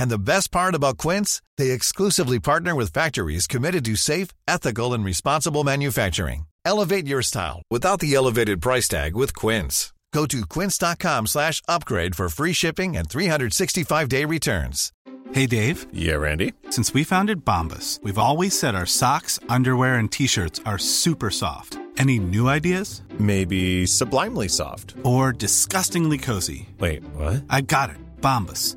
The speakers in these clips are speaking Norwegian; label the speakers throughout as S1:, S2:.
S1: And the best part about Quince, they exclusively partner with factories committed to safe, ethical, and responsible manufacturing. Elevate your style without the elevated price tag with Quince. Go to quince.com slash upgrade for free shipping and 365-day returns.
S2: Hey Dave,
S3: Yeah, Randy.
S2: since we founded Bombus, we've always said our socks, underwear, and t shirts are super soft. Any new ideas?
S3: Maybe sublimely soft.
S2: Or disgustingly cozy?
S3: Wait, what?
S2: I got it, Bombus.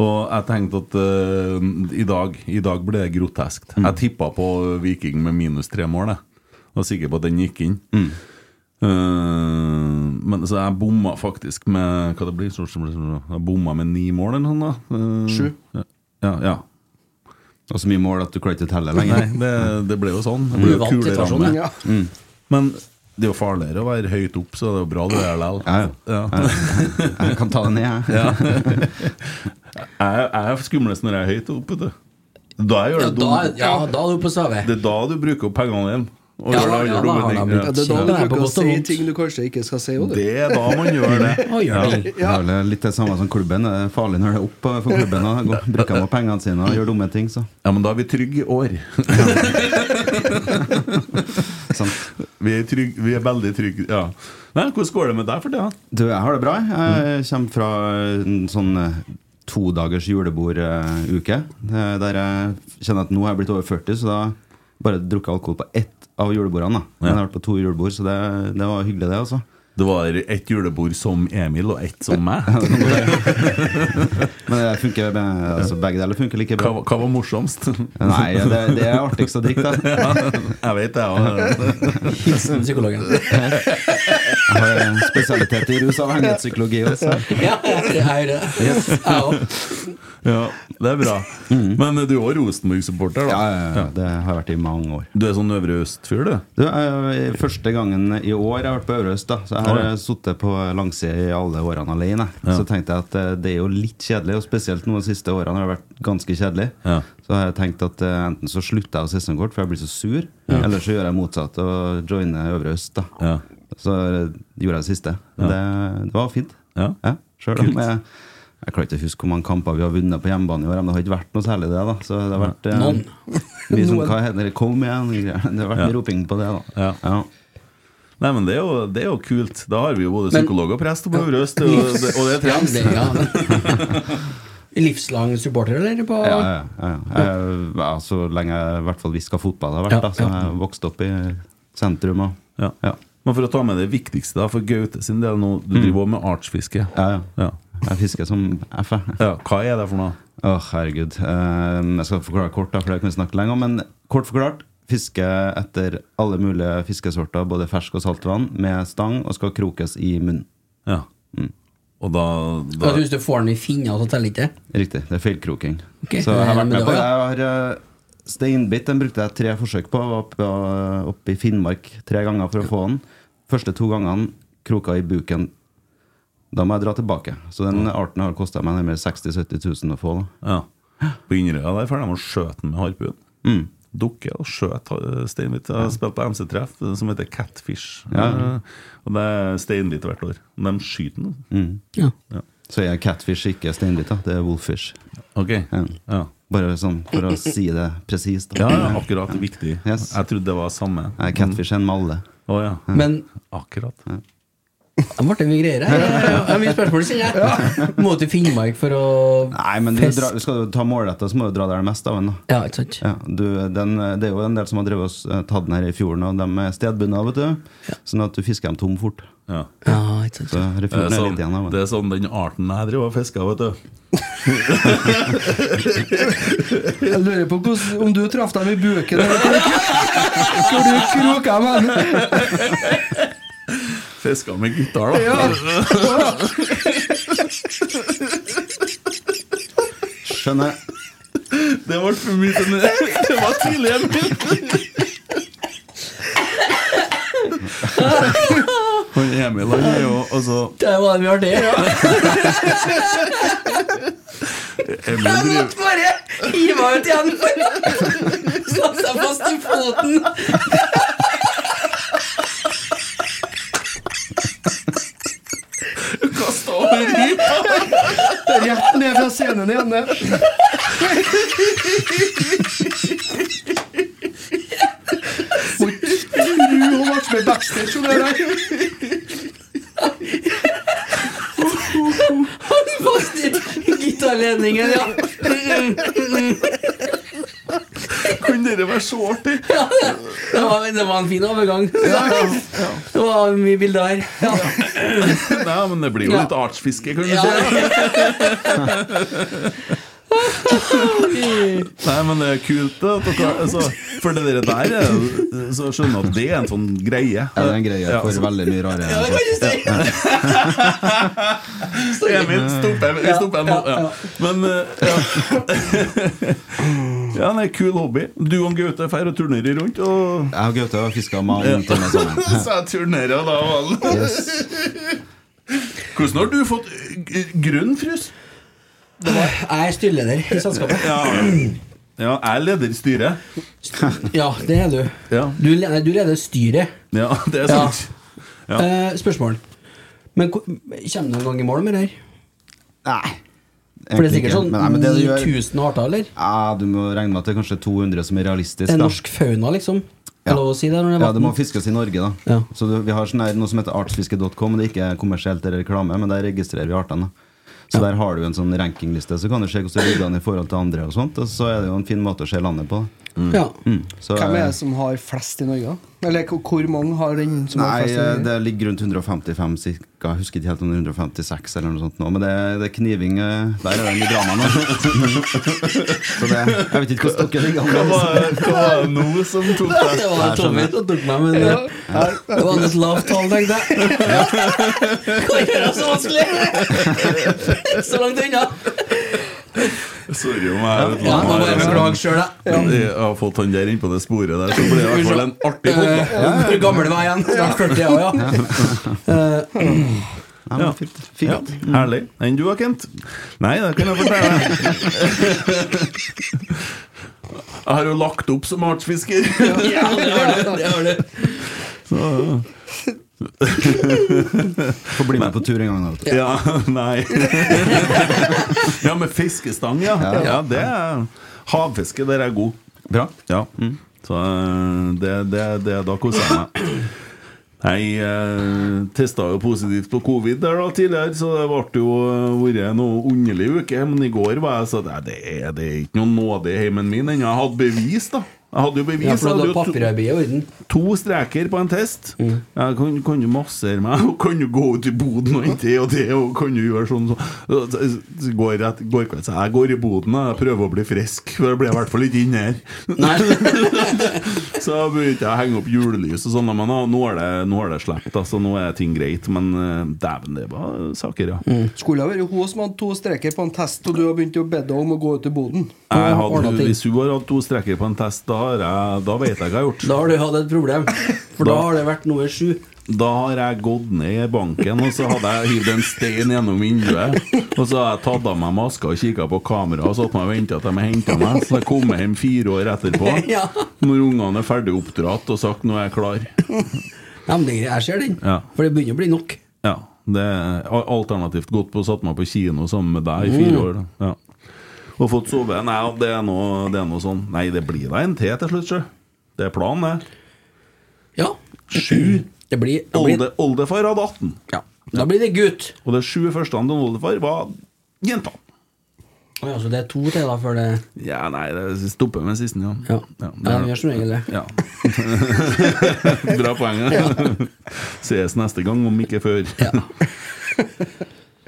S4: Og jeg tenkte at eh, i, dag, i dag ble det groteskt. Jeg tippa på Viking med minus tre mål. Jeg var sikker på at den gikk inn. Eh, men så jeg bomma faktisk med Hva det blir Jeg bomma med ni mål eller noe sånt. da. Eh,
S5: Sju.
S4: Ja, ja.
S6: Og så mye mål at du klarer ikke å telle
S4: Nei,
S6: lenger.
S4: det, det ble jo sånn. Det ble jo
S7: Uvant situasjon,
S5: Ja.
S4: kuleramme. Men det er jo farligere å være høyt opp, så det er jo bra du er der likevel.
S6: Ja, ja.
S4: Ja.
S6: Jeg kan ta det ned, jeg.
S4: Jeg, jeg er skumlest når jeg er høyt oppe. vet du. Da jeg gjør
S7: Ja,
S4: det
S7: da,
S4: dumme.
S7: ja, da er du på sveve.
S4: Det er da du bruker opp pengene igjen. Og
S7: Ja,
S4: gjør det andre
S7: ja, da
S4: dumme
S7: har
S4: ting.
S7: de brukt
S5: Ja, det er da
S7: Ja,
S5: du
S7: det er på
S5: bruker å
S7: godt og
S5: si
S7: vondt.
S5: ting du kanskje ikke skal si. jo, du.
S4: Det er da man gjør det.
S7: Å, gjør det.
S6: Det er vel litt det samme som klubben. Det er farlig når det er opp for klubben. Og går- bruker de opp pengene sine og gjør dumme ting, så.
S4: Ja, men da er vi trygge i år.
S6: Sant.
S4: Vi er, trygg, vi er veldig trygge. Ja. Nei, hvordan går det med deg for tida?
S6: Du, jeg har det bra. Jeg kommer fra en sånn eh, to dagers juleborduke. eh, Der jeg kjenner at nå har jeg blitt over 40, så da bare drukket alkohol på ett av julebordene. Da. Men jeg har vært på to julebord, så det, det var hyggelig, det, altså.
S4: Det var ett julebord som Emil og ett som meg.
S6: Men det funker, eh, altså, begge deler funker like
S4: Hva,
S6: bra.
S4: hva var morsomst?
S6: Nei, det, det er artigst å drikke, da.
S4: Jeg vet det, jeg òg.
S7: Hilsen psykologen.
S6: Jeg har en eh, spesialitet i rusavhengighetspsykologi også.
S7: Ja, jeg er det. Jeg òg.
S4: Ja, det er bra.
S7: Mm.
S4: Men du er òg Rosenborg-supporter,
S6: Ja,
S4: da?
S6: ja, ja, det har jeg vært i mange år.
S4: Du er sånn Øvre Øst-fyr, du?
S6: Du, eh, Første gangen i år jeg har vært på Øverøst, da, så jeg har
S4: Å, ja.
S6: eh, sittet på langsida i alle årene alene. Så tenkte jeg at eh, det er jo litt kjedelig, og spesielt nå de siste årene har det vært ganske kjedelig.
S4: Ja.
S6: Så har jeg tenkt at eh, enten så slutter jeg å sesongkort, for jeg blir så sur, eller så gjør jeg motsatt og joiner Øvre Øst. da.
S4: Ja.
S6: Så eh, gjorde jeg det siste. Det, det var fint.
S4: Ja.
S6: Sjøl om jeg jeg klarer ikke å huske hvor mange kamper vi har vunnet på hjemmebane i år. Men det har ikke vært noe særlig, det. da Så det har vært eh,
S7: Noen.
S6: mye sånn, hva heter det, kom igjen og greier. Det har vært mye roping på det, da.
S4: Ja. Nei, men det er, jo, det er jo kult. Da har vi jo både
S7: Men-
S4: psykolog og prest på Øvre Øst, og, det- og det
S7: Ja,
S4: trengs.
S7: det, ja. Livslang supporter, eller? På?
S6: Ja, ja, ja, ja. Jeg, ja, så lenge jeg i hvert fall hviska fotball har vært,
S7: Ja,
S6: da. Så
S7: ja.
S6: jeg vokste opp i sentrum og
S4: Ja.
S6: Ja.
S4: Men for å ta med det viktigste, da, for Gaute sin del nå, du driver også med artsfiske.
S6: Ja, ja.
S4: Ja.
S6: Jeg fisker som F, jeg.
S4: Ja, Hva er det for noe?
S6: Åh, herregud. Eh, jeg skal forklare kort, da, for det kan vi snakke lenge om. Men kort forklart, fiske etter alle mulige fiskesorter, både fersk og saltvann, med stang, og skal krokes i munnen.
S4: Ja. Og da, da
S7: At Hvis du får den i finna, så teller ikke det?
S6: Riktig. Det er feilkroking.
S7: Ok,
S6: Så jeg
S7: det
S6: har
S7: er
S6: vært
S7: med
S6: med
S7: det
S6: på det.
S7: også,
S6: Jeg har eh, Steinbit den brukte jeg tre forsøk på. Var oppe, oppe i Finnmark tre ganger for å få den. Første to gangene kroka i buken. Da må jeg dra tilbake. Så den arten har kosta meg nærmere 60 000-70 000 å få. Da.
S4: ja. På Inderøya der får de å skjøte den med harpun. Dukke og skjøt eh, steinbit. Jeg har spilt på MC-treff eh, som heter Catfish. Eh, Og det er steinbit hvert år. De skyter den.
S7: Ja.
S6: Så er catfish ikke steinbit. Da. Det er wolfish.
S4: Ok.
S6: Ja.
S4: Ja.
S6: Bare sånn for å si det presist.
S4: Ja, ja, akkurat. Viktig.
S6: Yes.
S4: Jeg trodde det var samme.
S6: Nei, Catfish er en malle.
S4: Å ja.
S7: Men
S4: Akkurat.
S7: Da ble det mye greier her. Det er Mye spørsmål, sier jeg. Må til Finnmark for å
S8: Nei, men du dra, skal du ta målretta, så må du dra der det meste av den. da.
S7: Ja, ikke sant?
S8: Ja, du, den, det er jo en del som har drevet oss, eh, tatt den her i fjorden, og de er stedbundne, vet du. Sånn at du fisker dem tom fort.
S4: Ja.
S7: ikke
S8: Så her i
S4: Det
S8: fjorden
S4: er
S8: er
S4: sånn,
S8: litt igjen av den.
S4: det er sånn den arten jeg driver og fisker, vet du.
S6: Jeg lurer på hvordan, om du traff dem i buken eller hvor du- hvor du kroka dem hen.
S4: Fisker med gitar, da.
S6: Ja.
S8: Skjønner.
S4: Det ble for mye til det. Det var tidlig, Emil. Han Emil han er jo altså,
S7: Det var det vi har det.
S4: Emil driver
S7: bare hiva ut igjen. Satt seg fast i foten.
S4: Kasta over ripa!
S6: Rett ned fra scenen igjen. det. Må ikke tro hun ble med backstage. hun der.
S7: Han fast i gitarledningen, ja.
S4: Kan dere være så artig?
S7: Det var, det var en fin overgang. Det var mye bilder her. Ja.
S4: Nei, men det blir jo litt artsfiske, kan du
S7: Ja.
S4: si. Nei, men det er kult, da. at dere- Altså, for det der der er jo- Så skjønner jeg at det er en sånn greie.
S8: Ja, det er en greie for
S4: altså,
S8: veldig mye
S7: Ja, det
S8: rare.
S7: kan du si. Sorry.
S4: Emil, stopp Emil, vi stopper nå. Ja. Men eh, ja. ja, det er en kul hobby. Du og Gaute drar og turnerer rundt. Og
S8: Jeg og Gaute har fiska mange timer sammen.
S4: så jeg turnerer da vel.
S8: Yes.
S4: Hvordan har du fått eh, grønn frys?
S7: Jeg er styreleder i selskapet.
S4: Ja. ja, jeg er leder i styret.
S7: Ja, det er du.
S4: Ja,
S7: Du leder, du leder styret.
S4: ja det er
S7: Ja.
S4: sant. Ja.
S7: Eh, spørsmål. Men ko- kommer du noen gang i mål med det her?
S8: Nei.
S7: For det er
S8: egentlig
S7: sikkert
S8: ikke.
S7: sånn
S8: Men, nei, men det du gjør-
S7: 9000 arter, eller?
S8: Ja, du må regne med at det er kanskje 200 som er realistisk.
S7: Det er
S8: da.
S7: norsk fauna, liksom. Er det lov å si det når det er
S8: Ja, det må
S7: vann?
S8: fiskes i Norge, da.
S7: Ja.
S8: Så du, vi har sånn her, noe som heter artsfiske.com. Det er ikke kommersielt eller reklame, men der registrerer vi artene. Så der har du en sånn rankingliste, så kan du se hvordan det ligger an i forhold til andre. Og sånt, og så er det jo en fin måte å se landet på. da.
S7: Ja.
S8: Mm. Så,
S6: Hvem er
S8: eh,
S6: det som har flest i Norge? da? Eller hvor- hvor mange har den som har
S8: Nei,
S6: flest? i
S8: eh,
S6: Norge?
S8: det ligger rundt 155 cirka. Jeg Husker ikke helt om det er 156 eller noe sånt nå, men det, det er kniving eh, Der er det mye drama nå. så det, jeg vet ikke hvordan dere ligger
S4: Hva
S8: an.
S4: var, hva var det nå som tok deg?
S7: Det var
S8: Jeg
S7: Tommy
S8: skjønner.
S7: som tok meg, men eh, det var et lavt tall, tenkte jeg. Hva gjør det så vanskelig? Så langt unna.
S4: Sorry om jeg
S7: Ja, må bare beklage sjøl, jeg.
S4: Jeg har fått han der inn på det sporet der, så blir det i hvert fall en artig
S7: Eh,
S4: podkast.
S7: Hvor gammel var jeg igjen? Snart 40 år, ja.
S8: Nei, men fint.
S4: Ja,
S8: fint.
S4: herlig. Enn du, Kent? Nei, det kan jeg fortelle deg. Jeg har jo lagt opp som artsfisker.
S7: ja det har du. Det har du.
S8: Får bli med på tur en gang. da, vet du.
S4: Ja, nei Ja, med fiskestang, ja. Ja, det er Havfiske, der er jeg god.
S8: Bra. Mm.
S4: Ja. Så eh, det, det, det da koser jeg meg. Jeg eh, testa jo positivt på covid der da tidligere, så det ble jo eh, vært noe underlig uke. Men i går var jeg sånn Nei, det er, det er ikke noe nåde i heimen min ennå. Jeg hadde bevis, da. Jeg hadde jo bevis.
S7: Ja,
S4: jeg
S7: for
S4: hadde
S7: du
S4: jo
S7: har
S4: to-
S7: papirarbeid i orden.
S4: to streker på en test. Ja, kan, kan du massere meg, og kan du gå ut i boden og hente det og det, og kan du gjøre sånn sånn Så går jeg, går kveld, så jeg går i boden og jeg prøver å bli frisk, for jeg blir i hvert fall ikke inne her.
S7: Nei.
S4: så jeg begynte jeg å henge opp julelys og sånn, men nå- nå er det, nå er det slept, altså. Nå er ting greit, men eh, dæven, det var saker, ja.
S6: Skulle ha vært hun som hadde to streker på en test, og du har begynt å be deg om å gå ut i boden.
S4: Jeg
S7: Ordnet
S4: hadde,
S7: ting.
S4: hvis hun har hatt to streker på en test, da, har jeg, da vet jeg hva jeg har gjort.
S7: Da har du hatt et problem, for da har det vært noe sju.
S4: Da har jeg gått ned i banken, og så hadde jeg hivd en stein gjennom vinduet. Og så har jeg tatt av meg maska og kikka på kameraet og satt meg og venta til de henta meg. Så jeg kom hjem fire år etterpå,
S7: Ja.
S4: når ungene er ferdig oppdratt og sagt 'nå er jeg klar'.
S7: Ja, men det- jeg ser den,
S4: Ja.
S7: for det begynner å bli nok.
S4: Ja, det er alternativt gått på å satt meg på kino sammen med deg i fire
S7: Mm.
S4: år. da. Ja. Og fått sove. Nei, det er noe, det er noe sånn Nei, det blir da en til til slutt, sjø. Det er planen, det.
S7: Ja.
S4: Sju.
S7: Det blir, det blir
S4: Olde, oldefar hadde 18.
S7: ja. Da blir det gutt.
S4: Og de sju første han til en oldefar var jenta.
S7: Å ja, så altså, det er to til da før det
S4: Ja, nei, det stopper med sisten, ja.
S7: Ja, ja de gjør som regel det.
S4: Ja. Bra poeng. Ja. Ses neste gang, om ikke før.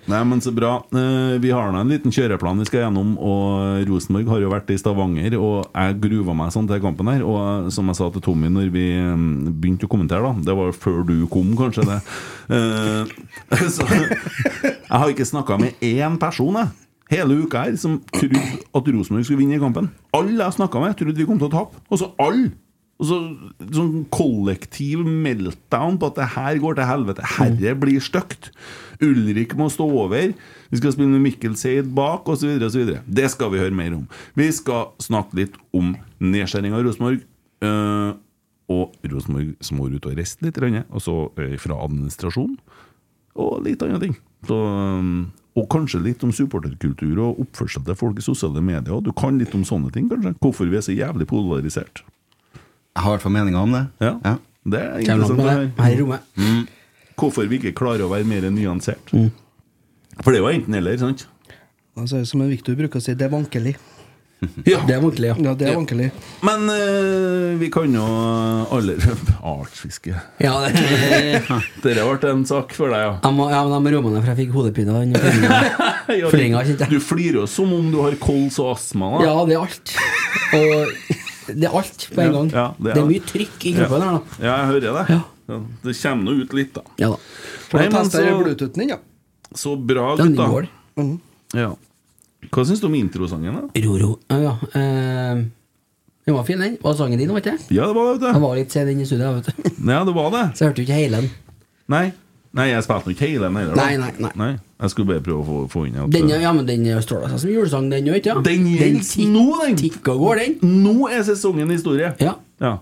S4: Nei, men så bra. Eh, Vi har nå en liten kjøreplan vi skal gjennom, og Rosenborg har jo vært i Stavanger, og jeg gruva meg sånn til kampen her. Og som jeg sa til Tommy når vi eh, begynte å kommentere, da Det var jo før du kom, kanskje, det. Eh, Så jeg har ikke snakka med én person, jeg. Hele uka her som trodde at Rosenborg skulle vinne i kampen. Alle jeg snakka med, trodde vi kom til å tape. Og så alle! Og så Sånn kollektiv meltdown på at det her går til helvete. Herre blir stygt. Ulrik må stå over. Vi skal spille med Mikkel Seid bak, osv. Det skal vi høre mer om. Vi skal snakke litt om nedskjæringa av Rosenborg. eh, og Rosenborg som må ut og reiste litt, grann, og så eh, fra administrasjonen og litt andre ting. Så, um, og kanskje litt om supporterkultur og oppførsel til folk i sosiale medier. og Du kan litt om sånne ting, kanskje. Hvorfor vi er så jævlig polarisert.
S8: Jeg har i hvert fall meninga om det.
S4: Ja. Det er
S8: Kjem langt
S4: interessant
S8: med
S4: å
S8: det,
S4: høre.
S8: her i rommet.
S4: Mm. Hvorfor vi ikke klarer å være mer nyansert. For det er jo enten-eller, sant?
S6: Altså, som en Victor bruker å si, det er vankelig.
S4: Ja.
S7: Det er vanskelig, ja.
S6: det er vankelig.
S4: Men eh, vi kan jo aller Artsfiske.
S7: Ja, det
S4: Dette ble en sak for deg, ja.
S7: Jeg må, ja, men jeg må romme ned, for jeg fikk hodepine. av den flyvningen.
S4: Ja, du-
S7: Flyvninga, kjente jeg.
S4: Du flirer jo som om du har kols og astma. Da.
S7: Ja, det er alt. Og det er alt på en gang.
S4: Ja,
S7: det, er mye trykk i kroppen her, da.
S4: Ja, jeg hører det. Ja. Det kommer nå ut litt, da.
S7: Ja da.
S6: For da tester jeg Bluetoothen din, ja.
S4: så bra,
S7: Den
S4: gutta.
S7: går.
S4: Ja. Hva syns du om introsangen, da?
S7: Roro. Ja, ja. Eh, den var fin, den. Var sangen din, var ikke det?
S4: Ja, det var det,
S7: Jeg var litt sen inn i studiet, vet du.
S4: Ja, det var det.
S7: Så jeg hørte jo ikke hele den.
S4: Nei, nei jeg spilte nå ikke hele den heller. da.
S7: Nei, nei, nei.
S4: Jeg skulle bare prøve å få, få inn at
S7: Den, ja, men den står da seg som julesang, den gjør ikke ja.
S4: Den gjelder
S7: tikk-
S4: nå, den!
S7: tikk og går, den.
S4: Nå er sesongen historie.
S7: Ja.
S4: Ja.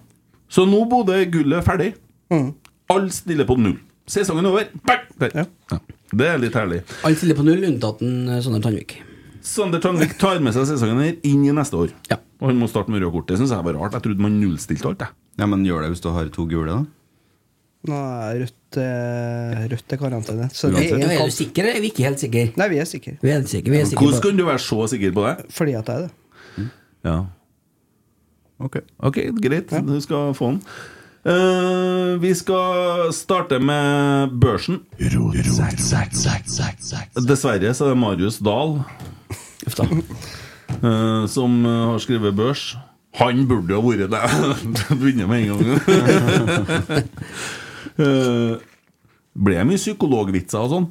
S4: Så nå bodde gullet ferdig.
S7: Mm.
S4: Alle stiller på null. Sesongen er over. Bang! Der. Ja. Det er litt herlig.
S7: Alle stiller på null, unntatt en, eh, Sondre Tandvik.
S4: Sander Tangvik tar med seg sesongen her inn i neste år. Og han må starte med røde kort. Det syns jeg var rart. Jeg trodde man nullstilte alt. Jeg.
S8: Ja, Men gjør det hvis du har to gule, da.
S6: Nei, rødt, eh, rødt er karantene. Så det
S8: Uansett.
S6: er,
S8: Ja,
S6: en
S8: er du
S6: kamp.
S7: Sikker er vi ikke helt sikre.
S6: Nei, vi er sikre.
S7: Vi er helt sikre, vi er sikre
S4: Hvordan
S7: på det.
S4: kan du være så sikker på det?
S6: Fordi at jeg er det.
S4: Ja. Ok, greit. Du skal få den. Eh, vi skal starte med børsen. Dessverre så er det Marius Dahl eh, som eh, har skrevet børs. Han burde jo vært det! Begynner med en gang. Eh, Ble det mye psykologvitser og sånn?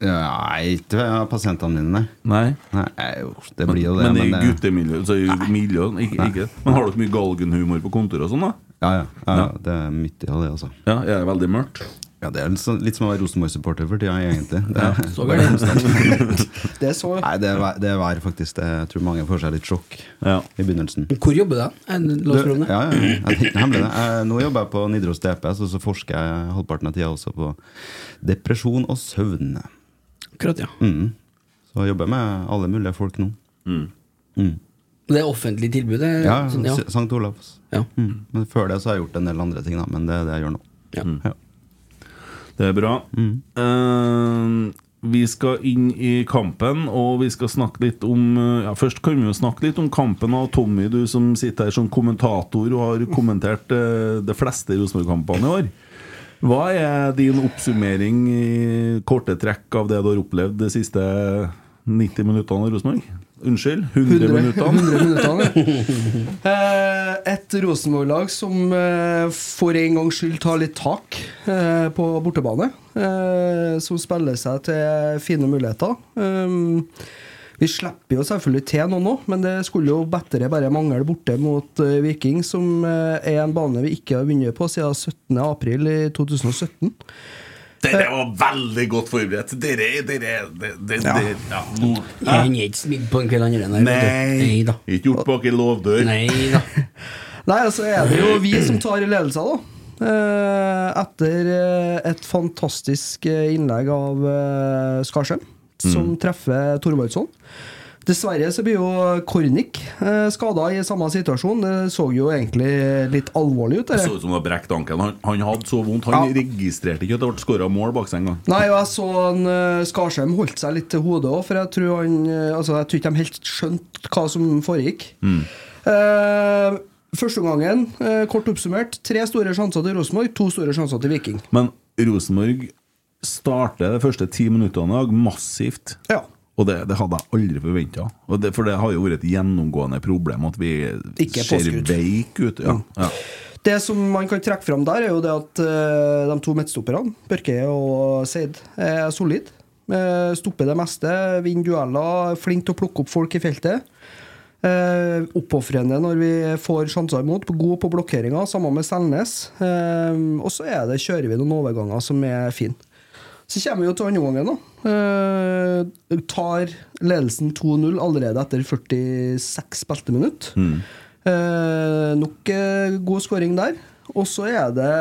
S8: Nei, ikke av pasientene dine,
S4: nei.
S8: nei jo, det blir jo det.
S4: Men, i
S8: det-
S4: guttemiljøet så er jo miljøet ikke, ikke. Men har dere mye galgenhumor på kontoret og sånn, da?
S8: Ja, ja, ja, ja, det er mye av det, altså.
S4: Ja, jeg er veldig mørkt.
S8: Ja, Det er litt, sånn- litt som å være Rosenborg-supporter for tida, egentlig. Det er,
S4: Ja, så går det.
S6: Det er så
S8: Nei, det er, vær- det er vær, faktisk. Det, jeg tror mange får seg litt sjokk i begynnelsen.
S7: Hvor jobber du? En
S8: Du,
S7: låsrone?
S8: ja, ja, ja. Jeg tenkte hemmelig det. Jeg- Nå jobber jeg på Nidaros DPS, og så forsker jeg halvparten av tida også på depresjon og søvn.
S7: Akkurat, ja.
S8: Mm. Så jeg jobber med alle mulige folk nå. Mm.
S7: Det er offentlig tilbud? det er
S8: Ja,
S7: sånn, ja.
S8: S- St. Olavs. Mm. Men før det så har jeg gjort en del andre ting, da. Men det er det jeg gjør nå.
S4: Mm. Det er bra. Eh, vi skal inn i kampen, og vi skal snakke litt om eh, ja, Først kan vi jo snakke litt om kampen av Tommy, du som sitter her som kommentator og har kommentert eh, de fleste Rosenborg-kampene i år. Hva er din oppsummering i korte trekk av det du har opplevd de siste 90 minuttene av Rosenborg? Unnskyld, 100,
S6: 100
S4: minuttene?
S6: 100 minuttene, Eh, et Rosenborg-lag som eh, for en gangs skyld tar litt tak eh, på bortebane. Eh, som spiller seg til fine muligheter. Um, vi slipper jo selvfølgelig til noen nå, men det skulle jo bedre bare mangle borte mot eh, Viking, som eh, er en bane vi ikke har vunnet på siden 17. april i 2017.
S4: Dere var veldig godt forberedt. Dere, dere, dere, dere, dere ja.
S7: Jeg er ikke smidd på en kveld andre enn
S4: Nei.
S7: da.
S4: Ikke gjort bak ei låvdør.
S7: Nei da.
S6: Nei, altså er det jo vi som tar ledelsen, da. Eh, etter eh, et fantastisk eh, innlegg av eh, Skarsheim, som
S4: Mm.
S6: treffer Thorvaldsson. Dessverre så blir jo Kornik eh, skada i samme situasjon. Det så jo egentlig litt alvorlig ut.
S4: Det
S6: det.
S4: så ut som det var brekt ankelen. Han, han hadde så vondt. Han registrerte ikke at det ble skåra mål bak seg engang.
S6: Nei, og jeg så han eh, Skarsheim holdt seg litt til hodet òg, for jeg tror han eh, Altså, jeg tror ikke de helt skjønte hva som foregikk.
S9: Mm.
S6: Eh, Førsteomgangen, eh, kort oppsummert, tre store sjanser til Rosenborg, to store sjanser til Viking.
S4: Men Rosenborg starter de første ti minuttene i dag massivt. Og det, det hadde jeg aldri forventa. For det har jo vært et gjennomgående problem at vi
S6: Ikke
S4: ser
S6: påskudd. Mm.
S4: veike ut. Ja. Ja.
S6: Det som man kan trekke fram der, er jo det at eh, de to midtstopperne, Børke og Seid, er solide. Eh, stopper det meste, vinner dueller, flink til å plukke opp folk i feltet. Eh, Oppofrende når vi får sjanser imot, god på blokkeringa, sammen med Selnes. Eh, og så er det, kjører vi noen overganger som er fine. Så kommer vi jo til andre gangen, da. Eh, tar ledelsen 2-0 allerede etter 46 spilte minutt.
S9: Mm.
S6: Eh, nok eh, god scoring der. Og så er det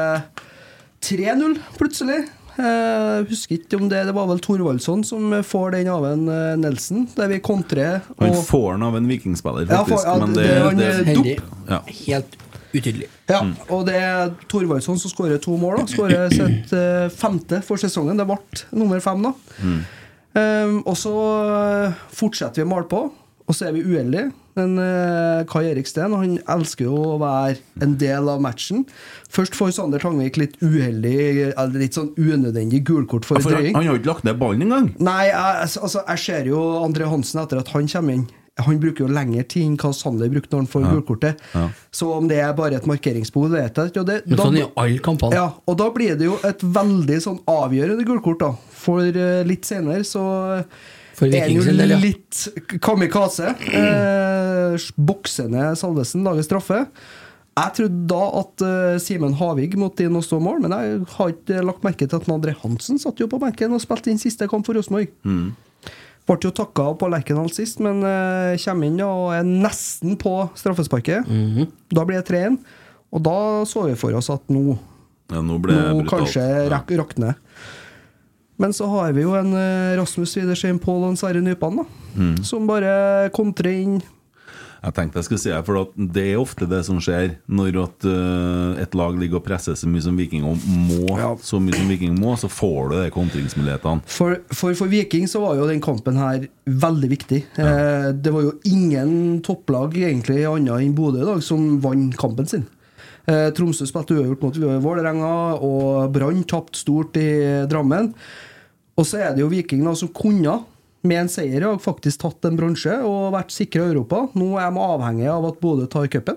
S6: 3-0 plutselig. Eh, husker ikke om det Det var vel Thorvaldsson som får den av en eh, Nelson, der vi kontrer.
S4: Han
S6: og-
S4: får den av en vikingspiller,
S6: Ja, for-
S4: faktisk.
S6: ja,
S4: men
S6: det-
S4: det,
S6: han, eh, dupp.
S4: ja.
S7: Helt utydelig.
S6: Ja, og det er Thorvaldsson som skårer to mål. da. Skårer sitt eh, femte for sesongen. Det ble nummer fem, da. Ehm, og så eh, fortsetter vi å male på, og så er vi uheldige. Men eh, Kai Erik Steen han elsker jo å være en del av matchen. Først får Sander Tangvik litt uheldig, eller litt sånn unødvendig gulkort for
S4: Ja, for han,
S6: drøying.
S4: han har jo ikke lagt ned ballen engang.
S6: Nei, jeg, altså, jeg ser jo André Hansen etter at han kommer inn. Han bruker jo lengre tid enn hva Sander brukte når han får
S7: Ja.
S6: gulkortet. Så om det er bare et markeringsbehov, det vet jeg ikke. og det-
S7: Men
S6: da-
S7: sånn er jo alle kampene.
S6: ja, og da blir det jo et veldig sånn avgjørende gulkort, da. For eh, litt senere så eh,
S7: For
S6: er han
S7: Vikings
S6: jo
S7: sin del, ja.
S6: litt kamikaze. Eh, bokser ned Salvesen, lager straffe. Jeg trodde da at eh, Simen Havig måtte inn og stå mål, men jeg har ikke lagt merke til at André Hansen satt jo på benken og spilte inn siste kamp for Rosenborg.
S7: Mm.
S6: Ble jo takka på Lerkendal sist, men eh, kommer inn og er nesten på straffesparket.
S7: Mhm.
S6: Da blir det 3-1, og da så vi for oss at nå
S4: Ja, nå ble det
S6: nå
S4: brutalt.
S6: kanskje rak rakner. Men så har vi jo en eh, Rasmus Widersheim Pål og en Sverre Nypan, da.
S4: Mm.
S6: Som bare kontrer inn.
S4: Jeg tenkte jeg skulle si det, for at det er ofte det som skjer når at eh, et lag ligger og presser så mye som Viking og må så mye som Viking må, så får du de kontringsmulighetene.
S6: For, for for Viking så var jo den kampen her veldig viktig. Eh, det var jo ingen topplag egentlig annet enn Bodø i dag som vant kampen sin. Eh, Tromsø spilte uavgjort mot Vålerenga, og Brann tapte stort i Drammen. Og så er det jo Viking da som kunne, med en seier, i dag, faktisk tatt en bronse og vært sikra Europa. Nå er de avhengig av at Bodø tar cupen.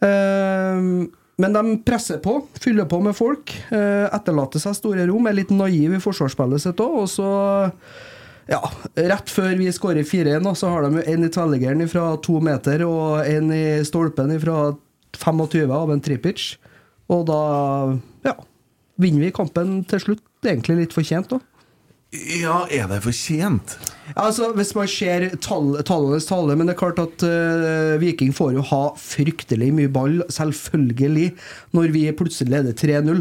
S6: Ehm, Men de presser på, fyller på med folk. eh, Etterlater seg store rom, er litt naiv i forsvarsspillet sitt òg. Og så, ja, rett før vi skårer 4-1, da, så har de jo en i tvelleggeren fra to meter og en i stolpen fra 25 av en Tripic. Og da, ja, vinner vi kampen til slutt. Egentlig litt fortjent, da.
S4: Ja, er det fortjent?
S6: Altså, Hvis man ser tall, tallenes tale, men det er klart at eh, Viking får jo ha fryktelig mye ball, selvfølgelig, når vi plutselig leder 3-0.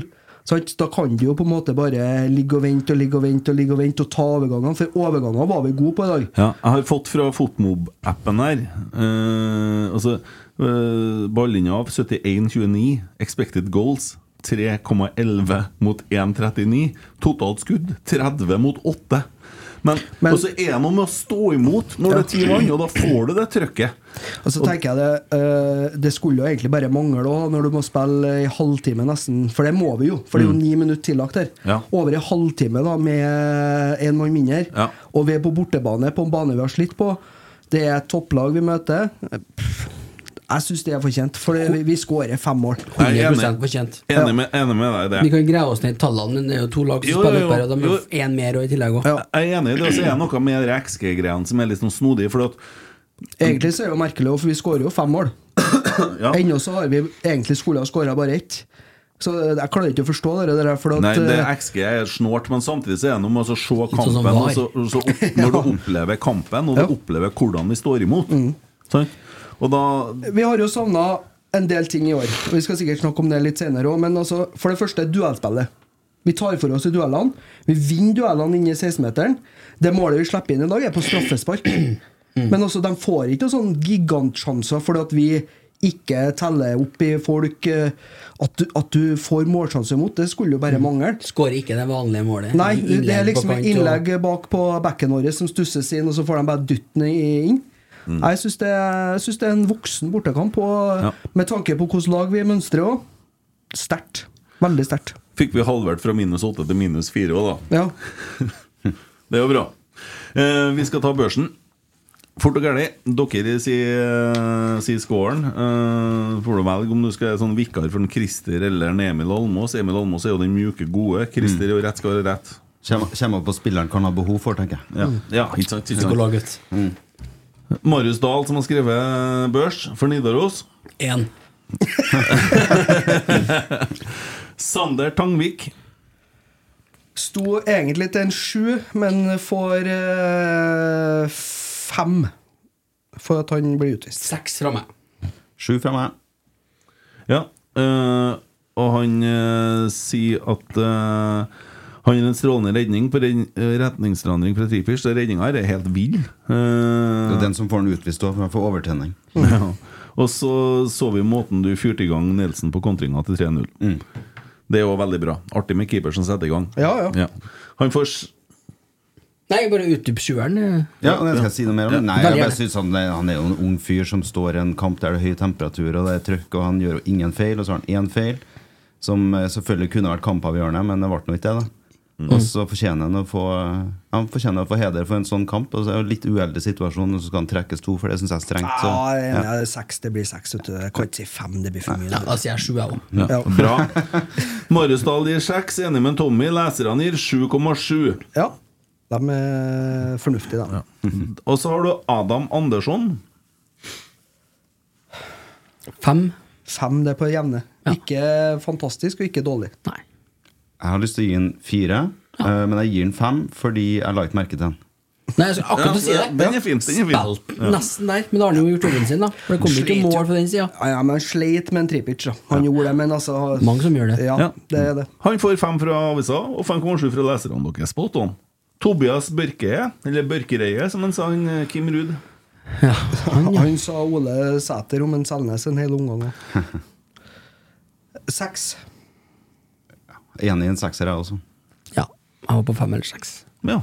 S6: Sant? Da kan du jo på en måte bare ligge og vente og ligge og vente og ligge og vente og ta overgangene, for overgangene var vi gode på i dag.
S4: Ja, jeg har fått fra Fotmob-appen her eh, Altså, eh, ballinja av 71-29 Expected goals 3,11 mot 1,39 Totalt skudd 30 mot 8 men, og så er man med å stå imot når det er ti mann, og da får du det trøkket.
S6: Og så tenker jeg det eh, Det skulle jo egentlig bare mangle også, når du må spille i halvtime nesten, for det må vi jo. For det er jo ni minutter tillagt her.
S4: Mm. Ja.
S6: Over i halvtime da med én mann mindre.
S4: Ja.
S6: Og vi er på bortebane, på en bane vi har slitt på. Det er et topplag vi møter. Pff, Jeg syns det er fortjent, for det- vi, vi skårer fem mål.
S4: Jeg er
S7: 100% fortjent.
S4: Enig med, enig med deg i det.
S7: Vi kan greie oss ned i tallene, men det er jo to lag som
S4: Jo,
S7: spiller
S4: jo,
S7: opp her, og de er
S4: jo.
S7: jo én mer og i tillegg òg.
S4: Jeg er enig i det, og så er det noe med de XG-greiene som er litt sånn snodig. For at,
S6: Egentlig så er det jo merkelig, for vi skårer jo fem mål.
S4: Ja.
S6: Ennå så har vi egentlig skulle ha skåra bare ett. Så jeg klarer ikke å forstå det der. For at,
S4: nei, det
S6: eh,
S4: XG er snålt, men samtidig så er det noe med å se
S6: sånn som
S4: kampen.
S6: var.
S4: Og så, og så opp, når du opplever kampen, og du opplever hvordan vi står imot.
S6: Mm.
S4: Sant? Og da
S6: Vi har jo savna en del ting i år. og Vi skal sikkert snakke om det litt senere òg, men altså, for det første duellspillet. Vi tar for oss i duellene. Vi vinner duellene inne i 16-meteren. Det målet vi slipper inn i dag, er på straffespark. Men også, de får ikke noen sånne gigantsjanser fordi at vi ikke teller opp i folk eh, at du, at du får målsjanser mot. Det skulle jo bare mangle.
S7: Skårer ikke det vanlige målet.
S6: Nei, det
S7: Innlegg
S6: er
S7: på
S6: liksom
S7: kant
S6: et
S7: og-
S6: innlegg bak på bekken vår som stusses inn, og så får de bare dytte den i- inn.
S7: Mm.
S6: Jeg syns det, jeg synes det er en voksen bortekamp, og med tanke på hvilket lag vi mønstrer òg. Sterkt. Veldig sterkt.
S4: Fikk vi halvert fra minus åtte til minus fire òg, da.
S6: Ja.
S4: Det er jo bra. Eh, vi skal ta børsen. Fort og gærlig. Dere sier, sier scoren. Eh, får du velge om du skal være sånn vikar for en Christer eller en Emil Almås. Emil Almås er jo den mjuke, gode. Christer er jo rett skal være rett.
S8: Kommer opp på spilleren kan ha behov for, tenker jeg.
S4: Ja, ja ikke sant? Ikke sant. Marius Dahl, som har skrevet eh, børs for Nidaros.
S7: Én.
S4: Sander Tangvik.
S6: Sto egentlig til en sju, men får eh, fem for at han blir utvist.
S7: Seks fra meg.
S8: Sju fra meg.
S4: Ja, eh, og han eh, sier at eh, han er en strålende redning på red retningsforandring fra Trippic. så Redninga her er helt vill.
S8: Det
S4: Uh,
S8: er den som får den utvist òg, for han får overtenning.
S4: Ja. Og så så vi måten du fyrte i gang Nelson på kontringa til 3-0. Det er jo veldig bra. Artig med keeper som setter i gang.
S6: Mm. Ja,
S4: ja. Han får s-
S7: Nei, bare utdyp sjueren. eh.
S8: Ja, og jeg skal si noe mer om det. Nei,
S7: Veldig
S8: jeg bare
S7: gjerne.
S8: synes han, han er jo en ung fyr som står i en kamp der det er høy temperatur og det er trøkk, og han gjør jo ingen feil, og så har han én feil, som eh, selvfølgelig kunne vært kampavgjørende, men det ble nå ikke det. da. Og så fortjener han å få Han fortjener å få heder for en sånn kamp. Og så er det jo litt uheldig situasjon, og så skal han trekkes to, for det syns jeg er strengt. Så,
S6: Ja, jeg er enig.
S8: ja.
S6: Seks, det blir seks. vet du. Jeg kan ikke si fem, det blir for mye.
S7: Ja, da sier jeg sju, jeg òg.
S4: ja. Bra. Marius Dahl gir seks, enig med Tommy. Leserne gir 7,7.
S6: Ja. De er fornuftige, de.
S4: Og så har du Adam Andersson.
S7: Fem.
S6: Fem, det er på det jevne. Ikke fantastisk, og ikke dårlig.
S8: Jeg har lyst til å gi den fire, eh, men jeg gir den fem fordi jeg la ikke merke til den.
S7: Nei, jeg skulle akkurat
S8: Ja,
S7: å si det.
S8: ja, den er fin, den er fin.
S7: Spilt
S8: Ja.
S7: nesten der, men da har han jo gjort jobben sin, da. For det kommer jo ikke
S6: Slet,
S7: mål på den sida.
S6: Ja, ja, men han sleit med en Tripic. da. Han gjorde det, men altså
S7: Mange som gjør det.
S6: Ja,
S4: Ja.
S6: det er det.
S4: Han får fem fra avisa og 5,7 fra leserne deres. Spot on. Tobias Børkeie, eller Børkereie, som han sa, han eh, Kim Ruud.
S6: Han, sa Ole Sæter om en Selnes en hel omgang òg. Seks.
S8: Enig i en sekser, jeg også.
S7: Ja. Jeg var på fem eller seks.
S4: Ja.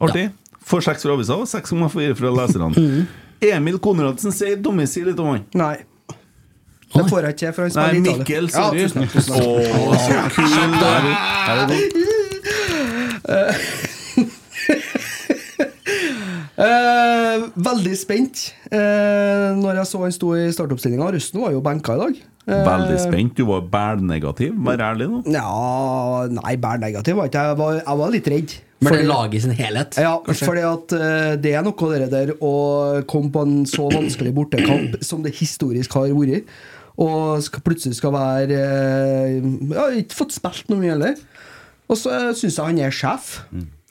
S4: Artig. Får seks fra avisa og 6,4 fra leserne. Emil Konradsen sier Tommy, si litt om han.
S6: Nei. Det får jeg ikke til, for han spiller
S4: Nei,
S6: i Italia.
S4: Mikkel, sorry.
S6: Ja, tusen takk, tusen takk.
S4: Å, så kul du er. Er det godt?
S6: Eh, veldig spent eh, når jeg så han sto i startoppstillinga. Rusten var jo benka i dag. Eh,
S4: Veldig spent. Du var bælnegativ. Vær ærlig nå.
S6: Ja, nei, bare negativ var ikke jeg. Var, jeg var litt redd.
S7: Men det
S6: Fordi-
S7: laget i sin helhet.
S6: Ja,
S7: kanskje?
S6: fordi at eh, det er noe av det der å komme på en så vanskelig bortekamp som det historisk har vært, og skal, plutselig skal være eh, Jeg har ikke fått spilt noe mye heller. Og så syns jeg han er sjef.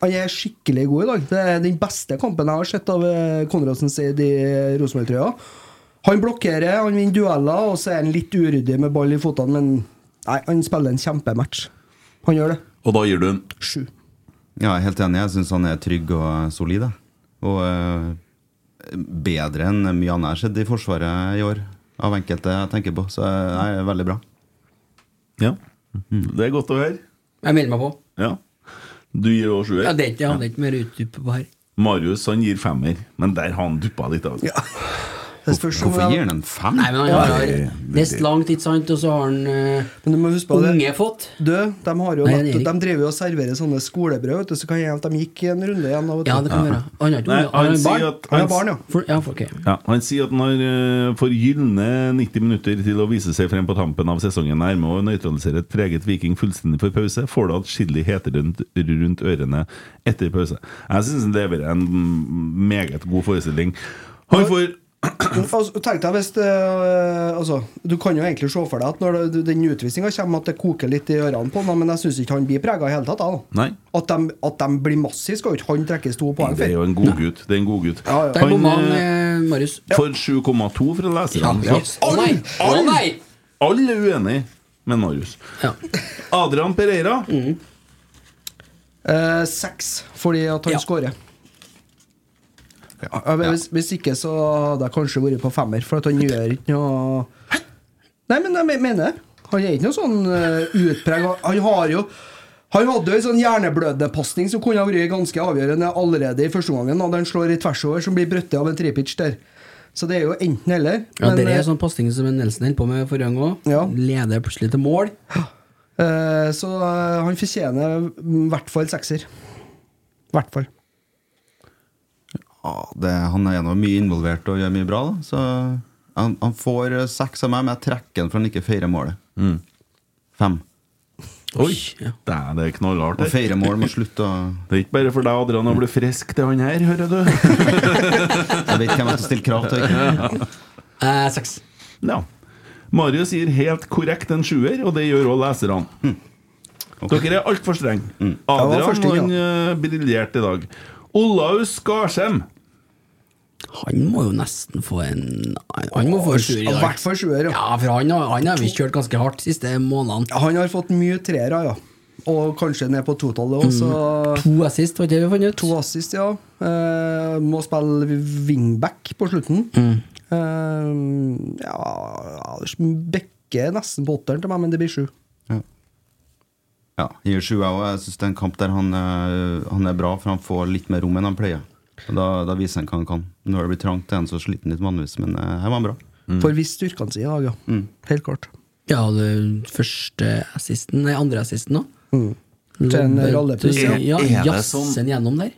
S6: Han er skikkelig god i dag. Det er den beste kampen jeg har sett av eh, Konradsen Seid i Rosenborg-trøya. Han blokkerer, han vinner dueller, og så er han litt uryddig med ball i føttene, men nei, han spiller en kjempematch. Han gjør det.
S4: Og da gir du en
S6: Sju.
S8: Ja, jeg er helt enig. Jeg syns han er trygg og solid. da. Og eh, bedre enn mye annet jeg har sett i Forsvaret i år, av enkelte jeg tenker på. Så det er veldig bra.
S4: Ja. Det er godt å høre.
S7: Jeg melder meg på.
S4: Ja. Du gir òg
S7: Ja,
S4: sjuer.
S7: det er ikke, jeg hadde ikke mer utdyp på her.
S4: Marius han gir femmer, men der har han duppa litt. av
S6: om
S8: Hvorfor
S6: jeg-
S8: gir han en fem?
S7: Nei, men han
S6: Ja,
S7: har
S6: det-
S7: nest langt, ikke sant, og så har han eh,
S6: Men du må huske på det.
S7: unge fått.
S6: Du, de har jo
S7: Nei,
S6: nettopp,
S7: Erik.
S6: de driver jo og serverer sånne skolebrød, vet du, så kan hende at de gikk en runde igjen. da, vet du.
S7: Ja, det kan være. Han har ikke
S4: Nei, han
S7: unge- han har jo barn.
S4: sier at-
S7: Han
S4: han-
S7: har barn, ja. For, ja, for,
S6: Eh,
S7: ok.
S4: Ja, han sier at han har, eh, får gylne 90 minutter til å vise seg frem på tampen av sesongen nærme og nøytralisere et preget Viking fullstendig for pause. Får det atskillig hete rundt, rundt ørene etter pause. Jeg syns det leverer en meget god forestilling. Han får
S6: Altså, tenk deg hvis eh, altså, Du kan jo egentlig se for deg at når det, den utvisninga kommer, at det koker litt i ørene på ham, men jeg syns ikke han blir prega i det hele tatt. Da.
S4: Nei,
S6: At, de, at de blir massive, skal jo ikke han trekkes to poeng
S4: det er
S6: for.
S4: jo en god gutt. Det er en god gutt.
S7: Der bomma han,
S4: eh,
S7: eh, Marius.
S4: får 7,2 fra leserne.
S7: Ja, yes. Å nei! Å nei!
S4: Alle er uenige med Marius. Adrian Pereira.
S7: Mm.
S6: Eh, seks, fordi at han scorer. Ja, men hvis, hvis ikke, så hadde jeg kanskje vært på femmer, for at han gjør ikke noe Nei, men jeg me- mener det. Han er ikke noe sånn eh, utpreg. Han- Han har jo han hadde jo en sånn hjerneblødepasning som kunne ha vært ganske avgjørende allerede i første omgangen, da han slår i tversover, som blir brøttet av en trepitch der. Så det er jo enten eller.
S7: Ja,
S6: men,
S7: det er
S6: eh,
S7: en sånn posting som en Nelson holdt på med forrige gang òg. Leder plutselig til mål.
S6: eh, Så eh, han fortjener i hvert fall sekser. I hvert fall.
S8: Ja, det, han er gjennom mye involvert og gjør mye bra. Da. Så han, han får eh, seks av meg, men jeg trekker han for han ikke feirer målet. Fem.
S4: Oi! Det er, det er knallhardt.
S8: Å feire mål må slutte å
S4: Det er ikke bare for deg, Adrian, å bli frisk til han her, hører du.
S8: Jeg vet hvem jeg skal stille krav til. ikke?
S6: Eh,
S7: seks.
S4: Ja. Mario sier helt korrekt en sjuer, og det gjør også leserne. Hm. Dere er altfor strenge.
S9: Jeg var
S4: Adrian
S9: først inn, Hm. ja.
S4: han eh, briljerte i dag. Olaus Skarsheim.
S7: Han må jo nesten få en Han må få en sjuer i
S6: Ja,
S7: dag.
S6: hvert fall sjuer, ja.
S7: Ja, for han, har- han har vi kjørt ganske hardt de siste månedene.
S6: Han har fått mye treere, ja. Og kanskje ned på totallet òg, så
S7: To assist, var ikke det vi fant ut?
S6: To assist, ja. Eh, må spille wingback på slutten. Eh, ja Bekke er nesten på åtteren til meg, men det blir sju.
S8: Ja, gir sju, jeg òg. Jeg syns det er en kamp der han, eh, han er bra, for han får litt mer rom enn han pleier. Og da, da viser han hva han kan. Når det blir trangt, er han så sliten litt vanligvis, men eh, her var han bra.
S4: Mm.
S6: For hvis styrkene sine i dag, ja. Helt klart.
S7: Ja, det første assisten Nei, andre assisten òg.
S6: Til en rallepuss, ja.
S7: Ja,
S4: Er det
S7: jazzen
S4: sånn-
S7: gjennom der.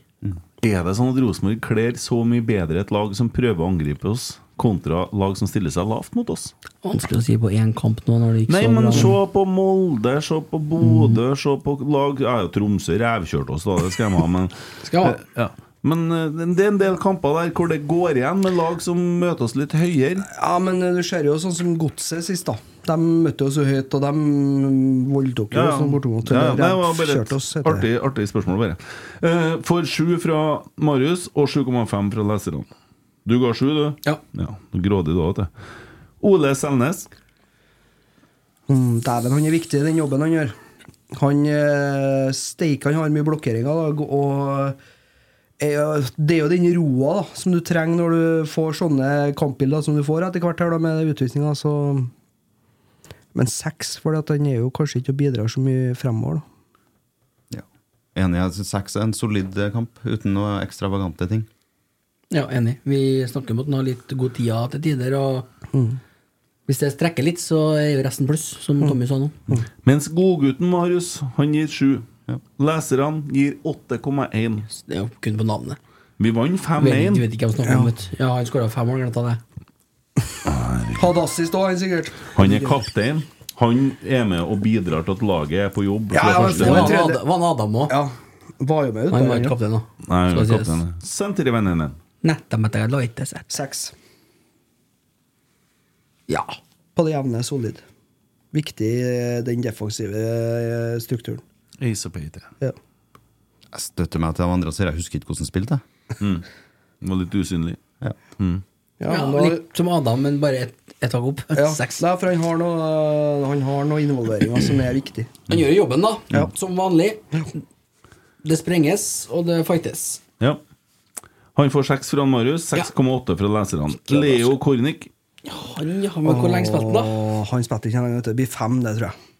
S4: Er det sånn at Rosenborg kler så mye bedre et lag som prøver å angripe oss, kontra lag som stiller seg lavt mot oss?
S7: Vanskelig å si på én kamp nå når det gikk
S4: Nei,
S7: så
S4: men
S7: bra.
S4: se på Molde, se på Bodø,
S6: Mhm.
S4: se på lag Ja, ja, Tromsø revkjørte oss, da, det skal de ha, men
S7: Skal ha.
S4: Ja. Men eh, det er en del kamper der hvor det går igjen med lag som møter oss litt høyere.
S6: Ja, men eh, du ser jo sånn som Godset sist, da. De møtte oss jo høyt, og de mm, voldtok jo
S4: Ja, ja.
S6: oss sånn bortimot.
S4: Ja,
S6: eller
S4: det var bare et
S6: revkjørte oss, heter
S4: artig, artig spørsmål, bare. Eh, får sju fra Marius og 7,5 fra leserne. Du ga sju, du?
S7: Ja.
S4: du er Grådig, du òg, vet du. Ole Selnes.
S6: Mm, Dæven, han er viktig i den jobben han gjør. Han eh, steik, han har mye blokkeringer. Da, og er jo- det er jo den roa da, som du trenger når du får sånne kampbilder som du får etter hvert her da, med utvisninga. så- Men seks, for han er jo kanskje ikke og bidrar så mye fremover. da.
S8: Enig, jeg synes seks er en solid eh, kamp, uten noe ekstravagante ting.
S7: Ja, enig. Vi snakker om at han har litt god tid til tider, og hvis det strekker litt, så er jo resten pluss, som Tommy sa nå.
S4: Mens godgutten Marius, han gir sju. Leserne gir 8,1.
S7: Det er jo kun på navnet.
S4: Vi vant
S7: Du vet,
S4: 5-1.
S7: du vet ikke hvem snakker om, vet du. Ja, han skåra fem mål, glemte jeg det.
S6: Hadde assist òg, han sikkert.
S4: Han er kaptein. Han er med og bidrar til at laget er på jobb.
S6: Ja,
S4: fra
S6: ja, men
S4: første
S6: får
S4: dag.
S6: han
S7: Ad- Var han Adam òg?
S6: Ja. Var jo med ute.
S7: Han var ikke
S6: ja.
S7: kaptein, da.
S4: Nei, han er
S7: Skal sies.
S4: kaptein. Senter i vennene.
S7: Nettopp etter jeg la ikke sett.
S6: Seks.
S7: Ja.
S6: På det jevne solid. Viktig, eh, den defensive eh, strukturen.
S4: Ace of Pate.
S6: Ja.
S8: Jeg støtter meg til de andre og sier jeg husker ikke hvordan han spilte.
S4: Mm. Var litt usynlig.
S8: Ja.
S7: Ja,
S6: men da-
S7: Litt som Adam, men bare ett et hakk opp.
S6: Ja,
S7: Seks.
S6: Nei, for han har noe, eh, han har noe involveringer som er viktig.
S7: Han gjør jobben, da.
S6: Ja.
S7: Som vanlig. Det sprenges, og det fightes.
S4: Ja. Han får seks fra Marius, 6,8 fra leserne. Leo Kornik.
S7: Han, ja, men hvor lenge spilte han, da?
S6: Åh, han spilte ikke lenge, vet du. det blir fem, det tror jeg.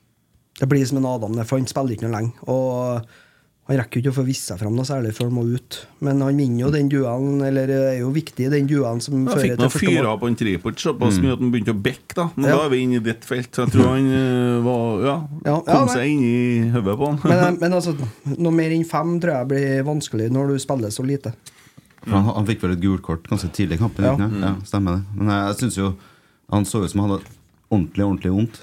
S6: Det blir som en Adam, det, for han spiller ikke noe lenge. Og eh, han rekker jo ikke å få vist seg fram noe særlig før han må ut. Men han vinner jo den duellen, eller eh, er jo viktig i den duellen som
S4: Jeg
S6: fører
S4: fikk nå
S6: til første
S4: fyra
S6: mål. Mm.
S4: opp en triport såpass mye at han begynte å bekke, da. Men
S6: Ja.
S4: da er vi inne i ditt felt. Så jeg tror han eh, var Ja,
S6: Ja, ja,
S4: kom
S6: nei.
S4: seg inn i hodet på han.
S6: Men, eh, men altså, noe mer enn fem tror jeg blir vanskelig når du spiller så lite.
S8: For han, han fikk vel et gult kort ganske tidlig i kampen.
S6: Ja.
S8: ikke
S3: Mm.
S8: sant? Ja, stemmer det. Men eh, jeg, jeg synes jo han så ut som han hadde ordentlig ordentlig vondt.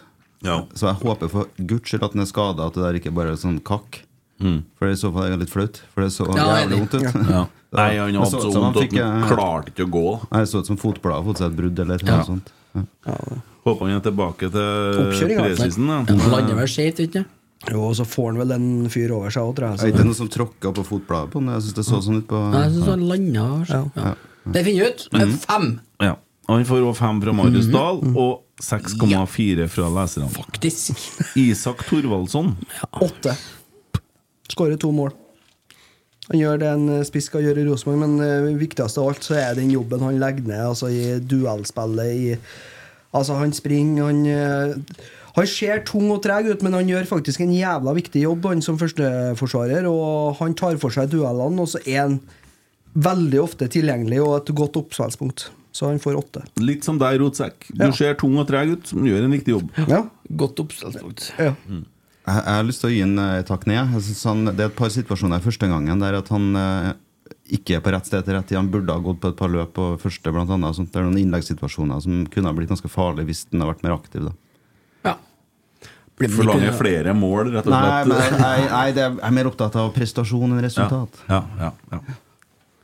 S8: Så jeg håper for guds skyld at han er skada, at det der ikke bare er sånn kakk.
S3: Mm.
S8: For i så fall er det litt flaut. For det så
S7: Ja,
S8: jævlig
S7: enig.
S8: vondt ut.
S4: Ja. Nei, han
S8: Det
S4: hadde
S8: så ut
S4: så
S8: som han
S4: vondt at
S8: fikk,
S4: han
S8: eh,
S4: klarte ikke å gå.
S8: Nei, Det så ut som fotbladet har fått seg et brudd eller noe
S7: Ja.
S8: sånt. Ja.
S4: Håper han er tilbake til
S6: Oppkjøring, altså.
S4: presisen, da.
S7: Han lander vel skjevt, vet du.
S6: Jo, og så får han vel en fyr over seg òg, tror
S8: Er
S6: jeg.
S8: ikke det noen som tråkka på fotbladet på den? Jeg synes det så sånn ut på
S7: Nei, Jeg syns han landa ja. Det finner vi ut. Fem,
S8: Mhm.
S4: Ja. Han får òg fem fra Marius Dahl
S6: Mhm.
S4: og 6,4 fra leserne.
S7: faktisk.
S4: Isak Thorvaldsson.
S6: Så åtte. Skårer to mål. Han gjør det en eh, spiss skal gjøre i Rosenborg, men eh, viktigst av alt så er den jobben han legger ned altså i duellspillet. i Altså, han springer, han eh, Han ser tung og treg ut, men han gjør faktisk en jævla viktig jobb, han som førsteforsvarer, og han tar for seg duellene, og så er han veldig ofte tilgjengelig og et godt oppspillspunkt. Så han får åtte.
S4: Litt som deg, Rotsekk. Du ser tung og treg ut, men gjør en viktig jobb.
S7: Godt oppstandspunkt.
S6: Ja.
S4: Mm.
S8: Jeg, jeg har lyst til å gi en eh, takk ned. jeg. Jeg synes han, det er et par situasjoner første gangen der at han eh, ikke er på rett sted til rett tid. Han burde ha gått på et par løp på første, blant annet. og Sånt. Det er noen innleggssituasjoner som kunne ha blitt ganske farlige hvis han hadde vært mer aktiv. da
S4: Blir den Forlanger ikke- flere mål, rett og slett.
S8: Nei, men, nei, nei det er, jeg er mer opptatt av prestasjon enn resultat.
S4: Ja, ja, ja,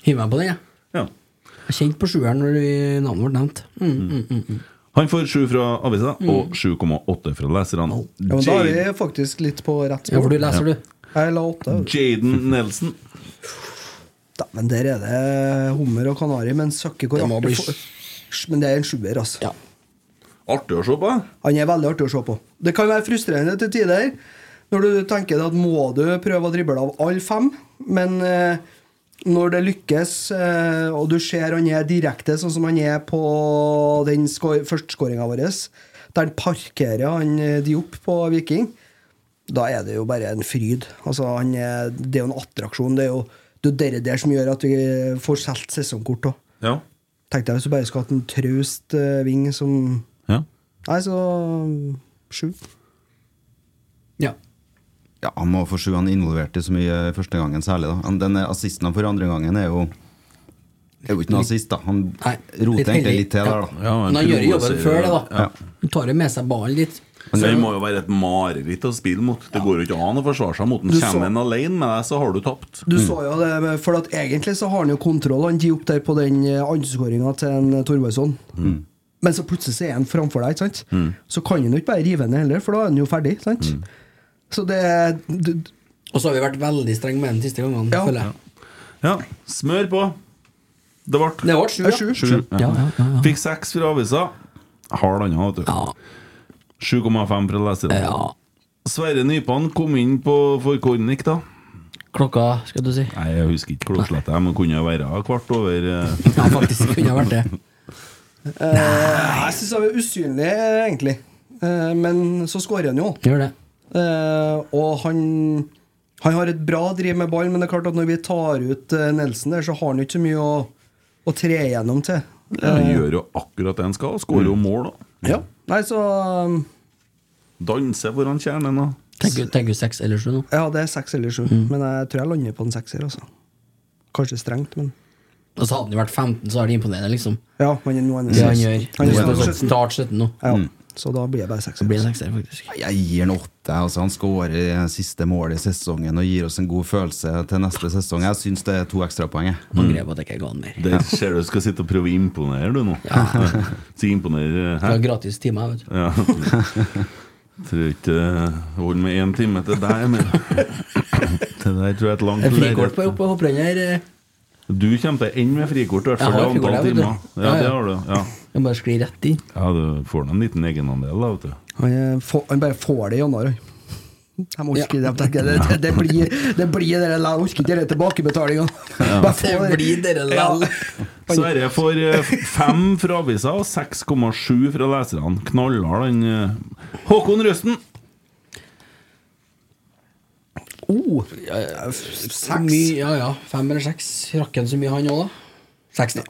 S7: Hiv meg på den, jeg.
S4: Ja.
S7: Jeg kjente på sjueren når vi- navnet ble nevnt. Mm, mm, mm, mm.
S4: Han får 7 fra avisa
S7: Mm.
S4: og 7,8 fra leserne.
S6: Ja, men da er
S4: Jade-
S6: vi faktisk litt på rett
S4: Ja, for du leser, Ja. du.
S6: Jeg la åtte.
S4: Jaden Nelson.
S6: Da, men der er det hummer og kanari, men søkke hvor
S4: Det må
S6: artig
S4: bli
S6: for-
S4: sj-
S6: Sj, Men det er en sjuer, altså.
S4: Artig å se på.
S6: Han er veldig artig å se på. Det kan være frustrerende til tider når du tenker at må du prøve å drible av alle fem, men eh, når det lykkes, eh, og du ser han er direkte, sånn som han er på den skår- førsteskåringa vår, der han parkerer han eh, Diop på Viking, da er det jo bare en fryd. Altså, han er, det er jo en attraksjon. Det er jo det er jo det der som gjør at vi får solgt sesongkort òg.
S4: Ja.
S6: Tenkte jeg hvis du bare skulle hatt en traust eh, ving som
S4: Ja.
S6: Nei, så mm, sju.
S8: Ja, Han må få sju. Han er involvert i så mye første gangen særlig. da Han- Den assisten han får andre gangen, er jo er jo ikke noe assist, da. Han roter egentlig litt til der, da.
S7: Men han gjør jobben før det, da.
S8: Ja.
S7: Han tar jo med seg ballen litt.
S4: Så Det må jo være et mareritt å spille mot. Det går jo ikke an å forsvare seg mot den.
S6: Du så-
S4: Kommer en alene med deg, så har du tapt.
S6: Du så jo det, men for at egentlig så har han jo kontroll. Han gir opp der på den eh, andreskåringa til en eh, Thorvaldsson.
S4: Mm.
S6: Men så plutselig så er han framfor deg, ikke sant?
S4: Mm.
S6: Så kan han jo ikke bare rive ned heller, for da er han jo ferdig. sant? Så det
S7: Og så har vi vært veldig strenge med den siste gangen, føler jeg.
S4: Ja, smør på. Det ble
S7: Det ble sju, ja.
S4: Sju.
S7: Ja, ja, ja, ja.
S4: Fikk seks fra avisa. Hard han har, vet du. 7,5 fra leserne. Sverre Nypan kom inn på for Kornik, da.
S7: Klokka, skal du si.
S4: Nei, jeg husker ikke klokkeslettet, men kunne være kvart over eh.
S7: Ja, faktisk kunne ha vært det.
S6: Eh, jeg syns han er usynlig, eh, egentlig. Eh, men så skårer han jo.
S7: Gjør det.
S6: Eh, og han Han har et bra driv med ball, men det er klart at når vi tar ut eh, Nelson der, så har han jo ikke så mye å, å tre igjennom til.
S4: Han gjør jo akkurat det han skal, og skårer jo mål, da.
S6: Ja. Nei, så um,
S4: Danser foran kjernen, da.
S7: Tenker du seks eller sju nå?
S6: Ja, det er seks eller sju. Men jeg tror jeg lander på en sekser. Altså. Kanskje strengt, men
S7: Og så hadde han jo vært 15, så er det imponerende, liksom.
S6: Ja, men nå er
S7: Det han gjør.
S6: Han
S7: Det er
S6: er
S7: sånn
S6: sytten.
S7: Start 17 nå.
S6: Ja, Så da blir jeg bare sekser.
S7: Blir sekser, faktisk.
S8: Jeg gir han åtte. Altså, han skårer siste mål i sesongen og gir oss en god følelse til neste sesong. Jeg syns det er to ekstrapoeng. jeg.
S7: Angrer på at jeg ikke ga han mer.
S4: Der ser du skal sitte og prøve å imponere, du nå. Ja. Si imponere
S7: Det var gratis time, vet du.
S4: Ja. Tror ikke det holder med én time til deg, men Det der tror jeg er et langt
S7: Det er frikort
S4: lerret.
S7: på eh. oppe hopprenner.
S4: Du kommer til å ende med frikort, i hvert fall i antall timer. Ja, det har du. Ja,
S7: Jeg bare sklir rett inn.
S4: ja du får nå en liten egenandel, da, vet du.
S6: Han, er, få, han bare får det i januar, han. Jeg må orke det, tenker jeg. Det, det, det blir det blir det der, jeg orker ikke den tilbakebetalinga.
S4: Ja.
S6: Bare få
S7: Det blir det der,
S6: Ja.
S7: lall.
S4: Sverre får eh, fem fra avisa og 6,7 fra leserne. Knallhard, den eh. Håkon Røsten!
S6: Oh,
S7: Så mye- Ja, ja. Fem eller seks. Rakk han så mye, han òg, da? Seks, da.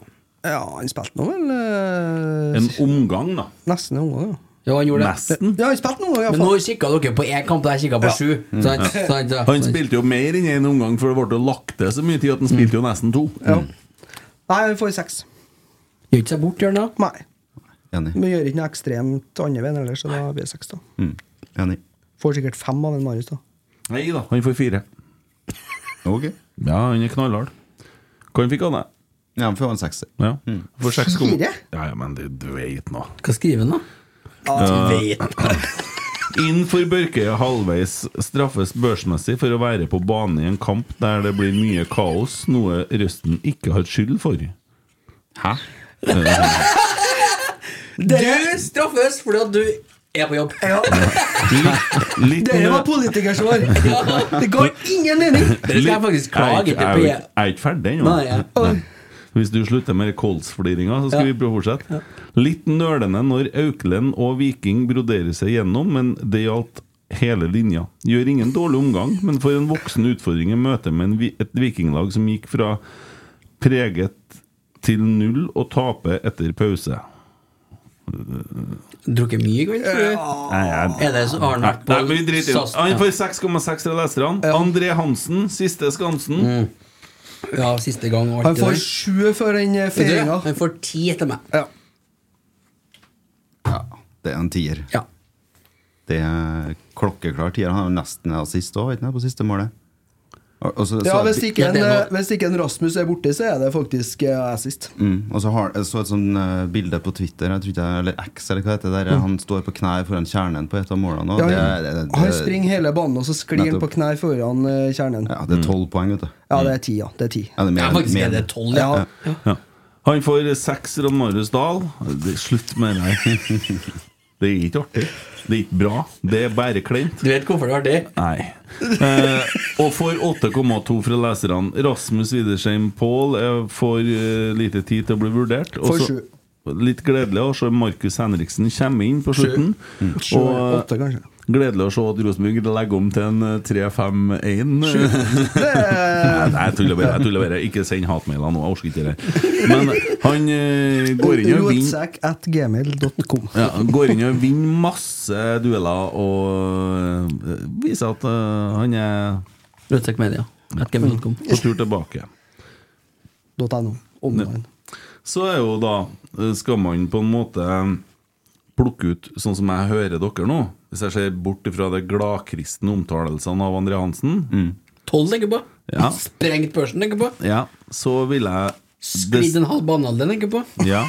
S6: Ja, han spilte nå vel eh,
S4: En Mm. omgang, da.
S6: Nesten en omgang, ja.
S7: Ja, han gjorde det.
S4: Nesten.
S6: Ja, han spilte nå,
S7: Men nå kikka dere på én kamp, og jeg kikka på sju.
S4: Mm.
S7: Så han-
S4: Ja.
S7: så han- så
S4: Han spilte jo mer enn én omgang, for det ble jo lagt til så mye tid at han spilte jo nesten to.
S6: Nei, han får seks.
S7: Gjør ikke seg bort, gjør han da?
S6: Nei. Men gjør ikke noe ekstremt andre veien ellers, så da blir det seks, da.
S8: Enig.
S6: Får sikkert fem av en Marius, da.
S4: Nei da, han får fire. Ja, han er knallhard. Hva han fikk han, da?
S8: Ja, han får en sekser.
S4: Ja. For Mm. seks kom-
S8: Fire?
S4: Ja, ja, men du, du vet nå.
S7: Hva skriver han, da?
S4: Ah.
S7: Vet.
S4: Inn for Børkøya halvveis straffes børsmessig for å være på bane i en kamp der det blir mye kaos, noe Røsten ikke har skyld for. Hæ?
S7: Du straffes fordi at du er på jobb.
S4: Litt
S6: Dere var
S4: nø-
S6: politikersvar! Det ga ingen mening!
S7: Dere skal faktisk klage
S4: Jeg er ikke-
S7: til P-
S4: Jeg er ikke- jeg er ikke ferdig
S7: Nei, ja.
S4: ennå. Hvis du slutter med kolsfliringa, så skal
S7: Ja.
S4: vi prøve å fortsette. Litt nølende når Auklend og Viking broderer seg gjennom, men det gjaldt hele linja. Gjør ingen dårlig omgang, men for en voksen utfordring i møte med en, vi- et vikinglag som gikk fra preget til null og tape etter pause.
S7: Drukket mye i kveld? tror du? Er det så- har han vært på
S4: Nei, men vi driter i det.
S7: SAS?
S4: Han
S7: Ja.
S4: får 6,6 fra leserne. André Hansen, siste Skansen.
S8: Mm,
S7: Ja, siste gang. og alt
S6: Han
S7: det
S6: får
S7: der.
S6: sju for den eh,
S7: Vet du det?
S6: feiringa.
S7: Han får ti etter meg.
S8: Det er en tier.
S7: Ja.
S8: Det er klokkeklar tier. Han har jo nesten assist òg, på siste målet. Og, og så,
S6: Ja,
S8: så-
S6: hvis ikke, en, eh, hvis ikke en Rasmus er borte, så er det faktisk eh, assist.
S8: Mm, og så har, jeg så et sånn eh, bilde på Twitter, jeg tror ikke, jeg- eller X, eller hva det heter, der eh,
S6: Mm.
S8: han står på knær foran kjernen på et av målene. Og
S6: Ja,
S8: det,
S6: han-
S8: er- det, det,
S6: han springer hele banen, og så sklir han på
S8: Nettopp.
S6: knær foran eh, kjernen.
S8: Ja, det er tolv poeng, vet du.
S6: Ja, det er ti, ja. Det er ti.
S8: Ja, det er mer- Ja, faktisk er mer- det tolv, ja.
S4: Ja. Han får seks Ron Marius Dahl. Det, slutt med det her. Det er ikke artig. Det er ikke bra. Det er bare kleint.
S7: Du vet hvorfor det var det?
S4: Nei. Eh, og får 8,2 fra leserne. Rasmus Widersheim Pål eh, får eh, lite tid til å bli vurdert. Og
S6: Får
S4: så-
S6: sju.
S4: Litt gledelig å se Markus Henriksen komme inn på slutten.
S6: Sju,
S4: Og
S6: åtte, kanskje.
S4: Gledelig å se at Rosenborg legger om til en eh, 3-5-1.
S6: eh,
S4: Nei, nei, jeg tuller bare. Jeg tuller bare. Ikke send hatmailer nå. Jeg orker ikke det. der. Men han eh, går inn og vinner
S6: Rotsekk at gmail.com.
S4: ja, han går inn og vinner masse dueller og eh, viser at eh, han er
S7: Rødsekk Media.
S4: På tur tilbake.
S6: .no. Online.
S4: Så er jo da eh, Skal man på en måte plukke ut, sånn som jeg hører dere nå Hvis jeg ser bort fra de gladkristne omtalelsene av André Hansen
S6: Mm.
S7: Tolv tenker på.
S4: Ja.
S7: Sprengt børsen tenker på.
S4: Ja, så vil jeg
S7: Sklidd en halv banehalvdel tenker på.
S4: Ja.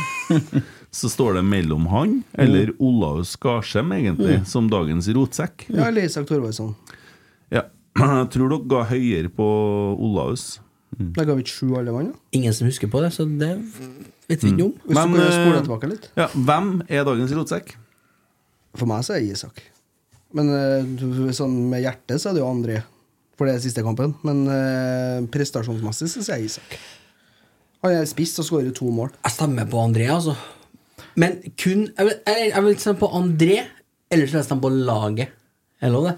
S4: Så står det mellom han eller Olaus Skarsheim, egentlig,
S6: Mm.
S4: som dagens rotsekk.
S6: Ja, eller Isak Thorvaldsson.
S4: Ja. Jeg tror dere ga høyere på Olaus.
S8: Mm.
S6: Da ga vi ikke sju alle mann, da.
S7: Ingen som husker på det, så det vet vi ikke om.
S6: Hvis du kan
S8: eh,
S6: spole tilbake litt.
S4: eh, Ja, hvem er dagens rotsekk?
S6: For meg så er det Isak. Men eh, du- sånn med hjertet så er det jo André. For det er siste kampen. Men eh, prestasjonsmessig så sier jeg Isak. Han er spiss og skårer to mål.
S7: Jeg stemmer på André, altså. Men kun Jeg vil, jeg, jeg vil stemme på André, ellers vil jeg stemme på laget. Er det lov, det?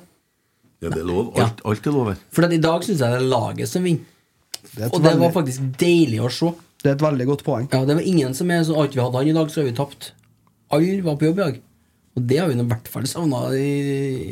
S4: Ja, det er lov.
S7: Ja.
S4: Alt, alt er lov her.
S7: For at i dag syns jeg det er laget som vinner.
S6: et
S7: Og det var
S6: veldig-
S7: faktisk deilig å se.
S6: Det er et veldig godt poeng.
S7: Ja, det var ingen som er sånn Alt vi hadde han i dag, så har vi tapt. Alle var på jobb i dag. Og det har vi nå i hvert fall savna i,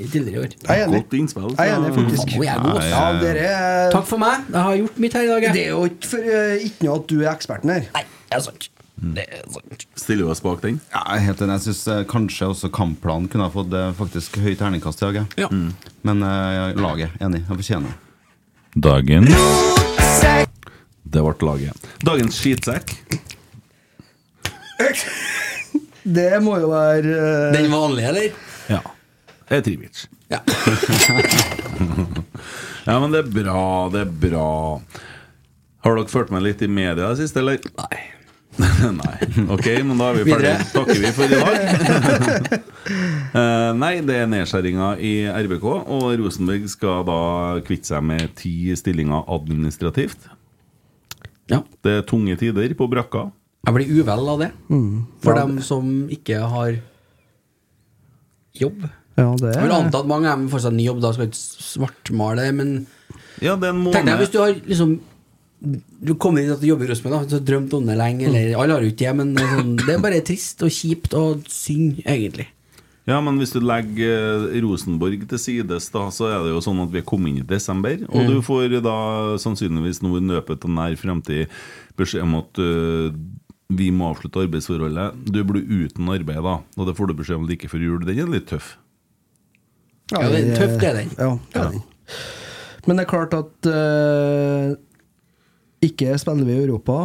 S7: i tidligere år.
S6: Jeg er enig.
S4: Godt innspill.
S6: Jeg er enig, faktisk.
S7: Å, jeg er god, ass.
S6: Ja, dere er-
S7: Takk for meg. Jeg har gjort mitt her i dag. jeg.
S6: Det er jo ikke, for, eh, ikke noe at du er eksperten her.
S7: Nei, det er sant. Det er sant.
S4: Stiller vi oss bak den?
S8: Ja, jeg er helt enig. Jeg syns kanskje også kampplanen kunne ha fått eh, faktisk høy terningkast i dag. jeg.
S7: Ja.
S8: Men eh, laget, enig. Jeg fortjener det.
S4: Dagen Det ble laget. Dagens skitsekk.
S6: Det må jo være eh,
S7: Den vanlige, eller?
S4: Ja. Det er Trivic.
S7: Ja.
S4: ja, men det er bra, det er bra. Har dere fulgt med litt i media i det siste, eller? Nei. Nei. Ok, men da er vi ferdige.
S7: Videre.
S4: Takker vi for i dag. Eh, nei, det er nedskjæringer i RBK, og Rosenborg skal da kvitte seg med ti stillinger administrativt.
S7: Ja.
S4: Det er tunge tider på brakka.
S7: Jeg blir uvel av det. For dem som ikke har jobb.
S6: Ja, det
S7: Jeg vil anta at mange av dem får seg en ny jobb, da skal jeg ikke svartmale det, men
S4: Ja, det er en
S7: tenk deg hvis
S4: måned
S7: du har liksom Du kommer inn at du jobber i Rosenborg, da, så har du drømt om det lenge, eller alle har jo ikke det, men det er sånn, det er bare trist og kjipt og synd, egentlig.
S4: Ja, men hvis du legger eh, Rosenborg til sides, da, så er det jo sånn at vi er kommet inn i desember. Og
S7: Mm.
S4: du får da sannsynligvis nå i løpet av nær fremtid beskjed om at eh, vi må avslutte arbeidsforholdet. Du blir uten arbeid, da. Og det får du beskjed om like før jul. Den er litt tøff.
S7: Ja, det er tøft, det er den.
S6: Ja, det er den. Men det er klart at eh, ikke spiller vi i Europa.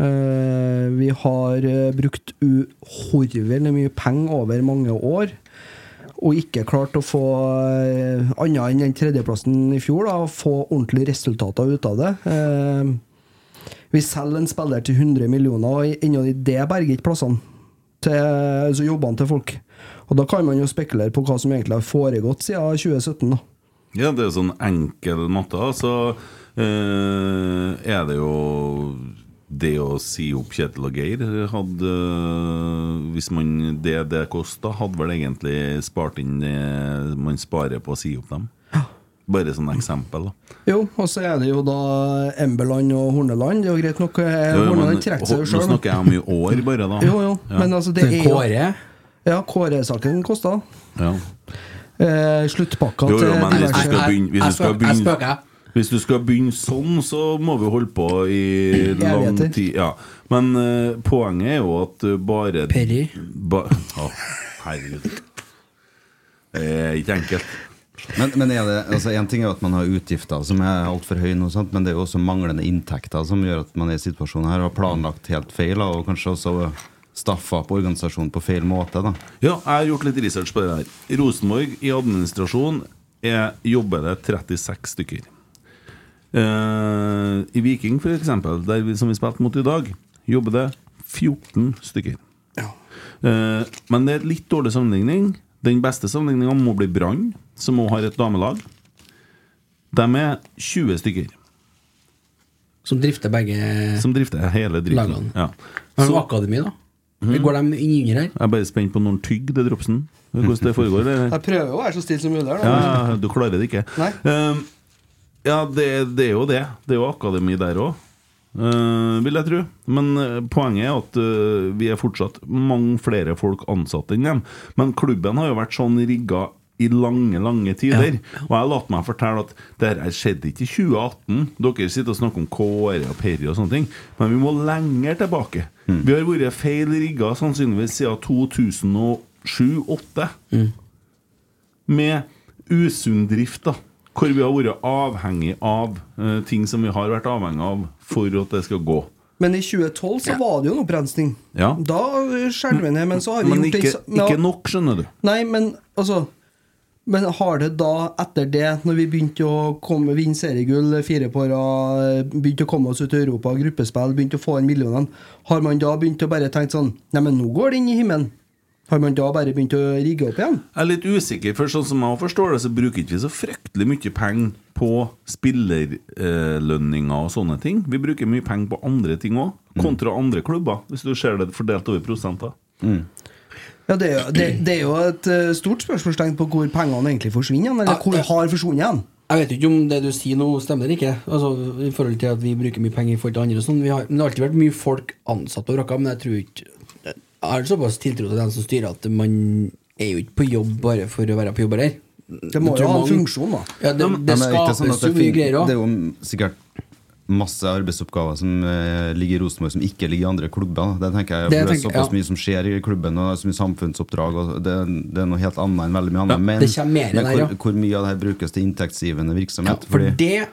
S6: Eh, vi har eh, brukt uhorvelig mye penger over mange år. Og ikke klart å få uh, annet enn den tredjeplassen i fjor, da, og få ordentlige resultater ut av det. Eh, vi selger en spiller til 100 millioner, og ennå i det berger ikke plassene. Til, altså jobbene til folk. Og Og da kan man jo spekulere på hva som egentlig har foregått siden 2017. da.
S4: Ja, det er sånn enkel matte. da. Så eh, er det jo det å si opp Kjetil og Geir hadde eh, Hvis man det det kosta, hadde vel egentlig spart inn det man sparer på å si opp dem. Bare som eksempel, da.
S6: Jo, og så er det jo da Embeland og Horneland. Det er jo greit nok. eh,
S4: Jo, jo, men
S6: Horneland trekker seg jo
S4: hå-
S6: sjøl.
S4: Nå snakker jeg om i år, bare, da.
S6: Jo, jo,
S4: Ja.
S6: men altså det er jo Ja, Kåre-saken kosta.
S4: Ja.
S6: Eh, sluttpakka
S4: Jo, jo, men hvis du
S6: diverse-
S4: skal begynne Hvis du skal begynne, hvis du skal begynne sånn, så må vi holde på i lang
S6: Evigheter.
S4: tid. Ja. Men eh, poenget er jo at eh, bare Perry. Ba, Å, herregud. Det er ikke enkelt.
S8: Men, men er det, altså en ting er jo at man har utgifter som er altfor høye, nå, sant? men det er jo også manglende inntekter som gjør at man er i situasjonen her og har planlagt helt feil, da, og kanskje også staffa opp organisasjonen på feil måte. da
S4: Ja, jeg har gjort litt research på det her. Rosenborg i administrasjon er, jobber det 36 stykker. Eh, I Viking, for eksempel, der vi, som vi spilte mot i dag, jobber det 14 stykker. Eh, men det er litt dårlig sammenligning. Den beste sammenligninga må bli Brann, som òg har et damelag. De er 20 stykker.
S7: Som drifter begge
S4: Som drifter hele driften.
S7: lagene.
S4: Ja.
S7: Har du
S4: Så-
S7: noe akademi, da? Går de yngre her?
S4: Jeg er bare spent på når han tygger det dropsen. Hvordan det foregår. Det.
S6: Jeg prøver jo å være så stille som mulig. her, da.
S4: Ja, du klarer det ikke. Um, ja, det, det er jo det. Det er jo akademi der òg, vil jeg tro. Men eh, poenget er at eh, vi er fortsatt mange flere folk ansatt enn dem. Men klubben har jo vært sånn rigga i lange, lange tider. Og jeg lot meg fortelle at det her skjedde ikke i 2018. Dere sitter og snakker om Kåre og Perry og sånne ting, men vi må lenger tilbake. Vi har vært feil rigga sannsynligvis siden 2007-2008 med usunn drift, da. Hvor vi har vært avhengig av eh, ting som vi har vært avhengig av for at det skal gå.
S6: Men i 2012 så var det jo en opprensning.
S4: Ja.
S6: Da skjærer vi ned, men så har vi
S4: Men
S6: gjort
S4: ikke,
S6: litt så-
S4: ikke nok, skjønner du.
S6: Nei, men altså Men har det da, etter det, når vi begynte å komme, vinne seriegull fire på rad, begynte å komme oss ut i Europa, gruppespill, begynte å få inn millionene, har man da begynt å bare tenke sånn Nei, men nå går det inn i himmelen. Har man da bare begynt å rigge opp igjen?
S4: Jeg er litt usikker, for sånn som jeg forstår det, så bruker ikke vi så fryktelig mye penger på spillerlønninger og sånne ting. Vi bruker mye penger på andre ting òg,
S6: Mm.
S4: kontra andre klubber, hvis du ser det fordelt over prosenter.
S6: Ja, det er jo, det, det er jo et eh, stort spørsmålstegn på hvor pengene egentlig forsvinner, eller hvor har forsvunnet igjen.
S7: Jeg vet jo ikke om det du sier nå stemmer eller ikke. Altså, I forhold til at vi bruker mye penger i forhold til andre og sånn. Vi har, men det har alltid vært mye folk ansatt på Rocka, men jeg tror ikke Jeg har såpass tiltro til den som styrer, at man er jo ikke på jobb bare for å være på jobb her.
S6: Det må
S7: Jeg tror
S6: jo ha en
S7: mange-
S6: funksjon, da.
S7: Ja, det,
S8: Ja, men-
S7: det
S8: Ja, men er ikke
S7: skapes
S8: sånn at
S7: jo
S8: det
S7: mye
S8: fin-
S7: greier
S8: Det
S7: òg.
S8: er jo sikkert masse arbeidsoppgaver som eh, ligger i Rosenborg, som ikke ligger i andre klubber. da. Det tenker jeg,
S7: Det
S8: for det er
S7: tenker-
S8: såpass
S7: ja.
S8: mye som skjer i klubben, og det er så mye samfunnsoppdrag, og det, det er noe helt annet enn veldig mye annet. men
S7: det kommer mer
S8: men
S7: der, ja.
S8: hvor, hvor mye av det her brukes til inntektsgivende virksomhet?
S7: For det er jeg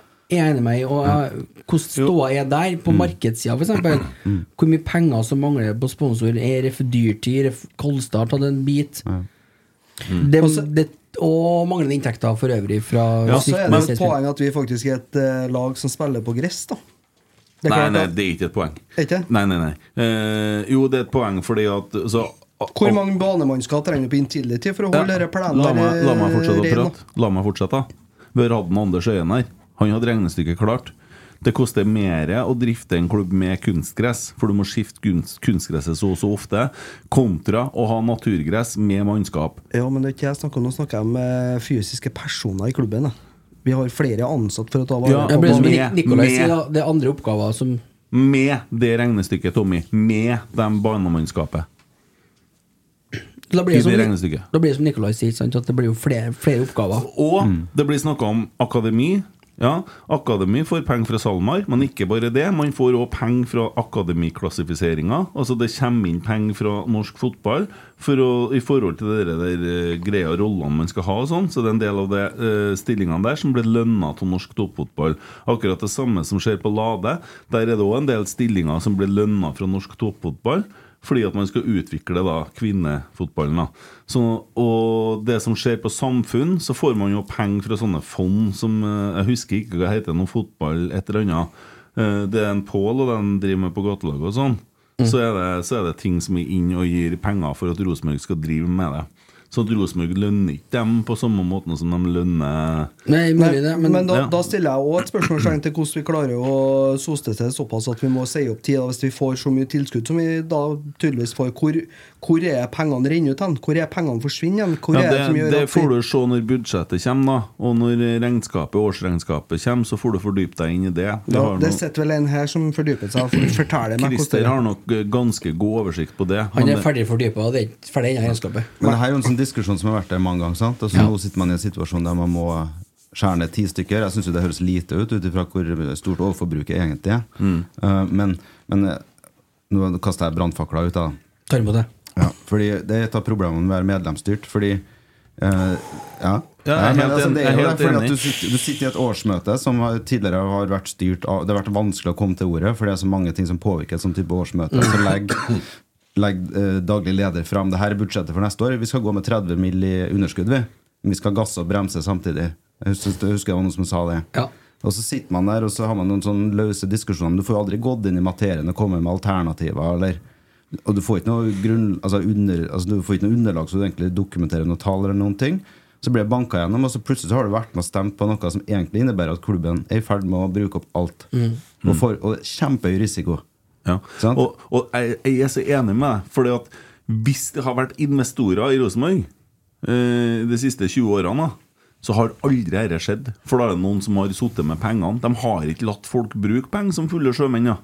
S7: enig med i. Og jeg, hvordan ståa er der,
S8: Mm.
S7: på markedssida f.eks. Hvor mye penger som mangler på sponsor. Er ref dyrtid? Ref Kolstad har tatt en bit? Det, det, og manglende inntekter for øvrig fra
S6: Og så er det jo
S7: svikten-
S6: et poeng at vi faktisk er et eh, lag som spiller på gress, da. Det er
S4: Nei,
S6: klart
S4: nei,
S6: at-
S4: det er ikke et poeng.
S6: Ikke?
S4: Nei, nei, nei. Eh, jo, det er et poeng fordi at så,
S6: Hvor mange baner man skal trenge på Intility for å holde dette plenen
S4: La meg, la meg
S6: eh,
S4: fortsette å
S6: ren, da.
S4: prate. La meg fortsette. Vi har hatt en Anders Øyen her. Han hadde regnestykket klart. Det koster mer å drifte en klubb med kunstgress, for du må skifte kunst, kunstgresset så og så ofte, kontra å ha naturgress med mannskap.
S6: Ja, men det er ikke jeg snakker om, nå snakker jeg om eh, fysiske personer i klubben. Da. Vi har flere ansatt for å ta vare
S4: Ja,
S7: Jeg ble som
S4: med-
S7: Nik- Nikolai
S4: med-
S7: sier, da, det er andre oppgaver som
S4: Med det regnestykket, Tommy. Med de banemannskapet.
S7: Da blir det
S4: I det
S7: som,
S4: regnestykket.
S7: da blir det som Nikolai sier, sant? at det blir jo flere, flere oppgaver.
S4: Og det blir snakka om akademi. Ja, Akademi får penger fra SalMar, men ikke bare det. Man får òg penger fra akademiklassifiseringa. Altså det kommer inn penger fra norsk fotball for å, i forhold til det der eh, greia rollene man skal ha og sånn. Så det er en del av de eh, stillingene der som blir lønna av norsk toppfotball. Akkurat det samme som skjer på Lade. Der er det òg en del stillinger som blir lønna fra norsk toppfotball fordi at man skal utvikle da kvinnefotballen. da. Så, og det som skjer på samfunn, så får man jo penger fra sånne fond som eh, Jeg husker ikke hva det heter, noe fotball, et eller annet. Eh, Det er en Pål, og den driver med på gatelaget og
S6: Mm.
S4: sånn. Så, er det, så er det ting som er inn og gir penger for at Rosenborg skal drive med det. Så at Rosenborg lønner ikke dem på samme måten som de lønner
S6: men, men, da,
S4: Ja.
S6: da stiller jeg òg et spørsmålstegn til hvordan vi klarer å soste til såpass at vi må si opp tida hvis vi får så mye tilskudd som vi da tydeligvis får. Hvor, hvor er pengene renner ut hen? Hvor er pengene forsvinner hen? Hvor er
S4: ja,
S6: det, som
S4: det,
S6: gjør
S4: det
S6: at vi
S4: får du se når budsjettet kommer, da. Og når regnskapet, årsregnskapet kommer, så får du fordype deg inn i det. Vi
S6: ja,
S4: har
S6: Det
S4: nok-
S6: sitter vel en her som fordypet seg. For, forteller meg hvordan det
S4: Christer
S6: er.
S4: har nok eh, ganske god oversikt på det.
S7: Han
S4: men
S7: er
S4: det-
S7: ferdig fordypa, og det er ikke ferdig ennå i regnskapet.
S8: Men det her er jo en sånn diskusjon som har vært der mange ganger. sant? Altså, Nå sitter man i en situasjon der man må skjære ned ti stykker. Jeg syns det høres lite ut ut ifra hvor stort overforbruket egentlig er. Eh, men, men eh, nå kaster jeg brannfakla ut, da.
S7: Tar imot det.
S8: Ja, fordi det er et av problemene med å være medlemsstyrt. Fordi eh, ja.
S4: Ja, jeg er
S8: Nei, men
S4: helt
S8: altså,
S4: en-
S8: det
S4: jeg er
S8: er jo det,
S4: helt
S8: fordi
S4: enig.
S8: at du sitter, du sitter i et årsmøte som har, tidligere har vært styrt av Det har vært vanskelig å komme til ordet, for det er så mange ting som påvirker et sånt type årsmøte. Så legger legg, eh, daglig leder fram det her er budsjettet for neste år. Vi skal gå med 30 mill. i underskudd, vi. Men vi skal gasse og bremse samtidig. Jeg husker, jeg husker det var noen som sa det. Og så sitter man der, og så har man noen sånne løse diskusjoner. Men du får jo aldri gått inn i materien og kommet med alternativer, eller og du får ikke noe, grunn, altså under, altså du får ikke noe underlag så du egentlig dokumenterer noe tall eller noen ting. Så blir det banka gjennom, og så plutselig så har du vært med og stemt på noe som egentlig innebærer at klubben er i ferd med å bruke opp alt.
S4: Mm.
S8: Og, for, og det er kjempehøy risiko.
S4: Ja. Og, og jeg, jeg er så enig med deg, Fordi at hvis det har vært investorer i Rosenborg eh, de siste 20 årene, da, så har aldri dette skjedd. For da er det noen som har sittet med pengene. De har ikke latt folk bruke penger som fulle sjømenn. Da.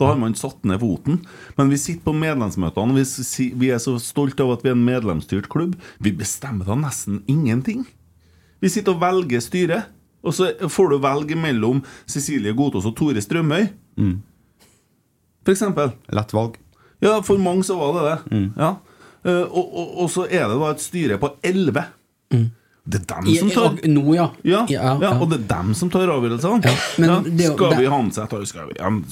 S4: Da har man satt ned foten. Men vi sitter på medlemsmøtene, og vi, si- vi er så stolte av at vi er en medlemsstyrt klubb. Vi bestemmer da nesten ingenting. Vi sitter og velger styre, og så får du velge mellom Cecilie Godtås og Tore Strømøy. For eksempel.
S8: Lett valg.
S4: Ja, for mange så var det det.
S7: Mm.
S4: Ja. Eh, og, og, og så er det da et styre på 11. Det er dem
S7: I-
S4: som
S7: i-
S4: tar
S7: og- Nå, Mm. ja.
S4: ja, ja, Og det er dem som tar avgjørelsene. Ja,
S7: det er jo-
S4: skal
S7: det-
S4: vi ha med seg Skal vi ja, men-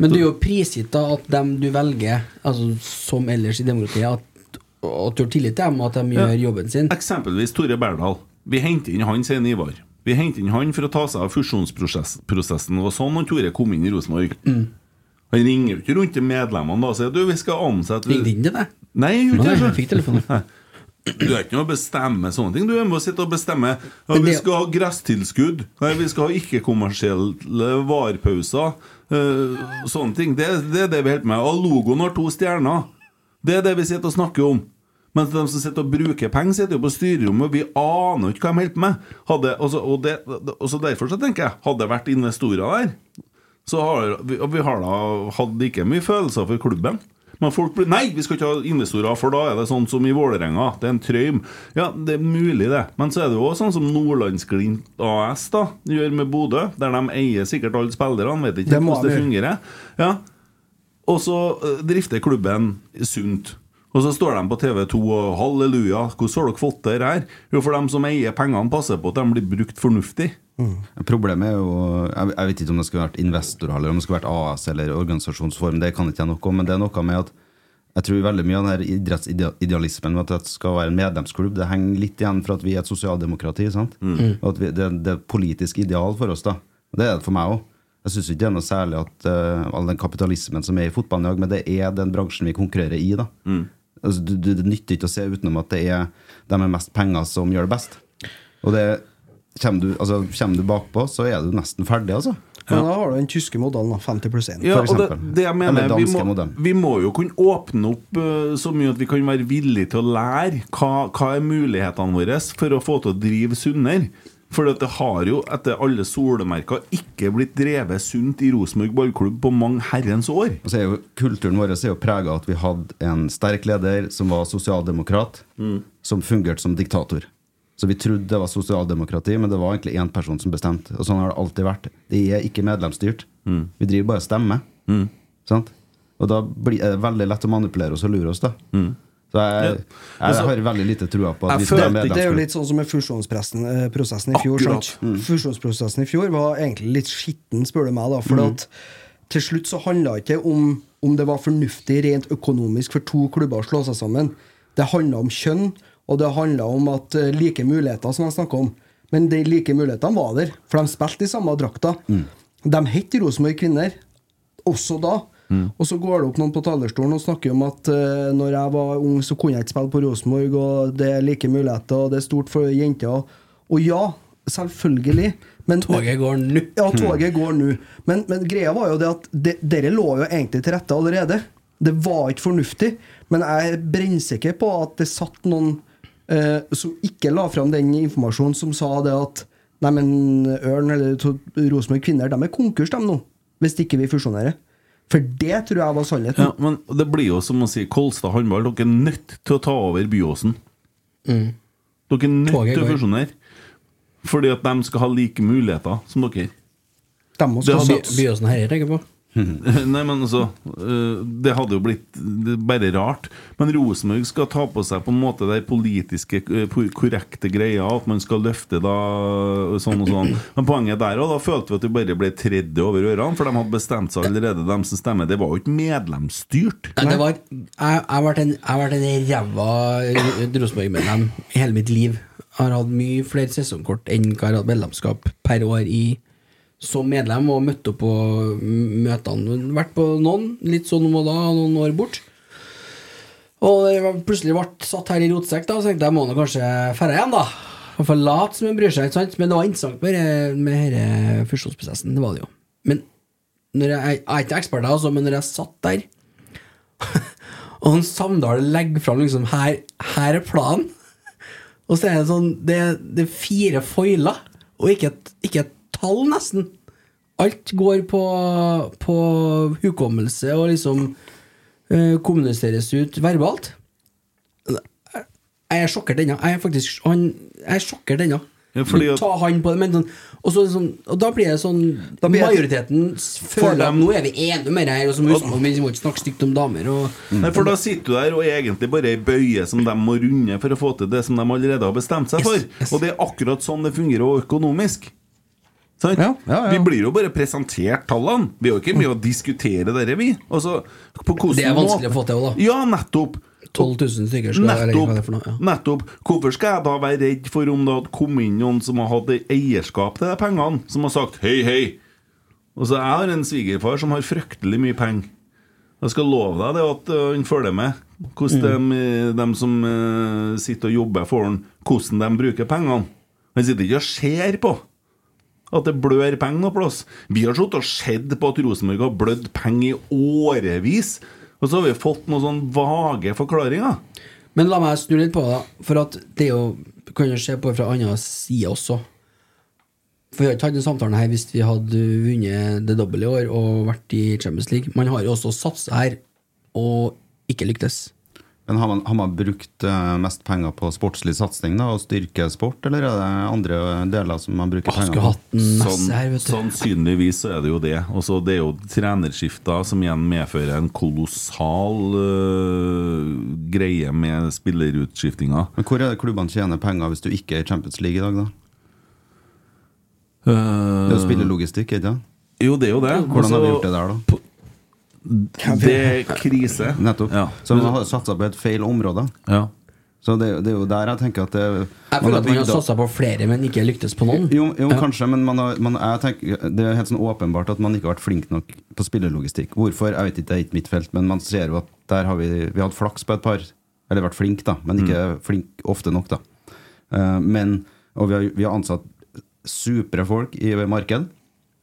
S7: Men du er jo prisgitt da at dem du velger, altså som ellers i demokratiet, at, at du har tillit til dem, og at de gjør
S4: Ja.
S7: jobben sin.
S4: Eksempelvis Tore Berndal. Vi henter inn han, sier Ivar. Vi henter inn han for å ta seg av fusjonsprosessen. Det var sånn han Tore kom inn i Rosenborg.
S7: Mm.
S4: Han ringer jo ikke rundt til medlemmene da og sier du, vi skal ansette
S7: Ringte inn til deg?
S4: Nei, jeg
S7: Nei,
S4: gjorde ikke
S7: jeg
S4: det.
S7: fikk telefonen.
S4: Nei. Du er ikke noe å bestemme sånne ting. Du er med å sitte og bestemme ja,
S7: Men
S4: Vi
S7: det-
S4: skal ha gresstilskudd. Nei, vi skal ha ikke-kommersielle varepauser. eh, sånne ting. Det, det er det vi holder på med. Og logoen har to stjerner. Det er det vi sitter og snakker om. Mens de som sitter og bruker penger, sitter jo på styrerommet. Vi aner ikke hva de holder på med. Hadde, og, så, og, det, og så derfor så tenker jeg Hadde det vært investorer der, så har vi, og vi har da hatt like mye følelser for klubben. Men folk blir Nei, vi skal ikke ha investorer, for da er det sånn som i Vålerenga. Det er en trøym. Ja, det er mulig, det. Men så er det jo også sånn som Nordlandsglimt AS da gjør med Bodø, der de eier sikkert alle spillerne, vet ikke
S6: Det må
S4: hvordan det
S6: de
S4: fungerer. Ja. Og så eh, drifter klubben sunt. Og så står de på TV 2 og halleluja, hvordan har dere fått det her? Jo, for dem som eier pengene, passer på at de blir brukt fornuftig.
S8: Problemet er jo Jeg, jeg vet ikke om det skulle vært investorer eller om det skulle vært AS eller organisasjonsform. Det kan ikke jeg noe om, men det er noe med at jeg tror veldig mye av den her idrettsidealismen med at det skal være en medlemsklubb, det henger litt igjen for at vi er et sosialdemokrati. sant?
S9: Mm.
S8: Og at vi, det, det er et politisk ideal for oss. da. Og Det er det for meg òg. Jeg syns ikke det er noe særlig at eh, all den kapitalismen som er i fotballen i dag, men det er den bransjen vi konkurrerer i. da. Altså, du, du, det nytter ikke å se utenom at det er de med mest penger som gjør det best. Og det kommer du, altså, kommer du bakpå, så er du nesten ferdig, altså.
S6: Men da har du den tyske modellen, da, 50 pluss 1.
S4: Ja, og det, det jeg mener,
S8: Eller
S4: vi
S8: danske
S4: må,
S8: modellen.
S4: vi må jo kunne åpne opp eh, så mye at vi kan være villige til å lære hva, hva er mulighetene våre for å få til å drive sunnere. For det har jo etter alle solemerker ikke blitt drevet sunt i Rosenborg ballklubb på mange herrens år.
S8: Og så er jo Kulturen vår er jo prega av at vi hadde en sterk leder som var sosialdemokrat,
S4: Mm.
S8: som fungerte som diktator. Så vi trodde det var sosialdemokrati, men det var egentlig én person som bestemte. Og sånn har det alltid vært. Det er ikke medlemsstyrt. Vi driver bare og stemmer. Sant? Og da blir er det veldig lett å manipulere oss og lure oss, da. Så jeg, jeg,
S6: Ja. Altså,
S8: har veldig lite trua på at
S6: Jeg
S8: vi skal ha
S6: følte- det er jo
S8: medlemsklubb.
S6: litt sånn som med fusjonspressen, eh, prosessen i fjor.
S8: Akkurat. Mm.
S6: Sant? Fusjonsprosessen i fjor var egentlig litt skitten, spør du meg. da For
S8: Mm.
S6: at til slutt så handla det ikke om om det var fornuftig rent økonomisk for to klubber å slå seg sammen. Det handla om kjønn, og det handla om at eh, like muligheter, som jeg snakka om. Men de like mulighetene var
S8: Mm.
S6: der, for de spilte i samme drakta. De het Rosenborg Kvinner også da. Og så går det opp noen på talerstolen og snakker om at eh, når jeg var ung, så kunne jeg ikke spille på Rosenborg, og det er like muligheter, og det er stort for jenter. Og, og ja, selvfølgelig. Men,
S7: Toget går nå. Hmm.
S6: Ja, toget går nå. Men, men greia var jo det at de, dere lå jo egentlig til rette allerede. Det var ikke fornuftig. Men jeg er brennsikker på at det satt noen eh, som ikke la fram den informasjonen, som sa det at Nei, men Ørn eller to- Rosenborg Kvinner, de er konkurs, de nå. Hvis ikke vi fusjonerer. For det tror jeg var sannheten.
S4: Ja, men det blir jo som å si Kolstad håndball, dere er nødt til å ta over Byåsen.
S7: Mm.
S4: Dere er nødt
S7: Toget
S4: til å
S7: går.
S4: fusjonere. Fordi at de skal ha like muligheter som dere.
S6: De må
S4: Det
S7: By-
S4: hadde-
S7: Byåsen her jeg tenker på.
S4: Nei, men altså øh, Det hadde jo blitt det er bare rart. Men Rosenborg skal ta på seg på en måte de politiske øh, por- korrekte greia, at man skal løfte da og sånn og sånn. Men poenget der òg, da følte vi at vi bare ble tredde over ørene, for de hadde bestemt seg allerede, de som stemmer. Det var jo ikke medlemsstyrt.
S7: Nei, det var, jeg, jeg har vært en, jeg har vært en ræva Rosenborg-medlem i hele mitt liv. Jeg har hatt mye flere sesongkort enn hva jeg har hatt medlemskap per år i som medlem, og møtt opp på møtene. Vært på noen, litt sånn om og da, og noen år bort. Og jeg var- plutselig ble satt her i rotsekk, da, så tenkte jeg jeg må nå kanskje ferde hjem, da. I hvert fall late som en bryr seg, ikke sant? Men det var interessant med denne med denne fusjonsprosessen, det var det jo. Men når jeg, jeg er ikke ekspert, altså, men når jeg satt der og han Samdal legger fram liksom her, her er planen. Og så er det sånn Det, det er fire foiler, og ikke et, ikke et tall, nesten. Alt går på, på hukommelse og liksom eh, kommuniseres ut verbalt. Jeg er sjokkert ennå. Jeg er faktisk han, jeg er sjokkert ennå.
S4: Ja, fordi at-
S7: Ta han på det, men sånn, og, så, er det sånn, og da blir det sånn
S6: blir det-
S7: Majoriteten føler at nå er vi enige med det her, og så må vi huske- vi må ikke snakke stygt om damer. Og,
S4: Nei, for da sitter du der og er egentlig bare ei bøye som de må runde for å få til det som de allerede har bestemt seg for. Og det er akkurat sånn det fungerer også økonomisk. Sant? Vi blir jo bare presentert tallene. Vi har jo ikke mye å diskutere dette, vi. Altså, på hvordan
S7: Det er vanskelig å
S4: måte-
S7: få til òg, da.
S4: Ja, nettopp.
S7: 12 000 stykker skal jeg legge hva det er for noe. Ja.
S4: Nettopp. Hvorfor skal jeg da være redd for om det hadde kommet inn noen som har hatt eierskap til de pengene, som har sagt hei, hei? Altså, jeg har en svigerfar som har fryktelig mye penger. Jeg skal love deg det at øh, han følger med. Hvordan
S7: Mm.
S4: de, dem som øh, sitter og jobber for han, hvordan de bruker pengene. Han sitter ikke og ser på at det blør penger noe plass. Vi har sittet og sett på at Rosenborg har blødd penger i årevis. Og så har vi fått noen sånn vage forklaringer.
S7: Men la meg snu litt på det, da, for at det er jo du kan jo se på det fra andre sida også. For Vi hadde ikke hatt den samtalen her hvis vi hadde vunnet det doble i år og vært i Champions League. Man har jo også satsa her og ikke lyktes.
S8: Men har man, har man brukt eh, mest penger på sportslig satsing da, og styrkesport, eller er det andre deler som man bruker penger på?
S4: Sånn- Sannsynligvis så er det jo det. Og så det er jo trenerskifter som igjen medfører en kolossal øh, greie med spillerutskiftinga.
S8: Men hvor er det klubbene tjener penger hvis du ikke er i Champions League i dag, da? Det er
S4: Mm.
S8: jo spillelogistikk, ikke sant?
S4: Øh, Jo, det er jo det.
S8: Hvordan har vi
S4: Altså,
S8: gjort det der, da?
S4: Det er krise.
S8: Nettopp.
S4: Ja.
S8: Så man har satsa på et feil område.
S4: Ja.
S8: Så det, det er jo der jeg tenker at det,
S7: Jeg føler at man har satsa på flere, men ikke lyktes på noen.
S8: Jo, jo
S7: Ja.
S8: kanskje, men man har, man, jeg tenker, det er helt sånn åpenbart at man ikke har vært flink nok på spillelogistikk. Hvorfor? Jeg vet ikke, det er ikke mitt felt, men man ser jo at der har vi, vi har hatt flaks på et par. Eller vært flink, da, men ikke
S6: Mm.
S8: flink ofte nok, da. Eh, men, og vi har, vi har ansatt supre folk i marked,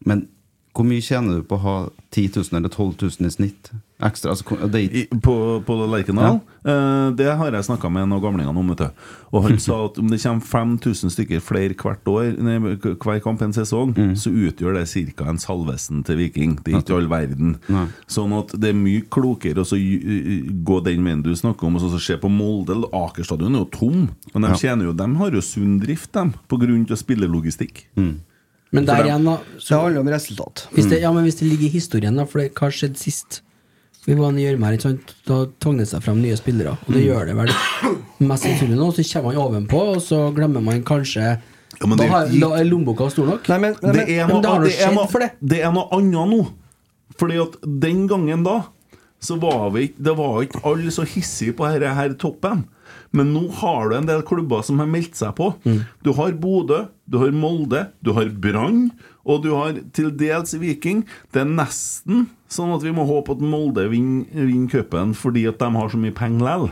S8: men hvor mye tjener du på å ha 10 000 eller 12 000 i snitt ekstra? Altså, hvor- det er ikke
S4: I- På, på Lerkendal? Eh, det har jeg snakka med en av gamlingene om. vet du. Og han sa at om det kommer 5000 stykker flere hvert år, nei, hver kamp en sesong, så utgjør det ca. en Salvesen til Viking. Det er ikke all verden.
S8: Nei.
S4: Sånn at det er mye klokere å så y- y- gå den veien du snakker om, og så så se på Molde. Aker stadion er jo tom, men de, tjener jo, de har jo sunn drift, dem, på grunn til spillelogistikk.
S7: Men
S4: For
S7: der
S4: dem-
S7: igjen, da så-
S6: Det handler om resultat.
S7: Hvis det, ja, men hvis det ligger i historien, da, for det, hva skjedde sist? Vi var nede i gjørma, ikke sant? Da tvang det seg fram nye spillere, og
S6: Mm.
S7: det gjør det vel mest sannsynlig nå. Så kommer man ovenpå, og så glemmer man kanskje
S4: men
S7: da,
S4: det
S7: har,
S4: gikk-
S7: da er lommeboka stor nok.
S6: Nei, men, nei,
S4: Det
S6: men,
S4: er
S7: men
S4: noe,
S7: da har det
S4: det er
S7: skjedd
S4: noe,
S7: for det.
S4: det er noe annet nå. Fordi at den gangen da så var vi ikke, det var ikke alle så hissige på dette her toppen. Men nå har du en del klubber som har meldt seg på. Du har Bodø, du har Molde, du har Brann, og du har til dels Viking. Det er nesten sånn at vi må håpe at Molde vinner vinner cupen fordi at de har så mye penger likevel.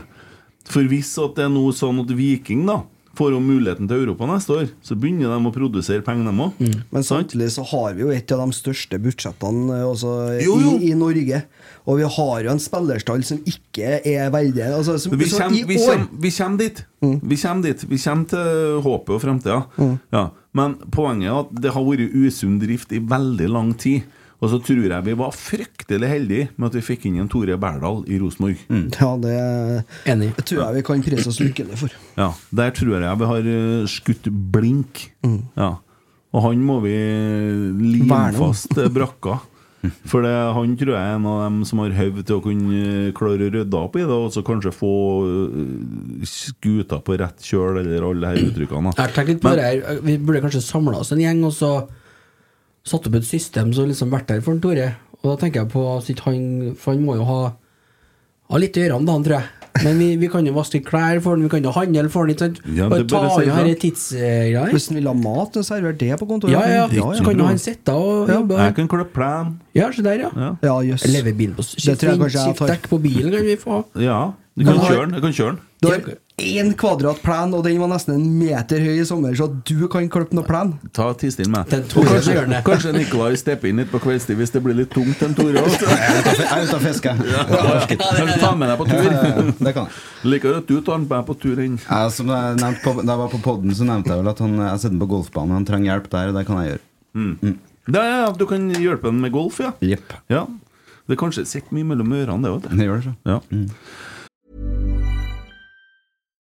S4: For hvis at det er noe sånn at Viking da får jo muligheten til Europa neste år, så begynner de å produsere penger, de òg.
S6: Men samtidig så har vi jo et av de største budsjettene eh, også
S4: Jo, jo.
S6: I, i Norge. Og vi har jo en spillerstall som ikke er veldig altså, som,
S4: Vi
S6: så
S4: kommer,
S6: i
S4: vi,
S6: år, Mm.
S4: kommer, vi kommer dit. Vi kommer dit. Vi kommer til håpet og fremtida. Ja. Men poenget er at det har vært usunn drift i veldig lang tid. Og så tror jeg vi var fryktelig heldige med at vi fikk inn en Tore Berdal i Rosenborg.
S6: Ja, det tror jeg vi kan prise oss lykkelige for.
S4: Ja, Der tror jeg vi har eh, skutt blink. Ja. Og han må vi lime
S6: Mm. Verne om.
S4: fast eh, brakka. For det, han tror jeg er en av dem som har høvd til å kunne eh, klare å rydde opp i det, og så kanskje få eh, skuta på rett kjøl, eller alle de her uttrykkene.
S7: Jeg har tenkt litt på det her Vi burde kanskje samla oss en gjeng og så satt opp et system som liksom vært der for en Tore. Og da tenker jeg på sitt han For han må jo ha, ha litt i ørene, da, han tror jeg. Men vi, vi kan jo vaske litt klær for han, vi kan jo handle for han. Ikke sant?
S6: Ja,
S7: Bare
S6: det sånn.
S7: ta
S6: bør jeg si,
S7: i her
S6: ja.
S7: i tidsgreier.
S6: Hvis han vil ha mat, så serverer det på kontoret.
S7: Ja, ja, så kan jo han sitte og jobbe.
S4: Jeg kan klippe plen.
S7: Ja, se der, ja.
S6: Ja, jøss.
S7: Leve bilen på
S6: Det tror jeg kanskje jeg tar.
S7: Skiftdekk på bilen kan vi få.
S4: Ja, du
S6: Men
S4: kan
S6: har-
S4: kjøre den. Du kan kjøre den.
S6: Du har én kvadratplen, og den var nesten en meter høy i sommer, så du kan klippe noe plen.
S4: Ta tissen med.
S6: Tore
S4: Og kanskje,
S6: gjør det.
S4: kanskje Nikolai stepper inn litt på kveldstid hvis det blir litt tungt en Tore òg.
S8: Jeg er ute og fisker.
S4: Ja, Kanskje ta med deg på
S8: Ja, ja,
S4: tur.
S8: ja, det kan jeg.
S4: Liker du at du tar den med på tur inn?
S8: Jeg, som jeg nevnte på, da jeg var på podden, så nevnte jeg vel at han, jeg sitter på golfbanen. Han trenger hjelp der, og det kan jeg gjøre. Mm.
S4: Ja, ja, ja, du kan hjelpe den med golf, ja.
S8: Jepp.
S4: ja. Det er kanskje sitter mye mellom ørene, det òg.
S8: Det Mm. gjør det,
S4: så. Ja.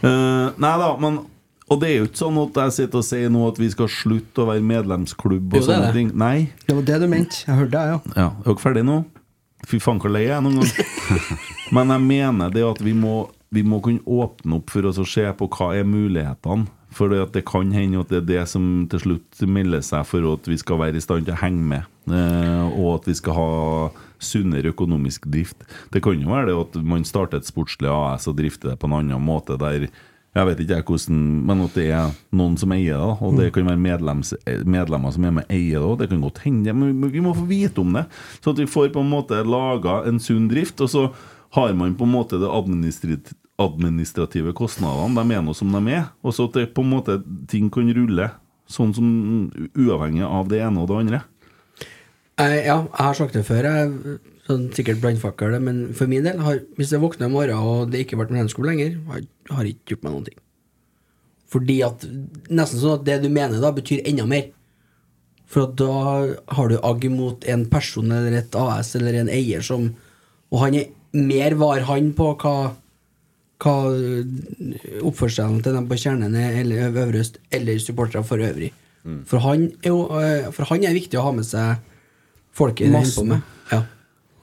S4: Eh, nei da, men Og det er jo ikke sånn at jeg sitter og sier nå at vi skal slutte å være medlemsklubb og
S6: Jo, det er
S4: sånne
S6: det.
S4: ting. Nei.
S6: Det var det du mente. Jeg hørte det, ja.
S4: Ja, er dere ferdige nå? Fy faen, hvor lei jeg er noen gang. Men jeg mener det at vi må, vi må kunne åpne opp for oss å se på hva er mulighetene. For det, at det kan hende at det er det som til slutt melder seg for at vi skal være i stand til å henge med. Eh, og at vi skal ha sunnere økonomisk drift. Det kan jo være det at man starter et sportslig AS og drifter det på en annen måte der jeg vet ikke jeg hvordan, men at det er noen som eier det. da, Og det kan være medlems, medlemmer som er med og eier det. og Det kan godt hende, men vi- vi må få vite om det. Så at vi får på en måte laga en sunn drift. Og så har man på en måte det administrit- administrative kostnadene. De er nå som de er. Og så at det på en måte ting kan rulle sånn som uavhengig av det ene og det andre.
S7: Jeg, ja, jeg har sagt det før, jeg, sånn, sikkert brannfakkel, det, men for min del, har, hvis jeg våkner i morgen og det ikke har vært medlemskap lenger, har har jeg ikke gjort meg noen ting. Fordi at Nesten sånn at det du mener da, betyr enda mer. For at da har du agg mot en person eller et AS eller en eier som Og han er mer var han på hva, hva oppførselen til dem på kjernen er, eller øv- øvre øst, eller supportere for øvrig. For, han er jo, eh, for han er viktig å ha med seg folket holder på med. Ja.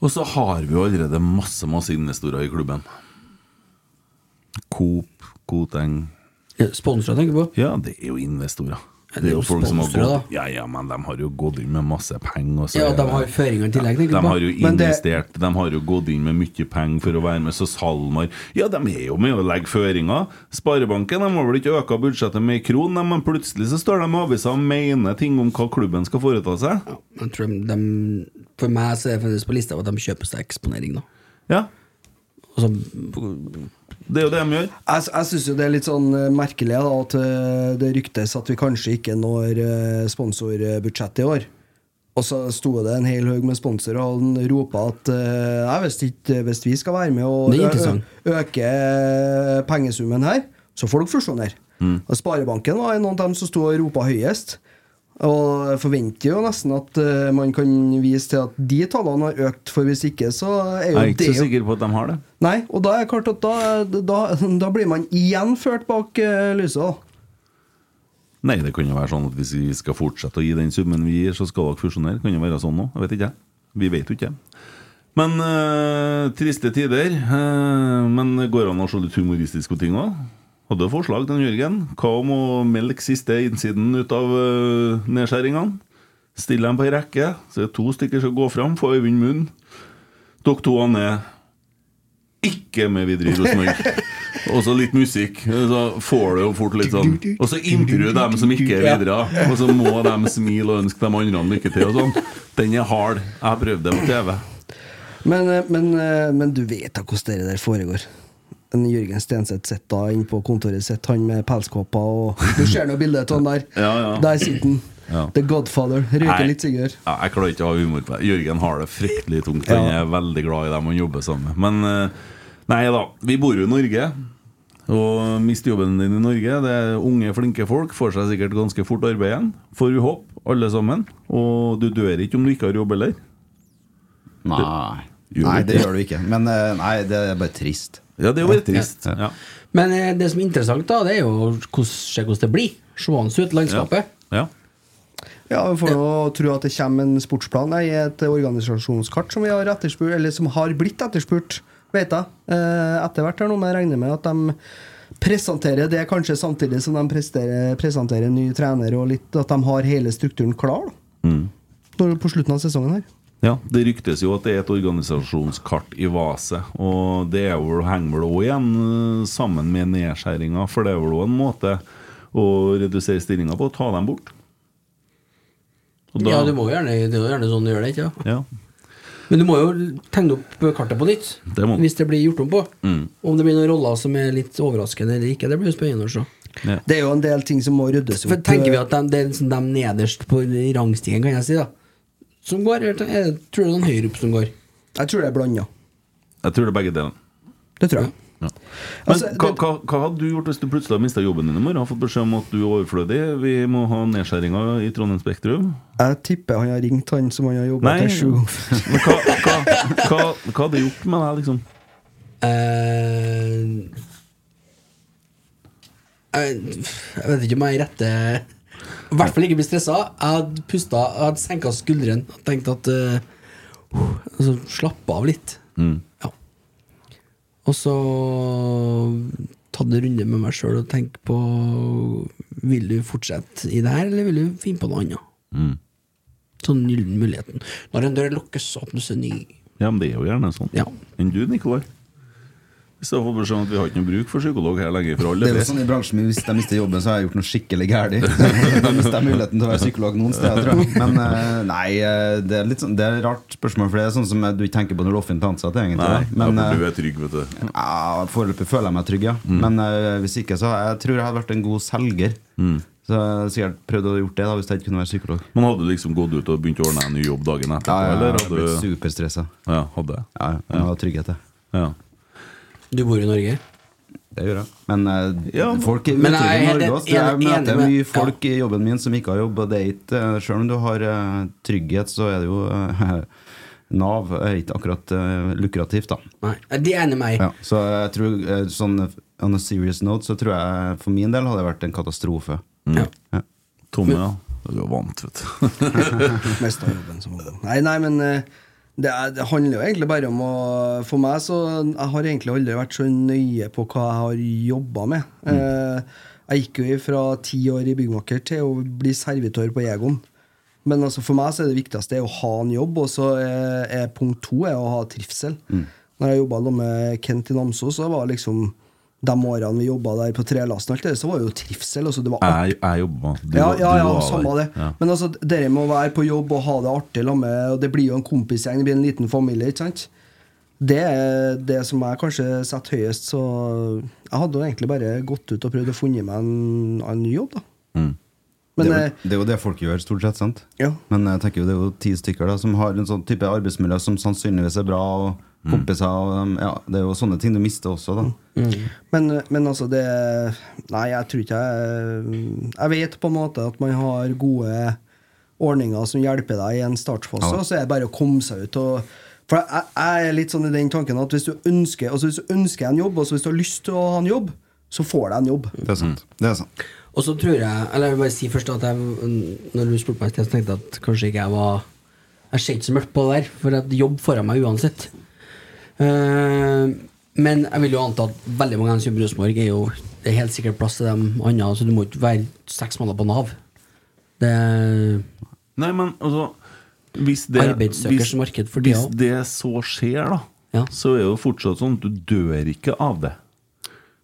S4: Og så har vi jo allerede masse masse investorer i klubben. Coop, Koteng
S7: Sponsorer, tenker du på?
S4: Ja, det er jo investorer.
S7: Ja,
S4: det, er jo folk som har
S7: sponsorer,
S4: gått Ja, ja, men de har jo gått inn med masse penger. og så
S7: Ja,
S4: er
S7: de
S4: det-
S7: har føringer i tillegg, tenker
S4: de
S7: du på?
S4: har jo
S7: Men det-
S4: investert, de har jo gått inn med mye penger for å være med, så SalMar Ja, de er jo med å legge føringer. Sparebanken de har vel ikke øka budsjettet med en kron, de, men plutselig så står de i avisa og mener ting om hva klubben skal foreta seg.
S7: Jeg tror de, de, for meg så er det faktisk på lista av at de kjøper seg eksponering, da.
S4: Ja.
S7: Og så
S4: Det er jo det de gjør.
S6: Jeg, jeg syns jo det er litt sånn eh, merkelig da, at eh, det ryktes at vi kanskje ikke når eh, sponsorbudsjettet i år. Og så sto det en hel haug med sponsorer, og han ropa at eh, jeg visste ikke hvis vi skal være med og
S7: Det er
S6: ø-
S7: interessant.
S6: ø- øke eh, pengesummen her, så får dere fusjonere.
S4: Mm.
S6: Og Sparebanken var en av dem som sto og ropa høyest. Og jeg forventer jo nesten at eh, man kan vise til at de tallene har økt, for hvis ikke så er
S4: Jeg
S6: jo
S4: er ikke
S6: det
S4: så sikker på at de har det.
S6: Nei, og da er det klart at da, da, da blir man igjen ført bak uh, lyset.
S4: Nei, det kan jo være sånn at hvis vi skal fortsette å gi den summen vi gir, så skal dere fusjonere. Kan jo være sånn nå, Jeg vet ikke. jeg. Vi vet jo ikke. Men eh, triste tider. eh, men går det an å se litt humoristisk på ting òg? Hadde forslag til Jørgen. Hva om å melke siste innsiden ut av eh, nedskjæringene? Stille dem på ei rekke, så er det to stykker som går fram. Få Øyvind Munn. Dere to han er ikke med videre i Rosenborg. Og så litt musikk. Så får du jo fort litt sånn Og så intervjuer dem som ikke er videre, og så må de smile og ønske de andre lykke til og sånn. Den er hard. Jeg har prøvd det på TV.
S6: Men, eh, men, eh, men du vet da hvordan det der foregår. En Jørgen Stenseth sitter da inne på kontoret sitt, han med pelskåpa og Du ser nå bildet av han der.
S4: Ja, ja.
S6: Der sitter han.
S4: Ja.
S6: The Godfather.
S4: Nei.
S6: Røyker litt sigar.
S4: Ja, jeg klarer ikke å ha humor på det. Jørgen har det fryktelig tungt. Han er veldig glad i dem han jobber sammen med. Men eh, nei da, vi bor jo i Norge. Og miste jobben din i Norge. Det er unge, flinke folk. Får seg sikkert ganske fort arbeid igjen. Får vi håpe, alle sammen. Og du dør ikke om du ikke har jobb heller.
S8: Nei.
S4: Gjør
S8: Nei,
S4: du
S8: det
S4: ikke?
S8: gjør du ikke. Men eh, nei, det er bare trist.
S4: Ja, det er jo bare trist. Ja.
S7: Men eh, det som er interessant, da, det er jo hvordan- se hvordan det blir. Seende ut, landskapet.
S4: Ja.
S6: Ja, Vi får nå tro at det kommer en sportsplan i et organisasjonskart som vi har etterspurt, eller som har blitt etterspurt, vet jeg. Eh, Etter hvert her nå, men jeg regner med at de presenterer det kanskje samtidig som de presterer- presenterer en ny trener, og litt at de har hele strukturen klar da,
S4: Mm.
S6: når- på slutten av sesongen her.
S4: Ja, Det ryktes jo at det er et organisasjonskart i Vase, og det er vel, henger vel også igjen eh, sammen med nedskjæringa, for det er vel også en måte å redusere stillinga på, ta dem bort. Og da-
S7: Ja, du må jo gjerne, det er jo gjerne sånn du gjør det, ikke
S4: Ja.
S7: Men du må jo tegne opp kartet på nytt,
S4: Det må du.
S7: hvis det blir gjort om på.
S4: Mm.
S7: Om det blir noen roller som er litt overraskende eller ikke, det blir jo spennende å se.
S6: Det er jo en del ting som må ryddes
S7: For tenker vi at de, det er liksom de nederst på i rangstigen, kan jeg si, da, som går, eller er det- tror du det er noen høyere opp som går?
S6: eh, Jeg tror det er blanda.
S4: Jeg tror det er begge deler.
S6: Det tror jeg. Altså,
S4: Ja. Men
S7: Altså,
S4: hva, hva, hva hadde du gjort hvis du plutselig hadde mista jobben din i morgen? Har fått beskjed om at du er overflødig, vi må ha nedskjæringer i Trondheim Spektrum?
S6: Jeg tipper han har ringt han som han har jobba
S4: Nei.
S6: til sju ganger.
S4: Men hva, hva, hva, hva hadde gjort med deg, liksom?
S7: Eh, jeg, jeg vet ikke om jeg er rette I hvert fall ikke bli stressa. Jeg hadde pusta, jeg hadde senka skuldrene og tenkt at eh, altså, Slappe av litt.
S4: Mm.
S7: Ja. Og så tatt en runde med meg sjøl og tenkt på Vil du fortsette i det her, eller vil du finne på noe annet?
S4: Mm.
S7: Sånn gyllen muligheten. Når en dør lukkes, åpnes en ny.
S4: Ja, men det er jo gjerne sånn. Enn du, Nikolai? Hvis jeg får beskjed om at vi har ikke noe bruk for psykolog her lenger for alle
S8: Det er jo sånn i bransjen Hvis de mister jobben, så har jeg gjort noe skikkelig gærent. Da mister jeg muligheten til å være psykolog noen steder, tror jeg. Men eh, nei, eh, det er litt sånn Det er et rart spørsmål, for det er sånn som eh, du ikke tenker på når du er offentlig ansatt, egentlig.
S4: Nei,
S8: da. Men,
S4: ja, for du
S8: eh,
S4: er trygg, vet du.
S8: ja, Foreløpig føler jeg meg trygg, ja.
S4: Mm.
S8: Men eh, hvis ikke, så jeg tror jeg hadde vært en god selger.
S4: Mm.
S8: Så jeg hadde sikkert prøvd å gjort det da hvis jeg ikke kunne være psykolog.
S4: Men hadde du liksom gått ut og begynt å ordne en ny jobb dagen etterpå?
S8: Ja, ja, jeg
S4: eller
S8: hadde blitt superstressa.
S4: Ja, hadde jeg.
S8: Ja, ja, jeg har trygghet, jeg.
S4: Ja.
S7: Du bor i Norge?
S8: Det gjør jeg. Men eh, folk er
S7: Men
S8: utrygge
S7: jeg
S8: i
S7: er
S8: Norge
S7: helt
S8: også. Jeg
S7: enig- enig
S8: møter
S7: med-
S8: mye folk i jobben min som ikke har jobb. Og det er ikke, eh, selv om du har eh, trygghet, så er det jo eh, Nav er ikke akkurat eh, lukrativt, da.
S7: Nei. Det er enig med meg.
S8: Ja, så jeg tror eh, sånn On a serious note så tror jeg for min del hadde det vært en katastrofe.
S4: Mm.
S8: Ja.
S4: Tomme, ja. Du er vant, vet du.
S10: Mest av jobben som ungdom. Nei, nei, men eh, det, er, det handler jo egentlig bare om å For meg så Jeg har egentlig aldri vært så nøye på hva jeg har jobba med. Eh, Jeg gikk jo fra ti år i byggmaker til å bli servitør på Egon. Men altså for meg så er det viktigste er å ha en jobb, og så er, er punkt to er å ha trivsel. Når jeg jobba med Kent i Namsos, så var liksom de årene vi jobba der på trelasten, og alt det, der, så var det jo trivsel. Altså det var
S4: Jeg, jeg jobba. Du
S10: ja,
S4: var-
S10: ja,
S4: du
S10: ja
S4: var
S10: samme
S4: der.
S10: det. Men altså, dere må være på jobb og ha det artig la med, og det blir jo en kompisgjeng, det blir en liten familie, ikke sant? Det er det som jeg kanskje setter høyest, så jeg hadde jo egentlig bare gått ut og prøvd å funne meg en, en ny jobb, da. Men,
S6: Mm.
S10: eh,
S6: det, er, jo- det er jo det folk gjør, stort sett. sant?
S10: Ja.
S6: Men jeg tenker jo det er jo ti stykker da som har en sånn type arbeidsmiljø som sannsynligvis er bra,
S10: Mm.
S6: og kompiser og um, ja, Det er jo sånne ting du mister også, da.
S10: Men, men altså, det Nei, jeg tror ikke jeg Jeg vet på en måte at man har gode ordninger som hjelper deg i en startfase,
S6: Ja.
S10: og så er det bare å komme seg ut og For jeg, jeg er litt sånn i den tanken at hvis du ønsker Altså hvis du ønsker en jobb, og så hvis du har lyst til å ha en jobb, så får du en jobb.
S6: Det er sant. Det er sant.
S7: Og så tror jeg Eller jeg vil bare si først at jeg Når du spurte meg i sted, så tenkte jeg at kanskje ikke jeg var Jeg ser ikke så mørkt på det der, for at jobb får jeg meg uansett. Eh, men jeg vil jo anta at veldig mange av dem som jobber i Rosenborg, er jo Det er helt sikkert plass til dem andre, så du må ikke være seks måneder på Nav. Det
S4: Nei, men altså hvis det,
S7: Arbeidssøkers
S4: hvis-
S7: marked for tida
S4: Hvis
S7: også.
S4: det så skjer, da, så er det jo fortsatt sånn at du dør ikke av det.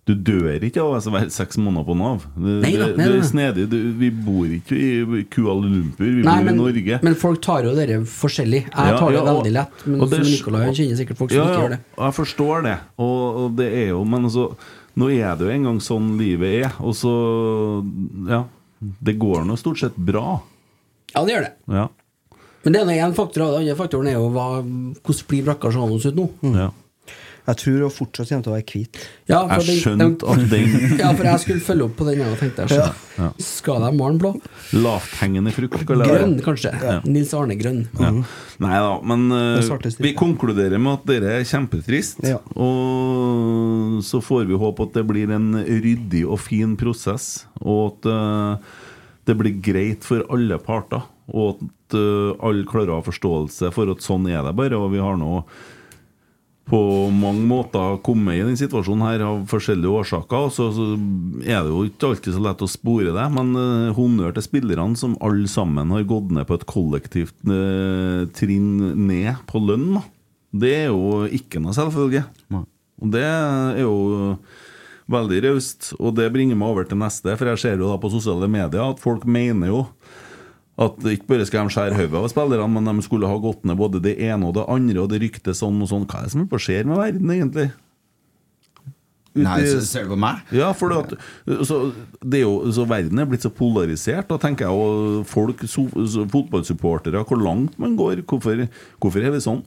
S4: Du dør ikke av altså, å være seks måneder på Nav. Det,
S7: Nei da,
S4: det,
S7: nei
S4: det er
S7: da.
S4: snedig. Du, vi bor ikke i Kuala Lumpur, vi
S7: Nei,
S4: bor
S7: men,
S4: i Norge.
S7: men folk tar jo dere forskjellig. Jeg
S4: Ja,
S7: tar det
S4: ja, og-
S7: veldig lett, men
S4: og
S7: som
S4: det er-
S7: Nicolai han kjenner sikkert folk som
S4: ja,
S7: ikke
S4: ja,
S7: gjør det.
S4: og Jeg forstår det, og, og det er jo Men altså, nå er det jo en gang sånn livet er, og så Ja. Det går nå stort sett bra.
S7: Ja, det gjør det.
S4: Ja.
S7: Men det er nå én faktor, og den andre faktoren er jo hva, hvordan blir brakka seende ut nå.
S4: ja.
S10: Jeg tror hun fortsatt kommer til å være hvit.
S7: Ja, for
S4: Jeg
S7: den-
S4: skjønte at den-
S7: Ja, for jeg skulle følge opp på den, jeg og tenkte jeg.
S4: Ja.
S7: skjønner. Skal jeg male den blå?
S4: Lavthengende frukt. kaller jeg det.
S7: Grønn, kanskje.
S4: Ja.
S7: Nils Arne Grønn.
S4: Ja. Nei da, men eh,
S7: Det svarte
S4: vi konkluderer med at dere er kjempetrist. Og så får vi håpe at det blir en ryddig og fin prosess, og at eh, det blir greit for alle parter. Og at eh, alle klarer å ha forståelse for at sånn er det bare, og vi har nå på mange måter kommet i den situasjonen her av forskjellige årsaker. og Så, så er det jo ikke alltid så lett å spore det, men eh, honnør til spillerne som alle sammen har gått ned på et kollektivt eh, trinn ned på lønn. da. Det er jo ikke noe selvfølge. Og det er jo veldig raust. Og det bringer meg over til neste, for jeg ser jo da på sosiale medier at folk mener jo at ikke bare skal de skjære hodet av spillerne, men de skulle ha gått ned både det ene og det andre, og det ryktet sånn og sånn. Hva er det som er på skjer med verden, egentlig?
S6: Nei,
S4: Uti-
S6: så ser du på meg?
S4: Ja, for det at, så, det er jo, så verden er blitt så polarisert. Da tenker jeg jo folk, so, so, fotballsupportere, hvor langt man går. Hvorfor, hvorfor er vi sånn?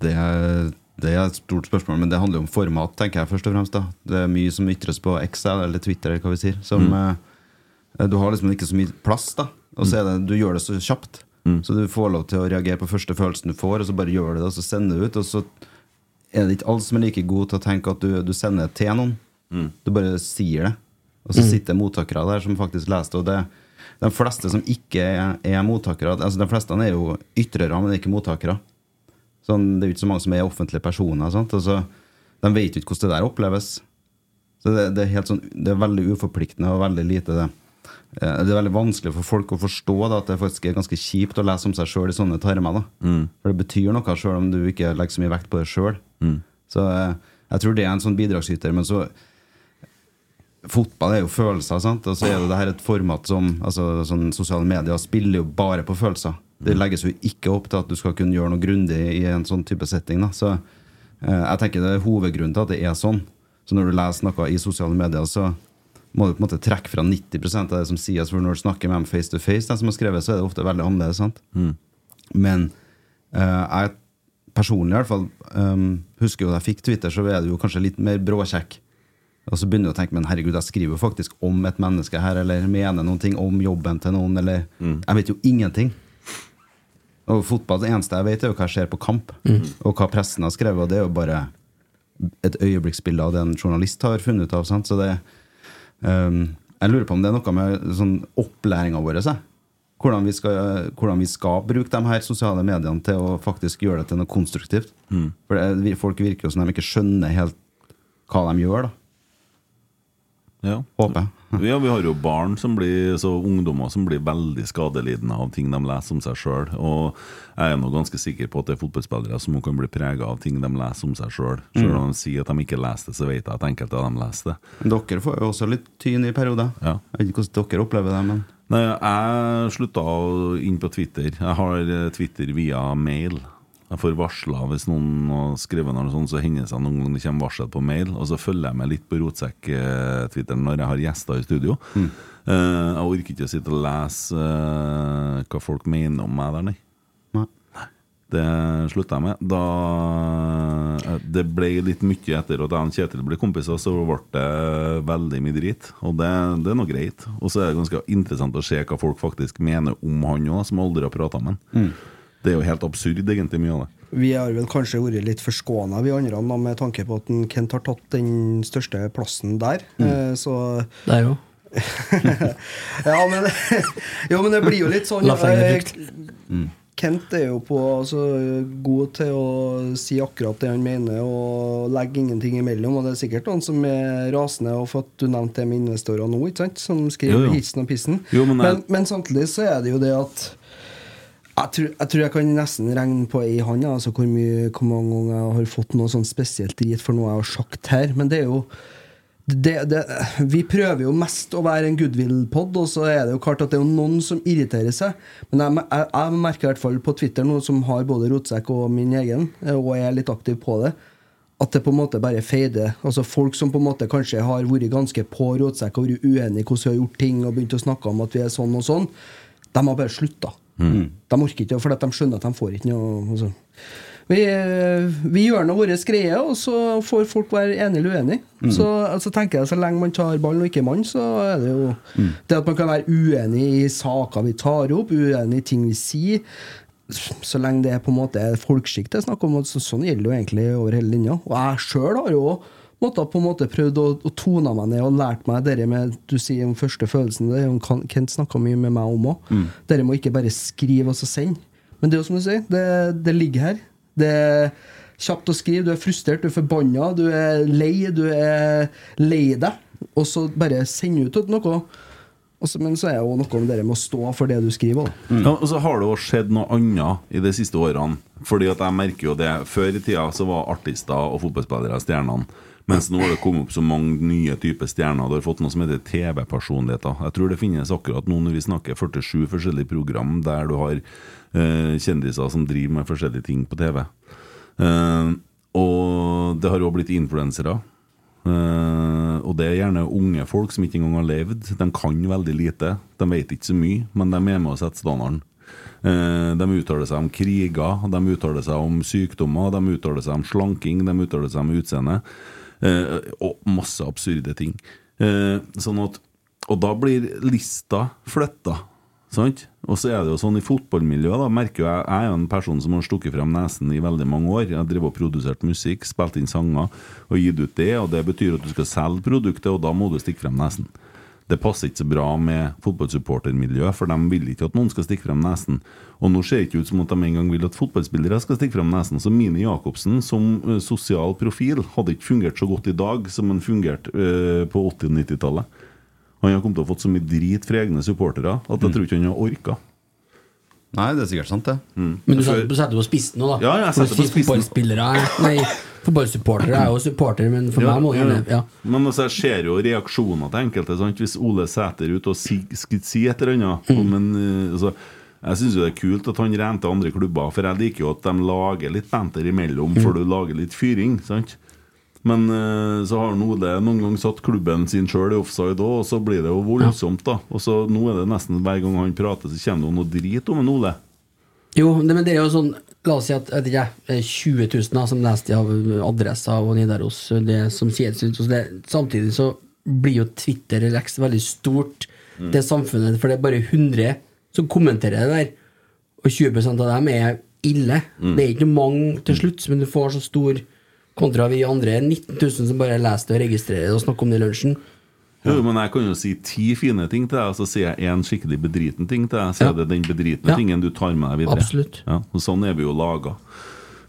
S6: Det er, det er et stort spørsmål, men det handler jo om format, tenker jeg først og fremst. da Det er mye som ytres på X eller Twitter, eller hva vi sier. Som, eh, du har liksom ikke så mye plass, da. Og så er det, du gjør det så kjapt. Så du får lov til å reagere på første følelsen du får, og så bare gjør du det, og så sender du ut. Og så er det ikke alle som er like gode til å tenke at du, du sender det til noen. Du bare sier det. Og så
S7: Mm.
S6: sitter det mottakere der som faktisk leser det. Og det, de fleste som ikke er, er mottakere altså De fleste er jo ytrere, men ikke mottakere. Sånn, det er jo ikke så mange som er offentlige personer. Sant? Altså, de vet jo ikke hvordan det der oppleves. Så det, det, er helt sånn, det er veldig uforpliktende og veldig lite det. eh, Det er veldig vanskelig for folk å forstå da, at det faktisk er ganske kjipt å lese om seg sjøl i sånne tarmer. Da. For det betyr noe sjøl om du ikke legger så mye vekt på det sjøl. Så eh, jeg tror det er en sånn bidragsyter. Men så Fotball er jo følelser, sant? og så er det, det her et format som altså, sånn Sosiale medier spiller jo bare på følelser. Det legges jo ikke opp til at du skal kunne gjøre noe grundig i en sånn type setting. Da. Så eh, jeg tenker det er hovedgrunnen til at det er sånn. Så når du leser noe i sosiale medier, så må du på en måte trekke fra 90 av det som sies. For når du snakker med dem face to face, de som har skrevet, så er det ofte veldig annerledes. sant? Men eh, jeg personlig i hvert fall ehm, husker jo da jeg fikk Twitter, så er det jo kanskje litt mer bråkjekk. Og så begynner du å tenke men herregud, jeg skriver jo faktisk om et menneske her, eller mener noen ting om jobben til noen, eller Jeg vet jo ingenting. Og fotball, det eneste jeg vet, er jo hva jeg ser på kamp, og hva pressen har skrevet, og det er jo bare et øyeblikksbilde av det en journalist har funnet ut av. Sant? Så det ehm,
S8: Jeg lurer på om det er noe med sånn opplæringa vår. jeg. Hvordan, vi skal, hvordan vi skal bruke de her sosiale mediene til å faktisk gjøre det til noe konstruktivt.
S4: Mm.
S8: For det, vi- folk virker jo som de ikke skjønner helt hva de gjør. da
S4: Ja.
S8: Håper jeg.
S4: Ja, vi har jo barn som blir, så ungdommer som blir veldig skadelidende av ting de leser om seg sjøl. Og jeg er nå ganske sikker på at det er fotballspillere som kan bli prega av ting de leser om seg sjøl. Selv om de sier at de ikke leser det, så vet jeg at enkelte av dem leser det.
S8: Dere får jo også litt tyn i perioder. Jeg vet ikke hvordan dere opplever det, men
S4: Nei, jeg slutta å- inn på Twitter. Jeg har eh, Twitter via mail. Jeg får varsler hvis noen har skrevet noe sånt, så hender det seg noen ganger det kommer varsel på mail. Og så følger jeg med litt på Rotsekk-twitteren når jeg har gjester i studio.
S8: Mm.
S4: Eh, jeg orker ikke å sitte og lese eh, hva folk mener om meg der, nei.
S8: Nei.
S4: Det slutta jeg med. Da eh, det ble litt mye etter at jeg og Kjetil ble kompiser, så ble det veldig mye drit. Og det, det er nå greit. Og så er det ganske interessant å se hva folk faktisk mener om han òg, som aldri har prata med han. Det er jo helt absurd, egentlig, mye av det.
S6: Vi har vel kanskje vært litt forskåna, vi andre, da, med tanke på at en Kent har tatt den største plassen der.
S7: Mm.
S6: Eh, Så
S7: Der òg.
S6: ja, men, jo, men det blir jo litt sånn
S7: Laffer'n-effekt.
S6: eh,
S4: Mm.
S6: Kent er jo på, altså, god til å si akkurat det han mener, og legge ingenting imellom. Og det er sikkert noen som er rasende og for at du nevnte det med investorer nå, ikke sant? som
S4: Jo,
S6: skriver
S4: jo.
S6: hilsen og pissen.
S4: Jo, men
S6: men,
S4: jeg-
S6: men, samtidig så er det jo det at jeg tror, jeg tror jeg kan nesten regne på ei hånd altså hvor, mye- hvor mange ganger jeg har fått noe sånn spesielt drit for noe jeg har sagt her. Men det er jo det, det, vi prøver jo mest å være en goodwill-pod, og så er det jo klart at det er jo noen som irriterer seg. Men jeg, me- jeg, jeg merker i hvert fall på Twitter, nå som har både Rotsekk og min egen, eh, og jeg er litt aktiv på det, at det på en måte bare feider. Altså Folk som på en måte kanskje har vært ganske på Rotsekk og vært uenige i hvordan vi har gjort ting, og begynt å snakke om at vi er sånn og sånn, de har bare slutta.
S9: Mm.
S6: De orker ikke, for at de skjønner at de får ikke noe. Altså. Vi, eh, vi gjør nå vår greie, og så får folk være enige eller uenige.
S9: Mm.
S6: Så altså, tenker jeg så lenge man tar ballen og ikke mann, så er det jo
S9: Mm.
S6: Det at man kan være uenig i saker vi tar opp, uenig i ting vi sier, så lenge det er på en måte er folkskikk det er snakk om, og så, sånn gjelder det jo egentlig over hele linja. Og jeg sjøl har jo måttet på en måte prøvd å, å tone meg ned og lært meg det med du sier om første følelsen, det er jo Kan- Kent snakka mye med meg om òg.
S9: Mm.
S6: Dere må ikke bare skrive og så sende. Men det er jo som du sier, det, det ligger her. Det er kjapt å skrive. Du er frustrert, du er forbanna, du er lei, du er lei deg. Og så bare sende ut noe. Og så- men så er det jo noe om det med å stå for det du skriver. Da.
S4: Ja, og så har det jo skjedd noe annet i de siste årene. Fordi at jeg merker jo det Før i tida så var artister og fotballspillere stjernene. Mens nå har det kommet opp så mange nye typer stjerner. Du har fått noe som heter TV-personligheter. Jeg tror det finnes akkurat nå når vi snakker 47 forskjellige program der du har eh, kjendiser som driver med forskjellige ting på TV. Eh, og det har òg blitt influensere. Eh, og det er gjerne unge folk som ikke engang har levd. De kan veldig lite. De vet ikke så mye, men de er med og setter standarden. Eh, de uttaler seg om kriger, de uttaler seg om sykdommer, de uttaler seg om slanking, de uttaler seg om utseende. eh, og masse absurde ting. Eh, sånn at, og da blir lista flytta. Sant? Og så er det jo sånn i fotballmiljøet, da, merker jo jeg jeg er jo en person som har stukket frem nesen i veldig mange år. Jeg har drevet og produsert musikk, spilt inn sanger og gitt ut det, og det betyr at du skal selge produktet, og da må du stikke frem nesen. Det passer ikke så bra med fotballsupportermiljøet, for de vil ikke at noen skal stikke frem nesen. Og nå ser det ikke ut som at de engang vil at fotballspillere skal stikke frem nesen. Så Mini Jacobsen som eh, sosial profil hadde ikke fungert så godt i dag som han fungerte eh, på 80- og 90-tallet. Han har kommet til å fått så mye drit fra egne supportere at jeg tror ikke han har orka.
S8: Nei, det er sikkert sant, det.
S7: Men du setter, du setter på spissen nå, da.
S4: Ja, ja, jeg
S7: For å
S4: setter på
S7: si
S4: spissen.
S7: Fotballspillere er- Nei, fotballsupportere er jo supportere, men for meg må det gjerne ja.
S4: Men altså, jeg ser jo reaksjoner til enkelte. Sant? Hvis Ole Sæter er ute og si, skal si et eller annet
S7: Mm.
S4: om en, eh, altså, Jeg syns det er kult at han renter andre klubber, for jeg liker jo at de lager litt banter
S7: Mm.
S4: imellom, for du lager litt fyring. sant? Men eh, så har Ole noen gang satt klubben sin sjøl i offside òg, og så blir det jo voldsomt, da. Og så nå er det nesten hver gang han prater, så kommer det jo noe drit om en Ole.
S7: Jo, det, men det er jo sånn La oss si at jeg vet ikke, jeg, 20 000 da, som leste av eh, adressa og Nidaros, eh, det som sies ut så det, Samtidig så blir jo Twitter eller X veldig stort,
S9: Mm.
S7: det samfunnet, for det er bare 100 som kommenterer det der, og 20 av dem er ille.
S9: Mm.
S7: Det er ikke mange til slutt, men du får så stor kontra vi andre 19 000 som bare leser det og registrerer det og snakker om det i lunsjen.
S4: Jo, men jeg kan jo si ti fine ting til deg, og så sier jeg én skikkelig bedriten ting til deg. Så er det den bedritne
S7: Ja.
S4: tingen du tar med deg videre.
S7: Absolutt.
S4: Ja, og sånn er vi jo laga.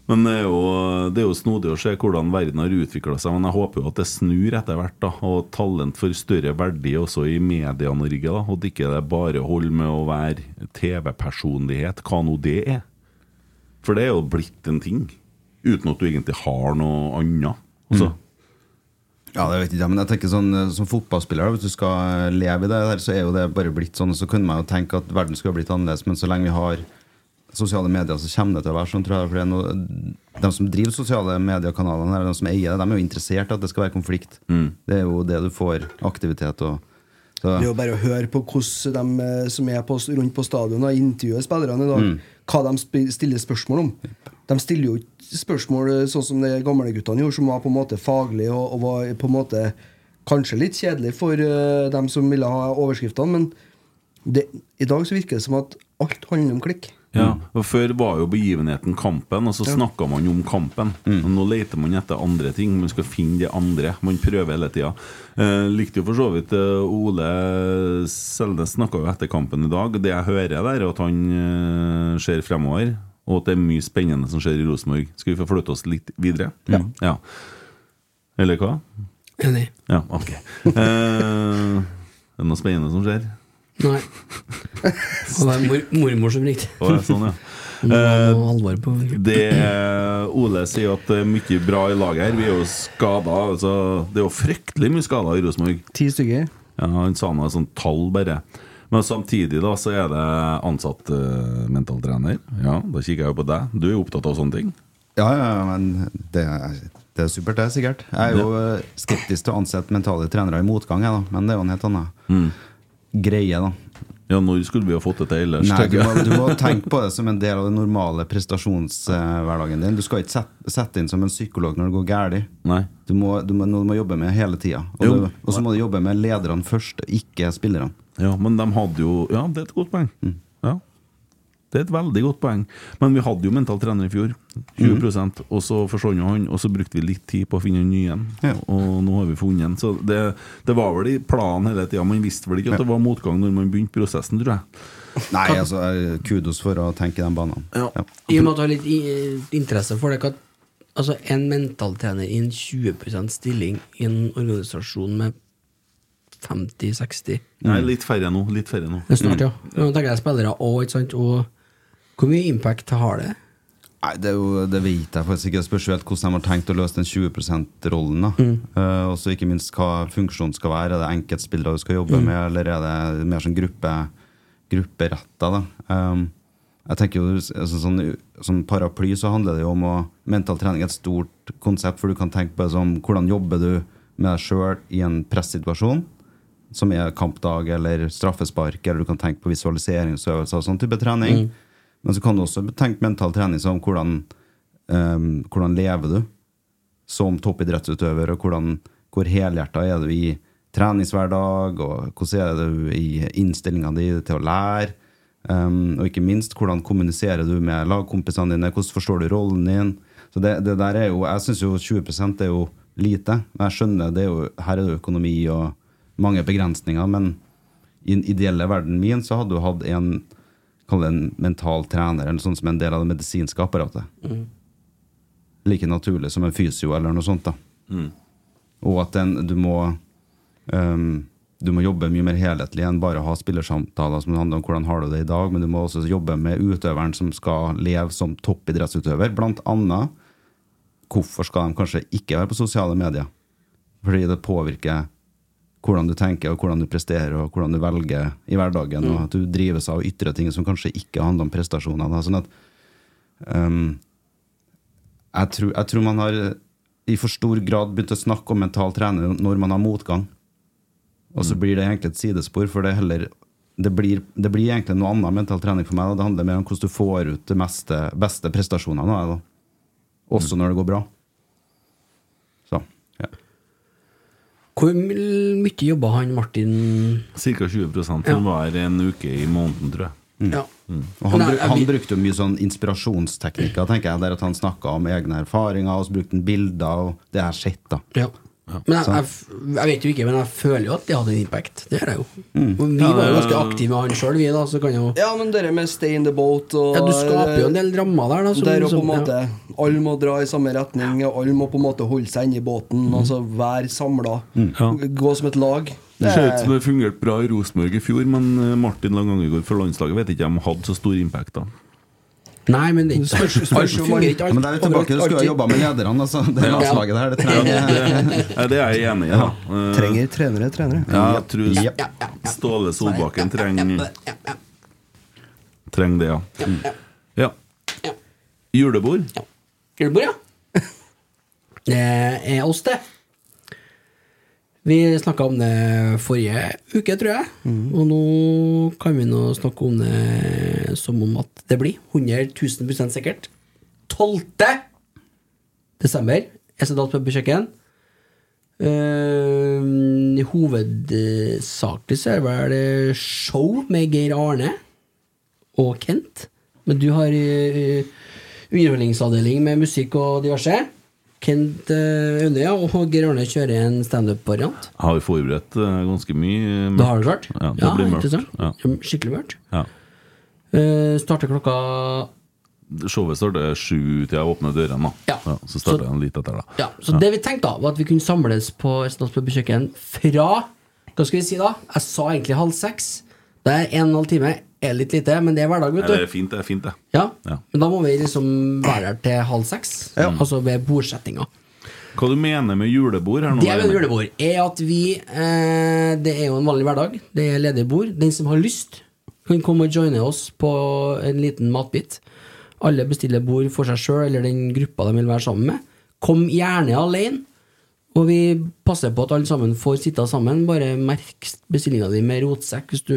S4: Men det er, jo, det er jo snodig å se hvordan verden har utvikla seg. Men jeg håper jo at det snur etter hvert, da, og talent får større verdi også i Media-Norge. da, Og at ikke det bare holder med å være TV-personlighet, hva nå det er. For det er jo blitt en ting, uten at du egentlig har noe annet. Altså,
S6: Ja, det vet ikke jeg, men jeg tenker sånn eh, som fotballspiller, da, hvis du skal eh, leve i det der, så er jo det bare blitt sånn. Så kunne man jo tenke at verden skulle ha blitt annerledes, men så lenge vi har sosiale medier, så kommer det til å være sånn, tror jeg. For det er noe, de som driver sosiale mediekanalene, her, de som eier det, de er jo interessert i at det skal være konflikt. Det er jo det du får aktivitet og så.
S8: Det er jo bare å høre på hvordan de eh, som er på, rundt på stadion og intervjuer spillerne i dag,
S6: Mm.
S8: hva de sp- stiller spørsmål om. De stiller jo ikke spørsmål eh, sånn som de gamle guttene gjorde, som var på en måte faglig og, og var på en måte kanskje litt kjedelig for eh, dem som ville ha overskriftene, men det, i dag så virker det som at alt handler om klikk.
S4: Ja, og Før var jo begivenheten kampen, og så
S8: Ja.
S4: snakka man om kampen. Og Nå leter man etter andre ting. Man skal finne det andre. Man prøver hele tida. Eh, likte jo for så vidt eh, Ole Selnes snakka jo etter kampen i dag. Det jeg hører der, er at han eh, ser fremover, og at det er mye spennende som skjer i Rosenborg. Skal vi få flytte oss litt videre?
S7: Ja.
S4: ja. Eller hva?
S7: Enig.
S4: Ja, ok. Eh, er det noe spennende som skjer?
S7: Nei. Og det er mor mormor som ringte.
S4: Å, ja, sånn, ja.
S7: Nå er det noe
S4: Eh,
S7: alvor på
S4: Det er- Ole sier at det er mye bra i laget her. Vi er jo skada. Altså, det er jo fryktelig mye skader i Rosenborg.
S8: Ti stykker.
S4: Ja, han sa noe sånt tall, bare. Men samtidig da, så er det ansatt eh, mentaltrener. Ja, da kikker jeg jo på deg. Du er jo opptatt av sånne ting.
S6: Ja, ja, men det er, det er supert, det, er sikkert. Jeg er jo eh, skeptisk til å ansette mentale trenere i motgang, jeg, da. men det er jo en helt annen
S8: Mm.
S6: greie, da.
S4: Ja, når skulle vi ha fått det til ellers?
S6: Nei, du
S4: tenker
S6: må,
S4: jeg.
S6: du må tenke på det som en del av den normale prestasjonshverdagen din. Du skal ikke sette, sette inn som en psykolog når det går
S4: galt.
S6: Du, må- du, må- noe du må jobbe med hele tida. Og
S4: Jo.
S6: du- og så må du jobbe med lederne først, ikke spillerne.
S4: Ja, men de hadde jo Ja, det er et godt poeng. Ja. Det er et veldig godt poeng. Men vi hadde jo mental trener i fjor. 20 Og så forsvant jo han, og så brukte vi litt tid på å finne en ny en. Og nå har vi funnet en. Så det, det var vel i planen hele tida. Man visste vel ikke at det var motgang når man begynte prosessen, tror jeg.
S6: Nei, altså, eh, kudos for å tenke i de banene. Ja.
S7: I og med at du har litt i- interesse for det hva, Altså En mentaltrener i en 20 stilling i en organisasjon med 50-60
S4: Nei, litt færre nå. Litt færre nå.
S7: Det er snart, ja. Mm. Nå tenker jeg spillere òg, ikke sant. Og hvor mye impact har det?
S6: Nei, det, er jo, det vet jeg faktisk ikke. Det spørs jo helt hvordan de har tenkt å løse den 20 %-rollen. Mm. Uh, og så ikke minst hva funksjonen skal være. Er det enkeltspillere du skal jobbe
S7: Mm.
S6: med, eller er det mer sånn gruppe, grupperetta? Da? Um, jeg tenker jo altså, sånn, Som paraply så handler det jo om å mental trening er et stort konsept, for du kan tenke på det som hvordan jobber du med deg sjøl i en pressituasjon, som er kampdag eller straffespark, eller du kan tenke på visualiseringsøvelser og sånn type trening.
S7: Mm.
S6: Men så kan du også tenke mental trening som hvordan, ehm, hvordan lever du som toppidrettsutøver, og hvordan, hvor helhjerta er du i treningshverdag, og hvordan er du i innstillinga di til å lære, ehm, og ikke minst hvordan kommuniserer du med lagkompisene dine, hvordan forstår du rollen din. Så det, det der er jo, Jeg syns jo 20 er jo lite, men jeg skjønner det er jo, her er det økonomi og mange begrensninger, men i den ideelle verden min så hadde du hatt en Kall det en mental trener eller sånn som en del av det medisinske apparatet. Like naturlig som en fysio eller noe sånt. da
S4: Mm.
S6: Og at den, du må ehm, Du må jobbe mye mer helhetlig enn bare å ha spillersamtaler som handler om hvordan har du det i dag, men du må også jobbe med utøveren som skal leve som toppidrettsutøver. Blant annet hvorfor skal de kanskje ikke være på sosiale medier? Fordi det påvirker hvordan du tenker, og hvordan du presterer, og hvordan du velger i hverdagen. Og at du drives av å ytre ting som kanskje ikke handler om prestasjoner. da. Sånn at ehm, jeg, tror, jeg tror man har eh, i for stor grad begynt å snakke om mental trener når man har motgang. Og så blir det egentlig et sidespor, for det er heller det blir, det blir egentlig noe annet mental trening for meg. Da. Det handler mer om hvordan du får ut de meste, beste prestasjonene. av deg, Da. Også når det går bra. Så, ja.
S7: Hvor my- mye jobba han Martin
S4: Ca. 20 som
S7: Ja.
S4: var en uke i måneden, tror jeg.
S7: Ja.
S4: Mm.
S6: Og han,
S7: Nei,
S6: bruk,
S7: jeg
S6: han
S7: vil-
S6: brukte jo mye sånn inspirasjonsteknikker, tenker jeg, der at han snakka om egne erfaringer, og så brukte han bilder, og det har jeg sett, da.
S7: Ja. Men jeg,
S8: sant?
S7: jeg, f- jeg vet jo ikke, men jeg føler jo at det hadde en impact. Det gjør jeg jo. Og Vi
S6: Ja,
S7: var jo
S6: det-
S7: ganske aktive med han sjøl, vi, da. Så kan jo
S6: Ja, men det med stay in the boat og
S7: Ja, du skaper jo en del rammer der, da. som-
S6: der og på
S7: som-
S6: en måte
S7: ja.
S6: Alle må dra i samme retning, og alle må på en måte holde seg inne i båten.
S7: Mm.
S6: Altså være samla. Gå som et lag.
S4: Mm.
S6: Eh,
S4: Det ser ut
S6: er-
S4: som det fungerte bra i Rosenborg i fjor, men eh, Martin Langangegård for landslaget vet ikke om han hadde så stor impact, da.
S7: Nei, men det
S4: Spørs- spørs
S7: alt
S4: jo om
S7: fungerer
S4: man-
S7: ikke
S8: Men der er vi tilbake, du skulle ha jobba med lederne, altså. Det
S4: Ja.
S8: landslaget her, det trenger
S4: Nei, det er jeg enig i, da. Eh,
S6: Trenger trenere, trenere.
S4: Ja, jeg tror Ståle Solbakken trenger Trenger det, ja. Mm. Ja. Julebord?
S7: Julebord, ja. Det er oss, det. Vi snakka om det forrige uke, tror jeg.
S4: Mm.
S7: Og nå kan vi nå snakke om det som om at det blir 100 000 sikkert. 12. desember. Esedals pub og kjøkken. Eh, hovedsakelig så er det vel show med Geir Arne og Kent. Men du har eh, underholdningsavdeling med musikk og diverse. Kent eh, Aune ja, og Geir Arne kjører en standup-variant.
S4: Jeg har jo forberedt eh, ganske mye. eh,
S7: Det har du klart?
S4: Ja, det blir mørkt.
S7: interessant.
S4: Ja.
S7: Skikkelig mørkt.
S4: Ja.
S7: Eh, starter klokka
S4: Showet starter sju til jeg åpner dørene, da. Ja, så starter den litt etter, da.
S7: Ja, så det vi tenkte da, var at vi kunne samles på Østlandsbø kjøkken fra Hva skal vi si da? Jeg sa egentlig halv seks. Det er en og en halv time. Er litt lite, men det er hverdag,
S4: Nei, det
S7: vet
S4: er
S7: du.
S4: fint, det er fint, det.
S7: Ja, Men da må vi liksom være her til halv seks. Altså ved bordsettinga.
S4: Hva du mener med julebord her nå?
S7: Det jeg mener med julebord, er at vi eh, Det er jo en vanlig hverdag. Det er ledig bord. Den som har lyst, kan komme og joine oss på en liten matbit. Alle bestiller bord for seg sjøl eller den gruppa de vil være sammen med. Kom gjerne alene. Og vi passer på at alle sammen får sitte sammen. Bare merk bestillinga di med rotsekk hvis du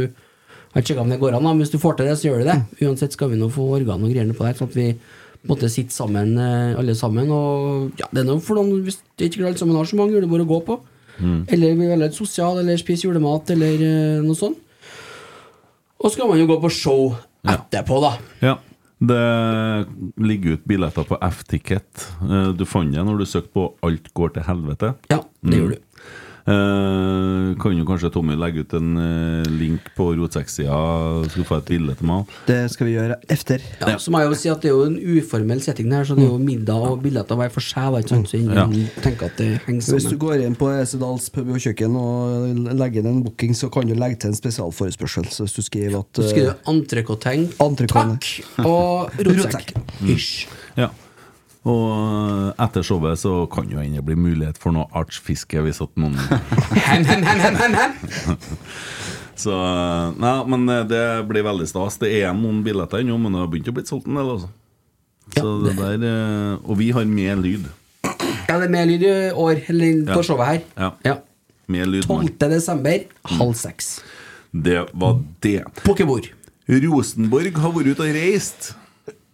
S7: har sjekka om det går an. da, men Hvis du får til det, så gjør du det. Uansett skal vi nå få organ og greiene på det, her, sånn at vi på en måte sitter sammen, eh, alle sammen. Og ja, det er noe for noen hvis det ikke alle sammen har så mange julebord å gå på. Eller blir veldig sosial, eller spiser julemat, eller eh, noe sånt. Og så skal man jo gå på show etterpå, da.
S4: Ja. Det ligger ut billetter på F-ticket. Eh, Du fant det når du søkte på 'Alt går til helvete'?
S7: Ja, det gjorde du.
S4: Mm. Eh, kan jo kanskje Tommy legge ut en eh, link på rotsekksida, så du får et bilde til meg?
S6: Det skal vi gjøre efter.
S7: Ja, så må jeg jo si at det er jo en uformell setting her, så det er
S4: Mm.
S7: jo middag og billetter hver for seg. da, Ikke sant? Så ingen tenker at det henger
S6: Hvis du
S7: sammen.
S6: går inn på Esedals pub og kjøkken og legger inn en booking, så kan du legge til en spesialforespørsel. Så hvis du skriver at eh,
S7: Så skriver du entrecôteng, takk, og rotsekk. Ish.
S4: Ja. Og eh, etter showet så kan jo hende det bli mulighet for noe artsfiske hvis at noen
S7: Hem, hem, hem, hem, hem, hem.
S4: Så eh, Nei, men det blir veldig stas. Det er noen billetter ennå, men det har begynt å bli solgt en del, altså. Så det der eh, Og vi har mer lyd.
S7: Ja, det er mer lyd i år, eller
S4: Ja.
S7: på showet her.
S4: Ja. Mer lyd.
S7: 12.
S4: mann.
S7: desember, halv seks.
S4: Det var det.
S7: Pokerbord.
S4: Rosenborg har vært ute og reist.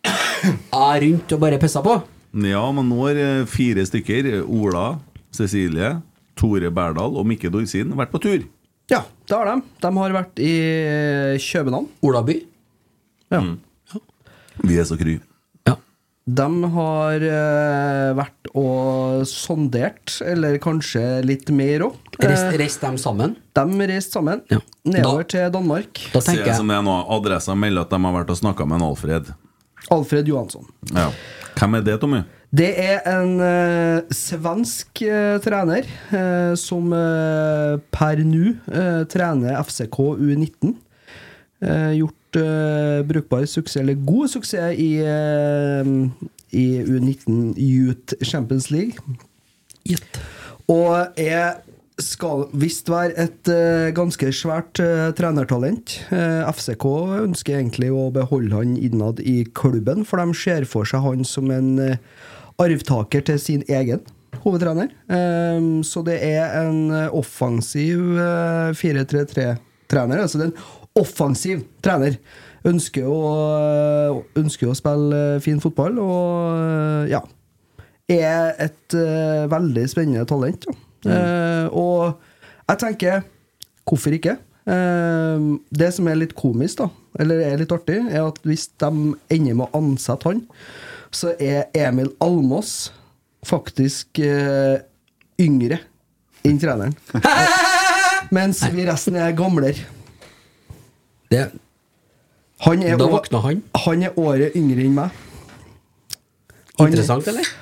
S7: Ja, rundt og bare pissa på.
S4: Ja, men nå har eh, fire stykker, Ola, Cecilie, Tore Berdal og Mikke Dorsin, vært på tur.
S6: Ja, det har de. De har vært i eh, København.
S7: Olaby.
S6: Ja.
S4: Vi er så kry.
S6: De har eh, vært og sondert, eller kanskje litt mer òg.
S7: Reist- reist dem sammen?
S6: De reiste sammen. Nedover til Danmark.
S7: Da
S4: Ser jeg som det er nå. Adressa melder at de har vært og snakka med en Alfred.
S6: Alfred Johansson.
S4: Ja. Hvem er det, Tommy?
S6: Det er en eh, svensk eh, trener eh, som eh, per nå eh, trener FCK U19. Eh, gjort eh, brukbar suksess, eller god suksess, i, eh, i U19 Youth Champions League. Og er skal visst være et eh, ganske svært eh, trenertalent. Eh, FCK ønsker egentlig å beholde han innad i klubben, for de ser for seg han som en eh, arvtaker til sin egen hovedtrener. Eh, så det er en eh, offensiv eh, 4-3-3-trener. Altså det er en offensiv trener. Ønsker å, ønsker å spille eh, fin fotball, og eh, ja er et eh, veldig spennende talent. Ja.
S11: Mm.
S6: Eh, og jeg tenker hvorfor ikke? Eh, det som er litt komisk, da, eller er litt artig, er at hvis de ender med å ansette han, så er Emil Almås faktisk eh, yngre
S7: enn treneren. Mens vi resten er gamlere. Han er
S11: Da
S7: å-
S11: våkna han.
S7: Han er året yngre enn meg. Han-
S11: Interessant, eller?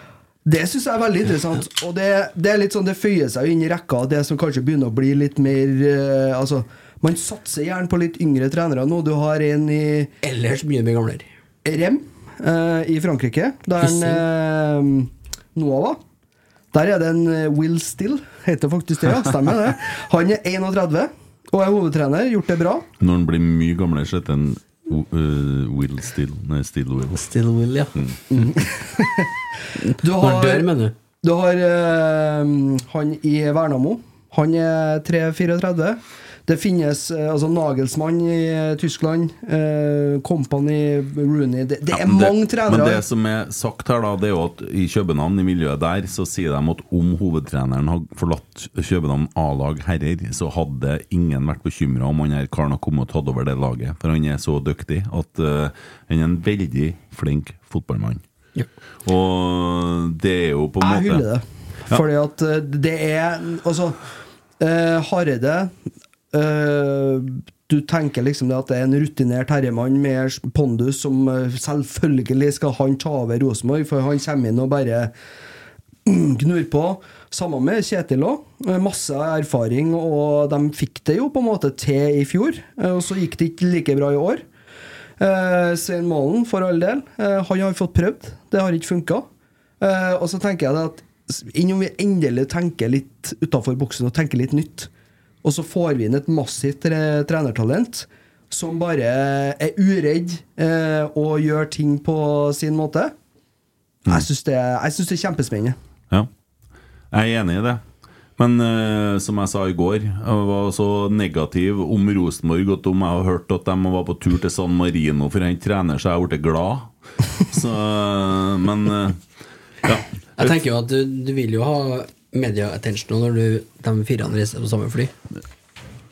S7: Det syns jeg er veldig interessant. Og det, det er litt sånn, det føyer seg jo inn i rekka av det som kanskje begynner å bli litt mer eh, Altså, man satser gjerne på litt yngre trenere nå. Du har en i
S11: Ellers mye mer gamlere.
S7: Rem eh, i Frankrike. Der en eh, Nova. Der er det en eh, Will Still, heter faktisk det, ja. Stemmer det. Han er 31 og er hovedtrener. Gjort det bra.
S4: Når han blir mye gamlere, så heter han uh, Will Still. Nei, Still Will.
S11: Still Will,
S7: Mm.
S11: ja.
S7: Du
S11: Når dør, mener du?
S7: Du har eh, han i Vernamo. Han er 3-34. Det finnes eh, altså Nagelsmann i eh, Tyskland, uh, Company, Rooney Det, det er mange
S4: Men
S7: trenere.
S4: det som er sagt her, da, det er jo at i København, i miljøet der, så sier de at om hovedtreneren hadde forlatt København A-lag herrer, så hadde ingen vært bekymra om han her karen hadde kommet og tatt over det laget. For han er så dyktig at eh, han er en veldig flink fotballmann.
S11: Ja.
S4: Og det er jo på en måte
S7: Jeg hyller det.
S4: Ja.
S7: Fordi at eh, det er Altså, eh, Hareide eh, Du tenker liksom det at det er en rutinert herremann med pondus som eh, selvfølgelig skal han ta over Rosenborg, for han kommer inn og bare gnur på. Sammen med Kjetil òg. Masse erfaring, og de fikk det jo på en måte til i fjor. eh, Og så gikk det ikke like bra i år. Eh, Svein Målen, for all del. Eh, han har fått prøvd. Det har ikke funka. Eh, og så tenker jeg det at s- innom vi endelig tenker litt utafor boksen og tenker litt nytt, og så får vi inn et massivt tre trenertalent som bare er uredd eh, og gjør ting på sin måte,
S4: Mm.
S7: jeg syns det, jeg synes det er kjempespennende.
S4: Ja, jeg er enig i det. Men eh, som jeg sa i går, jeg var så negativ om Rosenborg at om jeg har hørt at de var på tur til San Marino for å hente trener, så jeg ble glad. Så, eh, men eh, ja.
S11: Jeg tenker jo at du, du vil jo ha media-attention når du, de fire reiser på samme fly.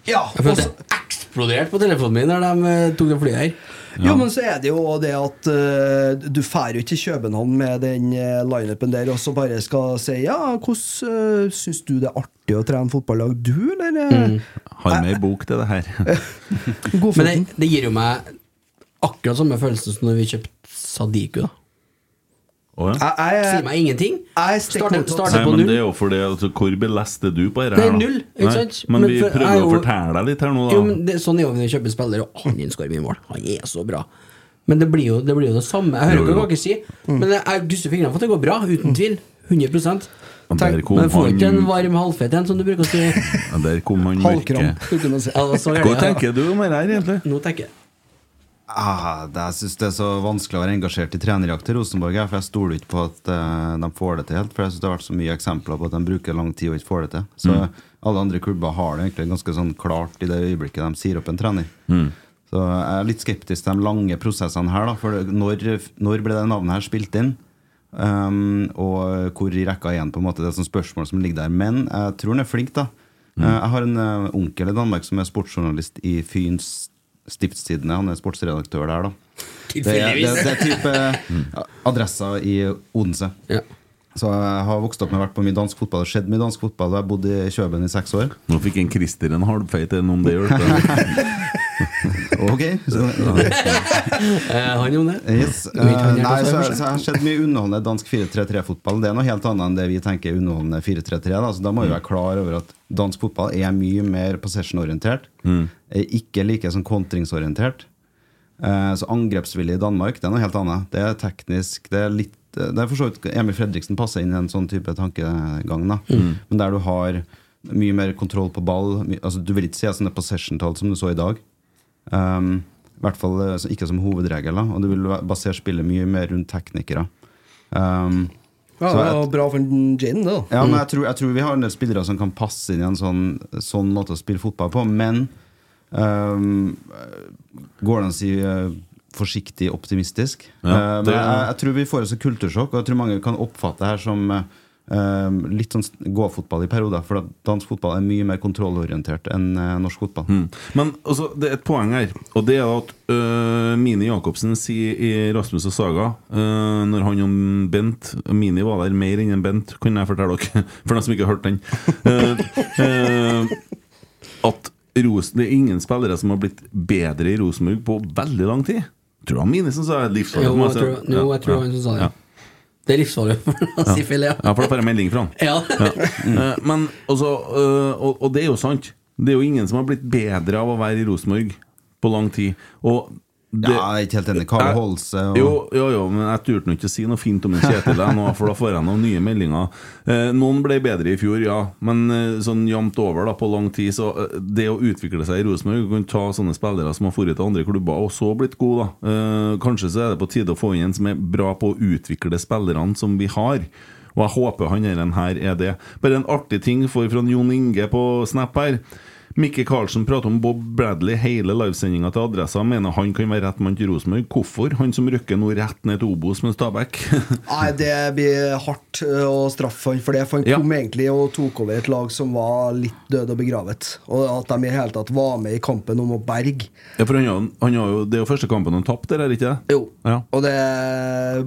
S7: Ja,
S11: jeg følte det eksploderte på telefonen min når de eh, tok det flyet her.
S7: Jo, men så er det jo det at eh, du drar jo ikke til København med den eh, lineupen der og så bare skal si ja, hvordan uh, syns du det er artig å trene fotballag, du, eller? eh,
S4: Har med ei bok til det her.
S11: Mm. Men det, det gir jo meg akkurat samme følelsen som når vi kjøpte Sadiku. da
S6: Eh,
S11: Sier meg ingenting. Starter starter
S4: Nei,
S11: på
S4: men
S11: null.
S4: det er jo fordi altså, Hvor belest er du på dette?
S11: Nei,
S4: her, da?
S11: null, ikke
S4: Nei,
S11: sant?
S4: Men,
S11: Men
S4: vi
S11: for-
S4: prøver
S11: jeg er
S4: å
S11: jo-
S4: fortelle deg litt her nå, da.
S11: Jo, men det, sånn er jo når vi kjøper spillere, og han innskårer mye mål. Han er så bra. Men det blir jo det, blir jo det samme. Jeg hører
S4: Jo,
S11: hva
S4: jo.
S11: dere sier, men jeg gusser fingrene for at det går bra. Uten tvil. 100
S4: der kom
S11: Men får ikke en
S4: han-
S11: varm halvfet en, som du bruker å si.
S4: Ja, Der kom han mørke.
S11: Ja, det var så gærent.
S4: Hva tenker du om det her, egentlig?
S11: Nå tenker jeg
S6: Ah, det, jeg syns det er så vanskelig å være engasjert i trenerjakt til Rosenborg. jeg, For jeg stoler ikke på at eh, de får det til helt. For jeg synes det har vært så mye eksempler på at de bruker lang tid og ikke får det til. Så
S12: Mm.
S6: alle andre klubber har det egentlig ganske sånn klart i det øyeblikket de sier opp en trener.
S12: Mm.
S6: Så jeg er litt skeptisk til de lange prosessene her. Da, for det- når, når ble det navnet her spilt inn? Um, og hvor i rekka igjen, på en måte. Det er sånne spørsmål som ligger der. Men jeg tror han er flink, da.
S12: Mm.
S6: Eh, Jeg har en eh, onkel i Danmark som er sportsjournalist i Fyns Stiftstidende. Han er sportsredaktør der, da. Det er, det,
S12: Tilfeldigvis.
S6: det er type eh, adressa i Odense. Så jeg har vokst opp med vært på mye dansk fotball. Det har skjedd mye dansk fotball. og Jeg bodde i Kjøben i seks år.
S4: Nå fikk en Christer en halvfeit en om det hjelper.
S6: ok. Så,
S11: Eh, han jo det.
S6: Yes.
S11: Du vet, han
S6: Eh,
S11: er
S6: nei,
S11: på
S6: så,
S11: seg.
S6: så jeg har sett mye underholdende dansk 4-3-3-fotball. Det er noe helt annet enn det vi tenker er underholdende 4-3-3. Da. Så da
S12: Mm.
S6: må vi være klar over at dansk fotball er mye mer possession-orientert.
S12: Mm.
S6: Er Ikke like sånn kontringsorientert. Eh, Så angrepsvillig i Danmark, det er noe helt annet. Det er teknisk, det er litt eh, det er for så vidt Emil Fredriksen passer inn i en sånn type tankegang. Da.
S12: Mm.
S6: Men der du har mye mer kontroll på ball my, altså, Du vil ikke se sånne possession-tall som du så i dag. Um, I hvert fall eh, så- ikke som hovedregel. Da. Og du vil va- basere spillet mye mer rundt teknikere. Um,
S7: Ja,
S6: så
S7: det
S6: jeg-
S7: var bra for den Jane, det. da.
S6: ja, men jeg tror, jeg tror vi har en del spillere som kan passe inn i en sånn, sånn måte å spille fotball på, men øhm, Går det an å si øh, forsiktig optimistisk?
S12: Ja,
S6: Eh, men
S12: det-
S6: jeg, jeg tror vi får oss et kultursjokk, og jeg tror mange kan oppfatte det her som øh, eh, litt sånn s- gåfotball i perioder, for at dansk fotball er mye mer kontrollorientert enn eh, norsk fotball.
S4: Men altså, det er et poeng her, og det er at øh, Mini Jacobsen sier i Rasmus og Saga, øh, når han om Bent og Mini var der mer enn en Bent, kan jeg fortelle dere, for dem som ikke har hørt den, øh, øh, at Ros det er ingen spillere som har blitt bedre i Rosenborg på veldig lang tid. Tror du det var Mini som sa det? Livsfarlig
S13: Jo,
S4: for meg,
S13: jeg
S4: så-
S13: tror- jo, jeg tror han som sa det. sånn Det er livsfarlig for å si feil, ja.
S4: Ja, for da får jeg melding fra han.
S13: Ja.
S4: Eh, Men altså, eh, og, og det er jo sant. Det er jo ingen som har blitt bedre av å være i Rosenborg på lang tid. Og det,
S6: Ja, jeg er ikke helt enig. Karl
S4: Jeg-
S6: Holse og-
S4: jo, jo, jo, men jeg turte nå ikke å si noe fint om den Kjetil, jeg nå, for da får jeg noen nye meldinger. Eh, noen ble bedre i fjor, ja, men eh, sånn jevnt over da, på lang tid. Så eh, det å utvikle seg i Rosenborg, du kan ta sånne spillere som har dratt til andre klubber og så blitt gode, da. Eh, kanskje så er det på tide å få inn en som er bra på å utvikle spillerne som vi har. Og jeg håper han her, her er det. Bare en artig ting for fra Jon Inge på Snap her. Mikke Karlsen prater om Bob Bradley hele livesendinga til Adressa. Mener han kan være rett mann til Rosenborg. Hvorfor? Han som rykker nå rett ned til Obos med Stabæk.
S7: Nei, det blir hardt ø, å straffe han for det. For han
S4: Ja.
S7: kom egentlig og tok over et lag som var litt død og begravet. Og at de i hele tatt var med i kampen om å berge.
S4: ja, for han, har- han har jo, Det er jo første kampen han tapte, er det ikke det?
S7: Jo.
S4: Ja.
S7: Og det,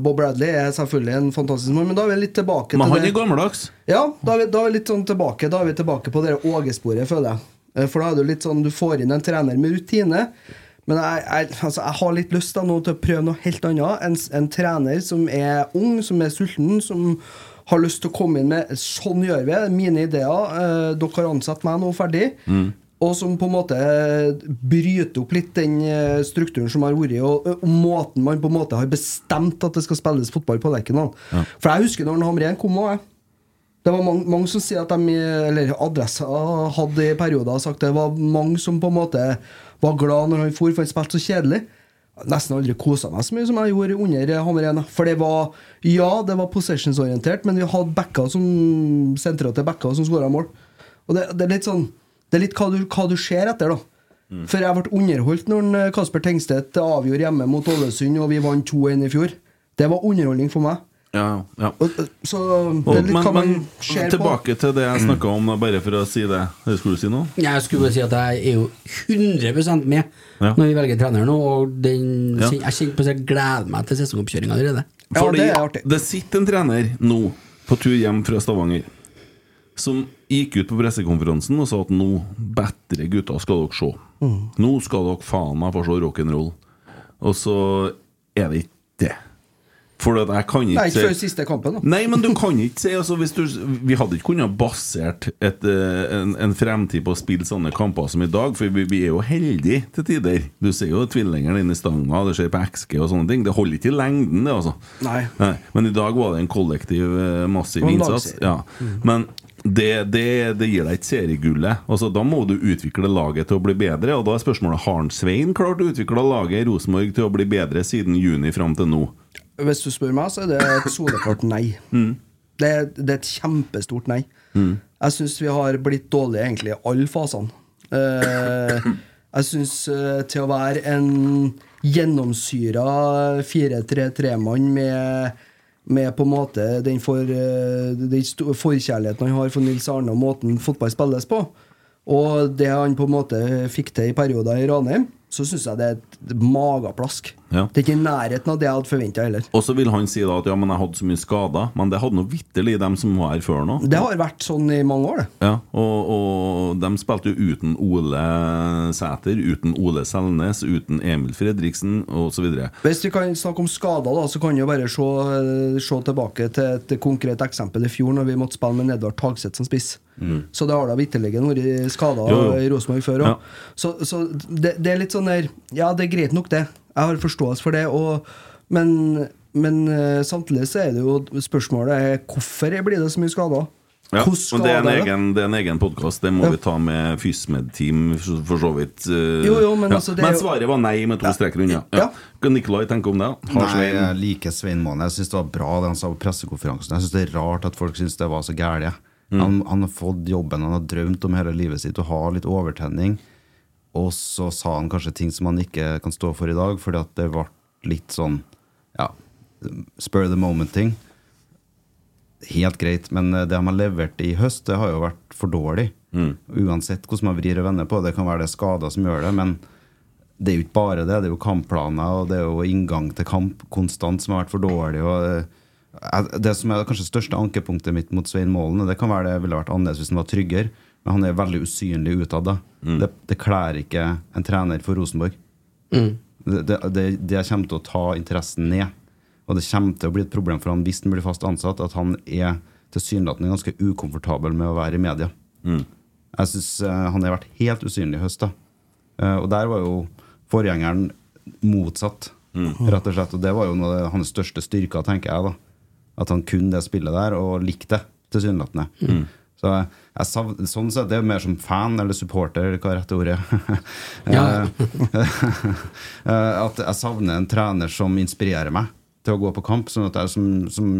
S7: Bob Bradley er selvfølgelig en fantastisk mann, men da er vi litt tilbake
S4: Men
S7: til
S4: han
S7: det.
S4: er gammeldags.
S7: Ja, da er vi, da er vi litt sånn tilbake Da er vi tilbake på det Åge-sporet, føler jeg. Eh, For da er det jo litt sånn, du får inn en trener med rutine. Men jeg, jeg, altså, jeg har litt lyst da nå til å prøve noe helt annet. En, s- en trener som er ung, som er sulten, som har lyst til å komme inn med 'sånn gjør vi', det er mine ideer. Eh, dere har ansatt meg nå, ferdig. Og som på en måte eh, bryter opp litt den eh, strukturen som har vært, og, og måten man på en måte har bestemt at det skal spilles fotball på Lerkendal.
S14: Ja.
S7: For jeg husker når Hamren kom òg, jeg. Det var mange, mange som sier at de, eller adressa hadde i perioder sagt det var mange som på en måte var glad når han for, for han spilte så kjedelig. Nesten aldri kosa meg så mye som jeg gjorde under Hammerén. For det var Ja, det var possessionsorientert, men vi hadde backer som sentra til backer som skåra mål. Og det, det er litt sånn Det er litt hva du, hva du ser etter, da.
S4: Mm.
S7: For jeg ble underholdt når en, eh, Kasper Tengstedt avgjorde hjemme mot Ålesund, og vi vant 2-1 i fjor. Det var underholdning for meg.
S4: Ja, ja.
S7: Så det
S4: Og,
S7: er litt
S4: men,
S7: hva man
S4: men
S7: ser på.
S4: tilbake til det jeg snakka om, da, bare for å si det. Skulle du si noe?
S13: Jeg skulle bare si at jeg er jo 100 med
S4: Ja.
S13: når vi velger trener nå, og den,
S4: Ja.
S13: jeg kjenner på at jeg gleder meg til sesongoppkjøringa allerede.
S4: Fordi det, sitter en trener nå på tur hjem fra Stavanger som gikk ut på pressekonferansen og sa at nå, bedre gutter, skal dere se.
S14: Mm.
S4: Nå skal dere faen meg få se rock'n'roll. Og så er det ikke det. For at jeg kan ikke
S7: Nei, ikke før
S4: si-
S7: siste kampen, da.
S4: Nei, men du kan ikke si altså, hvis du, Vi hadde ikke kunnet basert et, eh, en, en fremtid på å spille sånne kamper som i dag, for vi, vi er jo heldige til tider. Du ser jo tvillingeren inne i stanga, det skjer på XG og sånne ting. Det holder ikke i lengden, det, altså.
S7: Nei.
S4: Nei, men i dag var det en kollektiv, eh, massiv
S7: Og en
S4: innsats.
S7: lagserie.
S4: Ja.
S7: Mm.
S4: Men det, det, det gir deg ikke seriegullet. Altså, da må du utvikle laget til å bli bedre. Og da er spørsmålet har han Svein klart å utvikle laget i Rosenborg til å bli bedre siden juni fram til nå.
S7: Hvis du spør meg, så er det et soleklart nei. Det, er- det er et kjempestort nei.
S14: Mm.
S7: Jeg syns vi har blitt dårlige egentlig i alle fasene. Eh, jeg syns eh, til å være en gjennomsyra 4-3-3-mann med, med på en måte den, for, eh, den sto- forkjærligheten han har for Nils Arne og måten fotball spilles på, og det han på en måte fikk til i perioder i Ranheim, så syns jeg det er et mageplask.
S4: Ja.
S7: Det er ikke i nærheten av det jeg hadde forventa heller.
S4: Og så vil han si da at ja, men jeg hadde så mye skader. Men det hadde nå vitterlig dem som var her før nå.
S7: Det har vært sånn i mange år, det.
S4: Ja, og, og de spilte jo uten Ole Sæter, uten Ole Selnes, uten Emil Fredriksen osv.
S7: Hvis vi kan snakke om skader, da, så kan vi jo bare se, eh, se tilbake til et konkret eksempel i fjor, når vi måtte spille med Edvard Tagseth som spiss.
S14: Mm.
S7: Så det har da vitterlig vært skader
S14: Jo, jo.
S7: i Rosenborg før òg.
S14: Ja.
S7: Så, så det, det er litt sånn der Ja, det er greit nok, det. Jeg har forståelse for det. Og, men, men eh, samtidig så er det jo spørsmålet er hvorfor blir det så mye skader?
S4: Ja, men
S7: Hvordan
S4: det er en
S7: skader det?
S4: egen, det er en egen podkast. Det må vi ta med Fysmed-team, for for så vidt. eh,
S7: Jo, jo, men altså, det er
S4: men
S7: jo-
S4: svaret var nei med to streker unna. Ja. Hva Nikolai tenker om det? Har
S6: Nei, eh.
S4: Svein
S6: jeg liker Svein Måne. Jeg syns det var bra det han sa på pressekonferansen. Jeg syns det er rart at folk syns det var så gærent.
S4: Mm.
S6: Han, han har fått jobben han har drømt om hele livet sitt, og har litt overtenning. Og så sa han kanskje ting som han ikke kan stå for i dag, fordi at det ble litt sånn ja, spur the moment-ting. helt greit, men eh, det de har levert i høst, det har jo vært for dårlig. Uansett hvordan man vrir og vender på det, kan være det er skader som gjør det, men det er jo ikke bare det. Det er jo kampplaner, og det er jo inngang til kamp konstant som har vært for dårlig. og eh, jeg- Det som er det kanskje største ankepunktet mitt mot Svein Målen, og det kan være det ville vært annerledes hvis han var tryggere, men han er veldig usynlig utad. da. Det, det kler ikke en trener for Rosenborg.
S15: Mm.
S6: Det, det, det, det kommer til å ta interessen ned. Og det kommer til å bli et problem for han hvis han blir fast ansatt, at han er tilsynelatende ganske ukomfortabel med å være i media. Jeg syns han har vært helt usynlig i høst. da. Eh, og der var jo forgjengeren motsatt, rett og slett. Og det var jo noe av hans største styrker, tenker jeg. da At han kunne det spillet der, og likte det, tilsynelatende.
S16: Mm.
S6: Så jeg, jeg savn- sånn sett, det er mer som fan eller supporter, eller hva er rette ordet er.
S15: Ja.
S6: Eh, at jeg savner en trener som inspirerer meg til å gå på kamp, sånn at det er som, som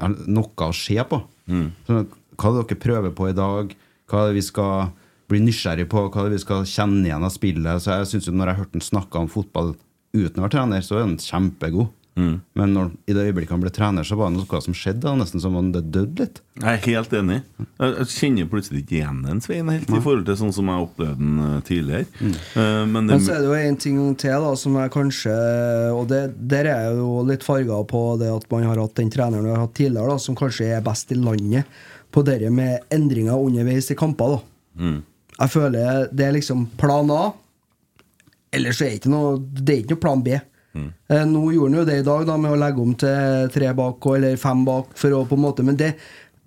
S6: er noe å se på. Sånn at, hva er det dere prøver på i dag? Hva er det vi skal bli nysgjerrig på? Hva er det vi skal kjenne igjen av spillet? Så jeg synes jo Når jeg hørte han snakke om fotball uten å være trener, så er han kjempegod. Men når, i det øyeblikket han ble trener, så var det noe som skjedde. da, Nesten som om det døde litt.
S4: Jeg er helt enig. Jeg jeg kjenner plutselig ikke igjen den Svein helt, i forhold til sånn som jeg opplevde den eh, tidligere. Eh, Men det,
S7: Mm. Men så er det jo en ting til da som jeg kanskje Og det, der er jeg jo litt farga på det at man har hatt den treneren vi har hatt tidligere, da som kanskje er best i landet på det med endringer underveis i kamper. da
S16: Mm.
S7: Jeg føler det er liksom plan A. Ellers er det ikke noe, det er ikke noe plan B. Eh, Nå gjorde han jo det i dag da, med å legge om til tre bak og- eller fem bak. For å, på en måte, men det,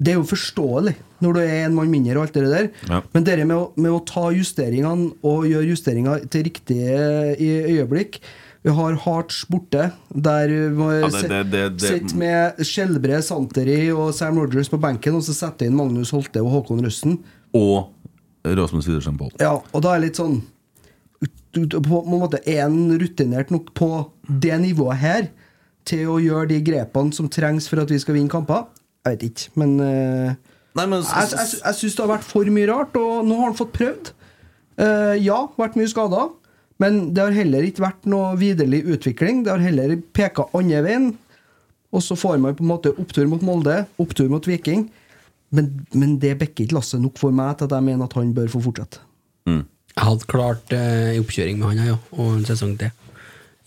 S7: det er jo forståelig når du er en mann mindre og alt det der.
S16: Ja.
S7: Men det med, å- med å ta justeringene og gjøre justeringer til riktige i øyeblikk Vi har Hearts borte, der vi
S4: Ja, det- det- det- det-
S7: sitter med Skjelbre, Santeri og Sam Rogers på benken, og så setter jeg inn Magnus Holte og Håkon Røsten.
S4: og Rasmus Widersen Poll.
S7: Ja, og da er jeg litt sånn du- du- På en måte er han rutinert nok på det nivået her til å gjøre de grepene som trengs for at vi skal vinne kamper? Jeg vet ikke, men, eh, Jeg, jeg, jeg syns det har vært for mye rart, og nå har han fått prøvd. Eh, ja, vært mye skada, men det har heller ikke vært noe videre utvikling. Det har heller peka andre veien. Og så får man på en måte opptur mot Molde, opptur mot Viking. Men, men det bekker ikke lasset nok for meg til at jeg mener at han bør få fortsette.
S15: Jeg hadde klart eh, en oppkjøring med han her, ja, og en sesong til.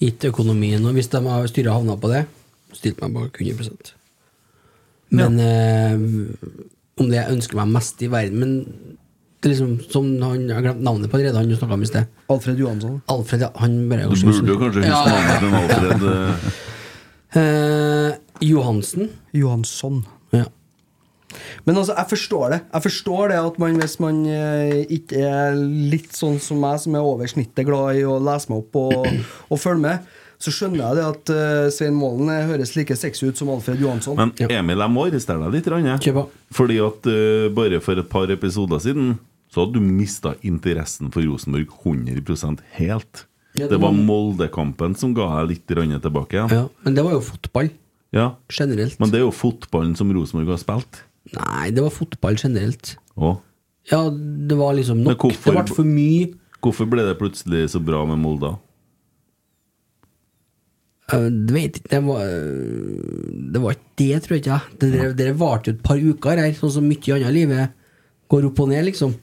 S15: Gitt økonomien, og hvis de har styret havna på det, stilt meg bak 100 Men eh, om det jeg ønsker meg mest i verden Men det er liksom som han, jeg har glemt navnet på allerede, han du snakka om i sted.
S7: Alfred Johansson.
S15: Alfred, ja, han bare
S4: Du burde jo kanskje huske navnet til Alfred. eh,
S15: Eh, Johansen.
S7: Johansson.
S15: Ja.
S7: Men altså, jeg forstår det. Jeg forstår det at man, hvis man eh, ikke er litt sånn som meg, som er over snittet glad i å lese meg opp og, og følge med, så skjønner jeg det at eh, Svein Målen eh, høres like sexy ut som Alfred Johansson.
S4: Men Emil, jeg må arrestere deg litt. grann, jeg. Fordi at eh, bare for et par episoder siden så hadde du mista interessen for Rosenborg 100 helt.
S15: Ja, det
S4: det
S15: var-
S4: var Moldekampen som ga deg litt grann tilbake igjen.
S15: Ja, men det var jo fotball.
S4: Ja.
S15: Generelt.
S4: Men det er jo fotballen som Rosenborg har spilt.
S15: Nei, det var fotball generelt.
S4: Å.
S15: Ja, det var liksom
S4: Men
S15: nok. Det ble for mye.
S4: Hvorfor ble det plutselig så bra med Molde?
S15: Eh, Det vet ikke, det var eh, Det var ikke det, tror jeg ikke. jeg. Det drev- det varte jo et par uker her, sånn som mye annet i livet går opp og ned, liksom.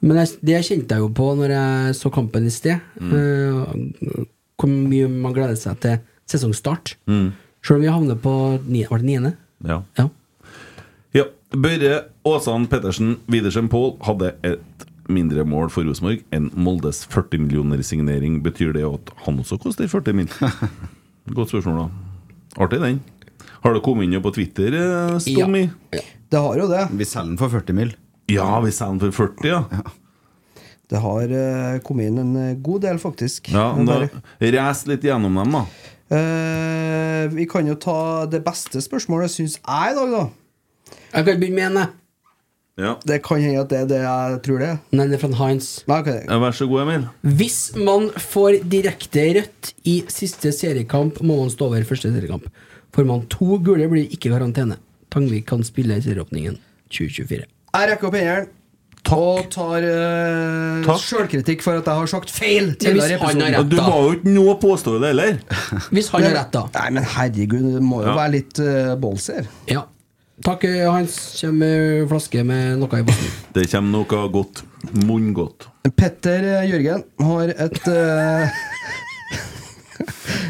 S15: Men jeg, det kjente jeg jo på når jeg så kampen i sted.
S4: Mm.
S15: eh, Hvor mye man gleder seg til sesongstart.
S4: Mm.
S15: Selv om vi havner på ni- var det niende.
S4: Ja.
S15: Ja.
S4: Ja, Børre Åsan Pettersen Widersen Pål hadde et mindre mål for Rosenborg enn Moldes 40 millioner signering. Betyr det at han også koster 40 mill.? Godt spørsmål, da. Artig, den. Har det kommet inn jo på Twitter, eh, Stormy?
S7: Det har jo det.
S6: Vi selger den for 40 mill.
S4: Ja, vi selger den for 40, ja.
S7: Det har eh, kommet inn en eh, god del, faktisk.
S4: ja
S7: Men
S4: men da
S7: bare-
S4: Res litt gjennom dem, da.
S7: Eh, vi kan jo ta det beste spørsmålet, syns jeg, i dag, da.
S15: Jeg kan begynne med en, jeg.
S7: Det kan hende at det er det jeg tror det er.
S15: Nei, det er fra Heinz.
S7: Nei, ok.
S4: Ja, Vær så god, Emil.
S15: Hvis man får direkte rødt i siste seriekamp, må man stå over første seriekamp. Får man to gule, blir det ikke karantene. Tangvik kan spille i serieåpningen 2024.
S7: Jeg rekker opp hendene og tar uh, sjølkritikk for at jeg har sagt feil tidligere i episoden.
S4: Og Du må jo ikke nå påstå det heller.
S15: Hvis han har rett, da.
S7: Nei, men herregud, det må jo
S4: Ja.
S7: være litt uh, ballsy her.
S15: Ja.
S7: Takk, eh, Hans. Kjem eh, flaske med noe i bussen.
S4: Det kommer noe godt. Munngodt.
S6: Petter eh, Jørgen har et eh,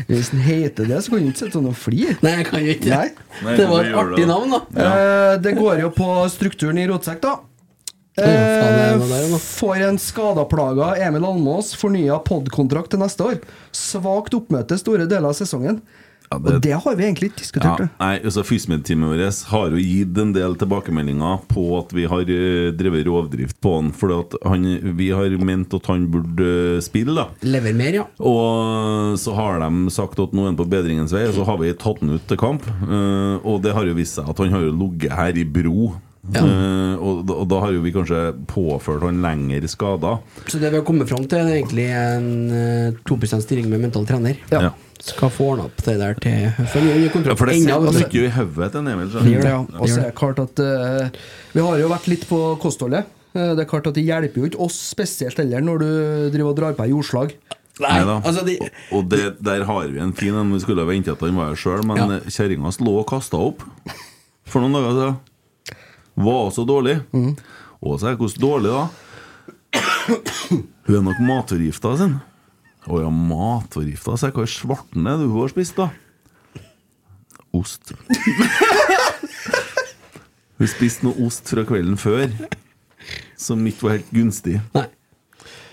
S6: Hvis den heter det, så kan du ikke sitte sånn og flire.
S7: Nei, jeg kan jo ikke.
S6: Nei.
S7: Det var et artig navn, da.
S6: Eh, det går jo på strukturen i rotsekk, da.
S7: faen, det var
S6: Eh, får en skadeplaga Emil Almås fornya podkontrakt til neste år. Svakt oppmøte store deler av sesongen. Og det har vi egentlig ikke
S4: Ja,
S6: diskutert. det.
S4: nei, altså Fysiomedteamet vårt har jo gitt en del tilbakemeldinger på at vi har eh, drevet rovdrift på han. For at han, vi har ment at han burde eh, spille, da.
S7: Lever mer, ja.
S4: Og så har de sagt at nå er han på bedringens vei, og så har vi tatt han ut til kamp. Eh, og det har jo vist seg at han har jo ligget her i bro. Eh, og, da, og da har jo vi kanskje påført han lengre skader.
S7: Så det vi har kommet fram til, er egentlig en eh, 2 stilling med mental trener.
S4: Ja.
S7: Skal få ordna opp det der til før vi gjør
S4: Ja,
S7: kontrakt.
S4: for det
S7: Enda,
S4: sitter
S7: altså.
S4: mye i hodet til en Emil.
S6: Det gjør det, ja. Og så er det klart at eh, Vi har jo vært litt på kostholdet. Eh, det er klart at det hjelper jo ikke oss spesielt heller når du driver og drar på deg jordslag.
S4: Nei da.
S6: altså, de-
S4: Og, og det, der har vi en fin en. Vi skulle ha venta til han var her sjøl, men
S6: Ja.
S4: eh, kjerringa hans lå og kasta opp for noen dager siden. Var så dårlig.
S6: Mm.
S4: Og så er jeg hvordan dårlig, da? Hun er nok matforgifta sin. Å ja, matforgifta seg? Hva er svarten er det hun har spist, da? Ost. Hun spiste noe ost fra kvelden før som ikke var helt gunstig.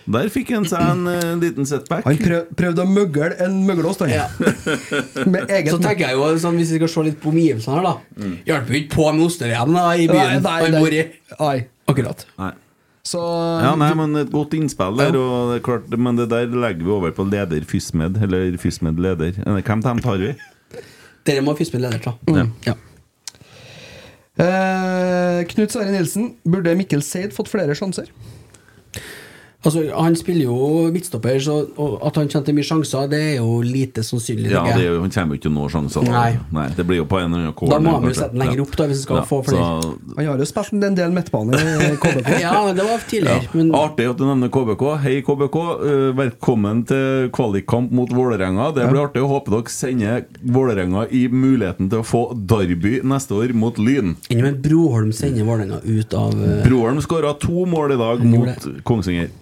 S4: Der fikk han seg en eh, liten setback.
S6: Han prøv, prøvde å møgle en møgleost, han. Med egen
S7: Så tenker jeg jo sånn, Hvis vi skal se litt på omgivelsene her, da.
S4: Mm.
S7: Hjelper jo ikke på med ostevm da, i byen
S6: Nei, nei,
S7: han
S6: nei.
S7: bor i. Akkurat.
S4: Nei.
S6: Så
S4: Ja, nei, men Et godt innspill der, og det er klart, men det der legger vi over på leder Fysmed. Eller Fysmed leder. Eller Hvem dem tar vi?
S7: Dere må fysse med leder, da.
S6: Mm. Eh, Knut Sverre Nilsen, burde Mikkel Seid fått flere sjanser?
S7: Altså, Han spiller jo midtstopper, så og at han kjente mye sjanser, det er jo lite sannsynlig.
S4: Ja,
S7: tenker jeg.
S4: det er jo, Han kommer jo ikke til noen sjanser. da.
S7: Nei.
S4: nei, Det blir jo på en eller annen
S7: Da
S4: corner.
S7: må han jo
S4: kanskje.
S7: sette den lenger
S4: Ja.
S7: opp, da, hvis han skal
S4: Ja,
S7: få flere.
S4: så-
S6: Han har jo spilt en del midtbane i KBK.
S7: Ja, det var
S4: Ja.
S7: tidligere.
S4: Artig at du nevner KBK. Hei, KBK. eh, Velkommen til kvalikkamp mot Vålerenga. Det blir artig. og Håper dere sender Vålerenga i muligheten til å få Derby neste år mot Lyn.
S7: Enda med Broholm sender Vålerenga ut av eh,
S4: Broholm skåra to mål i dag mot Kongsvinger.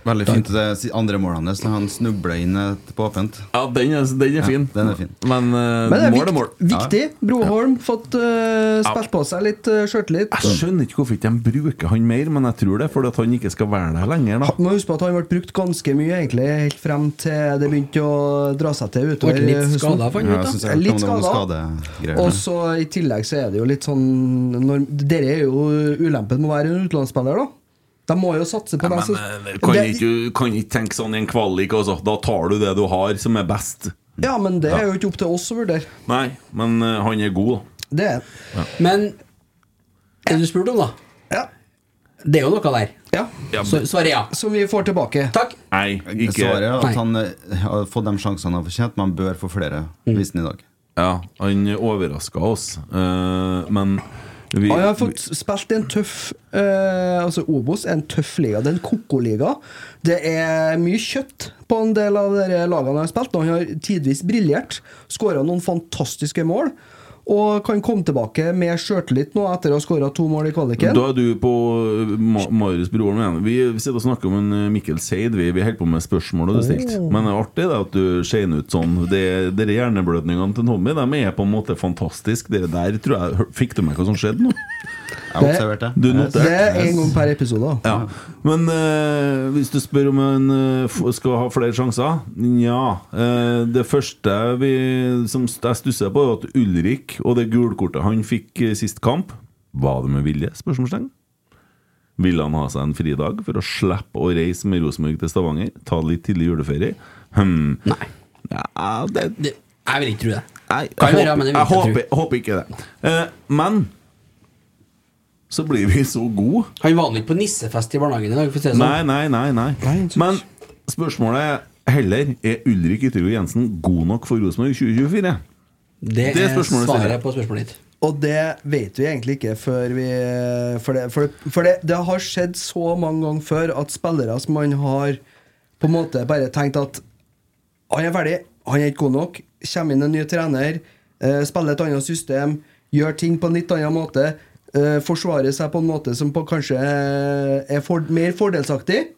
S8: Veldig fint det si- andre målet hans. når Han snubler inn et på åpent.
S4: Ja, den er, den er
S8: Ja,
S4: fin.
S8: den er fin.
S4: Men,
S8: Men
S4: eh,
S8: det er
S4: mål er
S8: vikt-
S4: mål.
S6: Viktig. Broholm fått eh,
S4: Ja.
S6: spilt på seg litt uh, sjøltillit.
S4: Jeg skjønner ikke hvorfor ikke de bruker han mer, men jeg tror det er fordi at han ikke skal være der lenger. da
S6: Må huske på at han ble brukt ganske mye egentlig helt frem til det begynte å dra seg til utover
S8: Ble litt
S6: høsten.
S8: skadet, fant vi ut, da. Ja, jeg synes jeg hørte om
S6: Litt
S8: det var
S6: skada.
S8: noen skadegreier der.
S6: Og så i tillegg så er det jo litt sånn når, Dere er jo ulempen med å være en utenlandsspiller, da. De må jo satse på dem.
S4: Men, eh,
S6: så-
S4: kan,
S6: Altså, Det-
S4: ikke, kan ikke tenke sånn i en kvalik, altså. Da tar du det du har, som er best.
S6: Ja, men det er
S4: Ja.
S6: jo ikke opp til oss å vurdere.
S4: Nei, men eh, han er god, da.
S6: Det er
S4: Ja.
S7: Men det du spurte om, da. Det er jo noe der.
S4: Ja,
S7: Så, svaret er ja.
S6: Som vi får tilbake.
S7: Takk.
S4: Nei, ikke
S8: Svaret er
S4: Nei.
S8: at han eh, har fått de sjansene han har fortjent, men han bør få flere,
S6: Mm.
S8: viser han i dag.
S4: Ja, han overraska oss, eh, men vi
S6: Han Ah, har fått spilt i en tøff eh, Altså Obos er en tøff liga. Det er en koko-liga. Det er mye kjøtt på en del av de lagene han har spilt. og Han har tidvis briljert. Skåra noen fantastiske mål. Og kan komme tilbake med sjøltillit nå etter å ha skåra to mål i kvaliken.
S4: Da er du på eh, Ma Marius Broholm igjen. Vi sitter og snakker om en eh, Mikkel Seid. Vi, vi holder på med spørsmål og det er stilt.
S6: Oh.
S4: Men det er artig det at du skjener ut sånn. Det, dere hjerneblødningene til Tommy De er på en måte fantastisk Dere der tror jeg hør- Fikk du med hva som skjedde nå?
S6: Det- observerte.
S4: Du
S6: Det er
S4: noterte?
S6: én Eh, gang per episode. da.
S4: Ja. Men eh, hvis du spør om han eh, f- skal ha flere sjanser Nja. Eh, det første vi, som st- jeg stusser på, er at Ulrik og det gulkortet han fikk eh, sist kamp Var det med vilje? spørsmålstegn Ville han ha seg en fridag for å slippe å reise med Rosenborg til Stavanger? Ta litt tidlig juleferie? Hm. Nei. Ja, det,
S7: jeg vil ikke tro det.
S4: Nei,
S7: Kan
S4: jeg,
S7: være, men
S4: håper,
S7: det vil
S4: jeg,
S7: ikke
S4: håper, håper ikke det. Eh, men så blir vi så gode.
S7: Han var nå ikke på nissefest i barnehagen i dag. For å si det sånn.
S4: Nei, nei, nei, nei. Men spørsmålet er heller er Ulrik Yttergård Jensen god nok for Rosenborg 2024.
S7: Det,
S4: det er
S7: er
S4: spørsmålet jeg
S7: Eh, svaret
S4: stiller.
S7: på spørsmålet ditt.
S6: Og det vet vi egentlig ikke før vi For det, for det, for det, det har skjedd så mange ganger før at spillere som man har på en måte bare tenkt at han er ferdig, han er ikke god nok, kommer inn en ny trener, eh, spiller et annet system,
S7: gjør ting på en litt annen måte, eh, forsvarer seg på en måte som på kanskje eh, er for, mer fordelsaktig.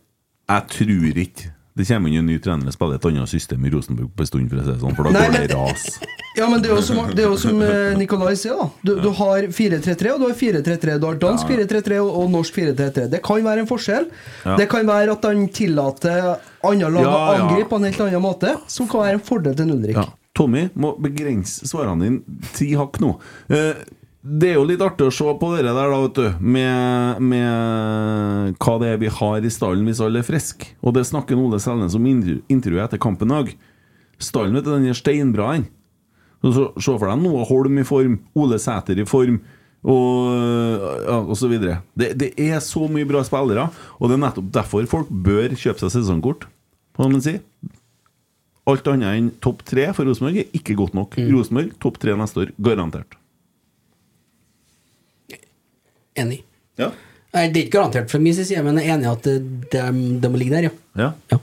S4: Jeg tror ikke det kommer inn en ny trener og spiller et annet system i Rosenborg på en stund, for å si det sånn, for da
S7: Nei,
S4: går det
S7: men-
S4: ras.
S7: Ja, men det er jo som, det er jo som eh, Nikolai sier, da. Du, du har 4-3-3, og du har 4-3-3. Du har dansk 4-3-3 og, og norsk 4-3-3. Det kan være en forskjell.
S4: Ja.
S7: Det kan være at han tillater andre lag å
S4: Ja, ja.
S7: angripe på en helt annen måte, som kan være en fordel til Nundrik.
S4: Ja. Tommy, må begrense svarene dine ti hakk nå. Eh, Det er jo litt artig å se på det der, da, vet du, med, med hva det er vi har i stallen hvis alle er friske. Og det snakker Ole Selnes om i intervju- intervjuet etter kampen i dag. Stallen, vet du, den er steinbra, den. Så- så- Se for deg Noah Holm i form, Ole Sæter i form, og, ja, og så videre. Det, det er så mye bra spillere, og det er nettopp derfor folk bør kjøpe seg sesongkort, kan man si. Alt annet enn topp tre for Rosenborg er ikke godt nok. Rosenborg topp tre neste år, garantert.
S17: Enig.
S4: Ja.
S17: Nei, Det er ikke garantert fra min side, men jeg er enig i at det, det, det må ligge der, ja.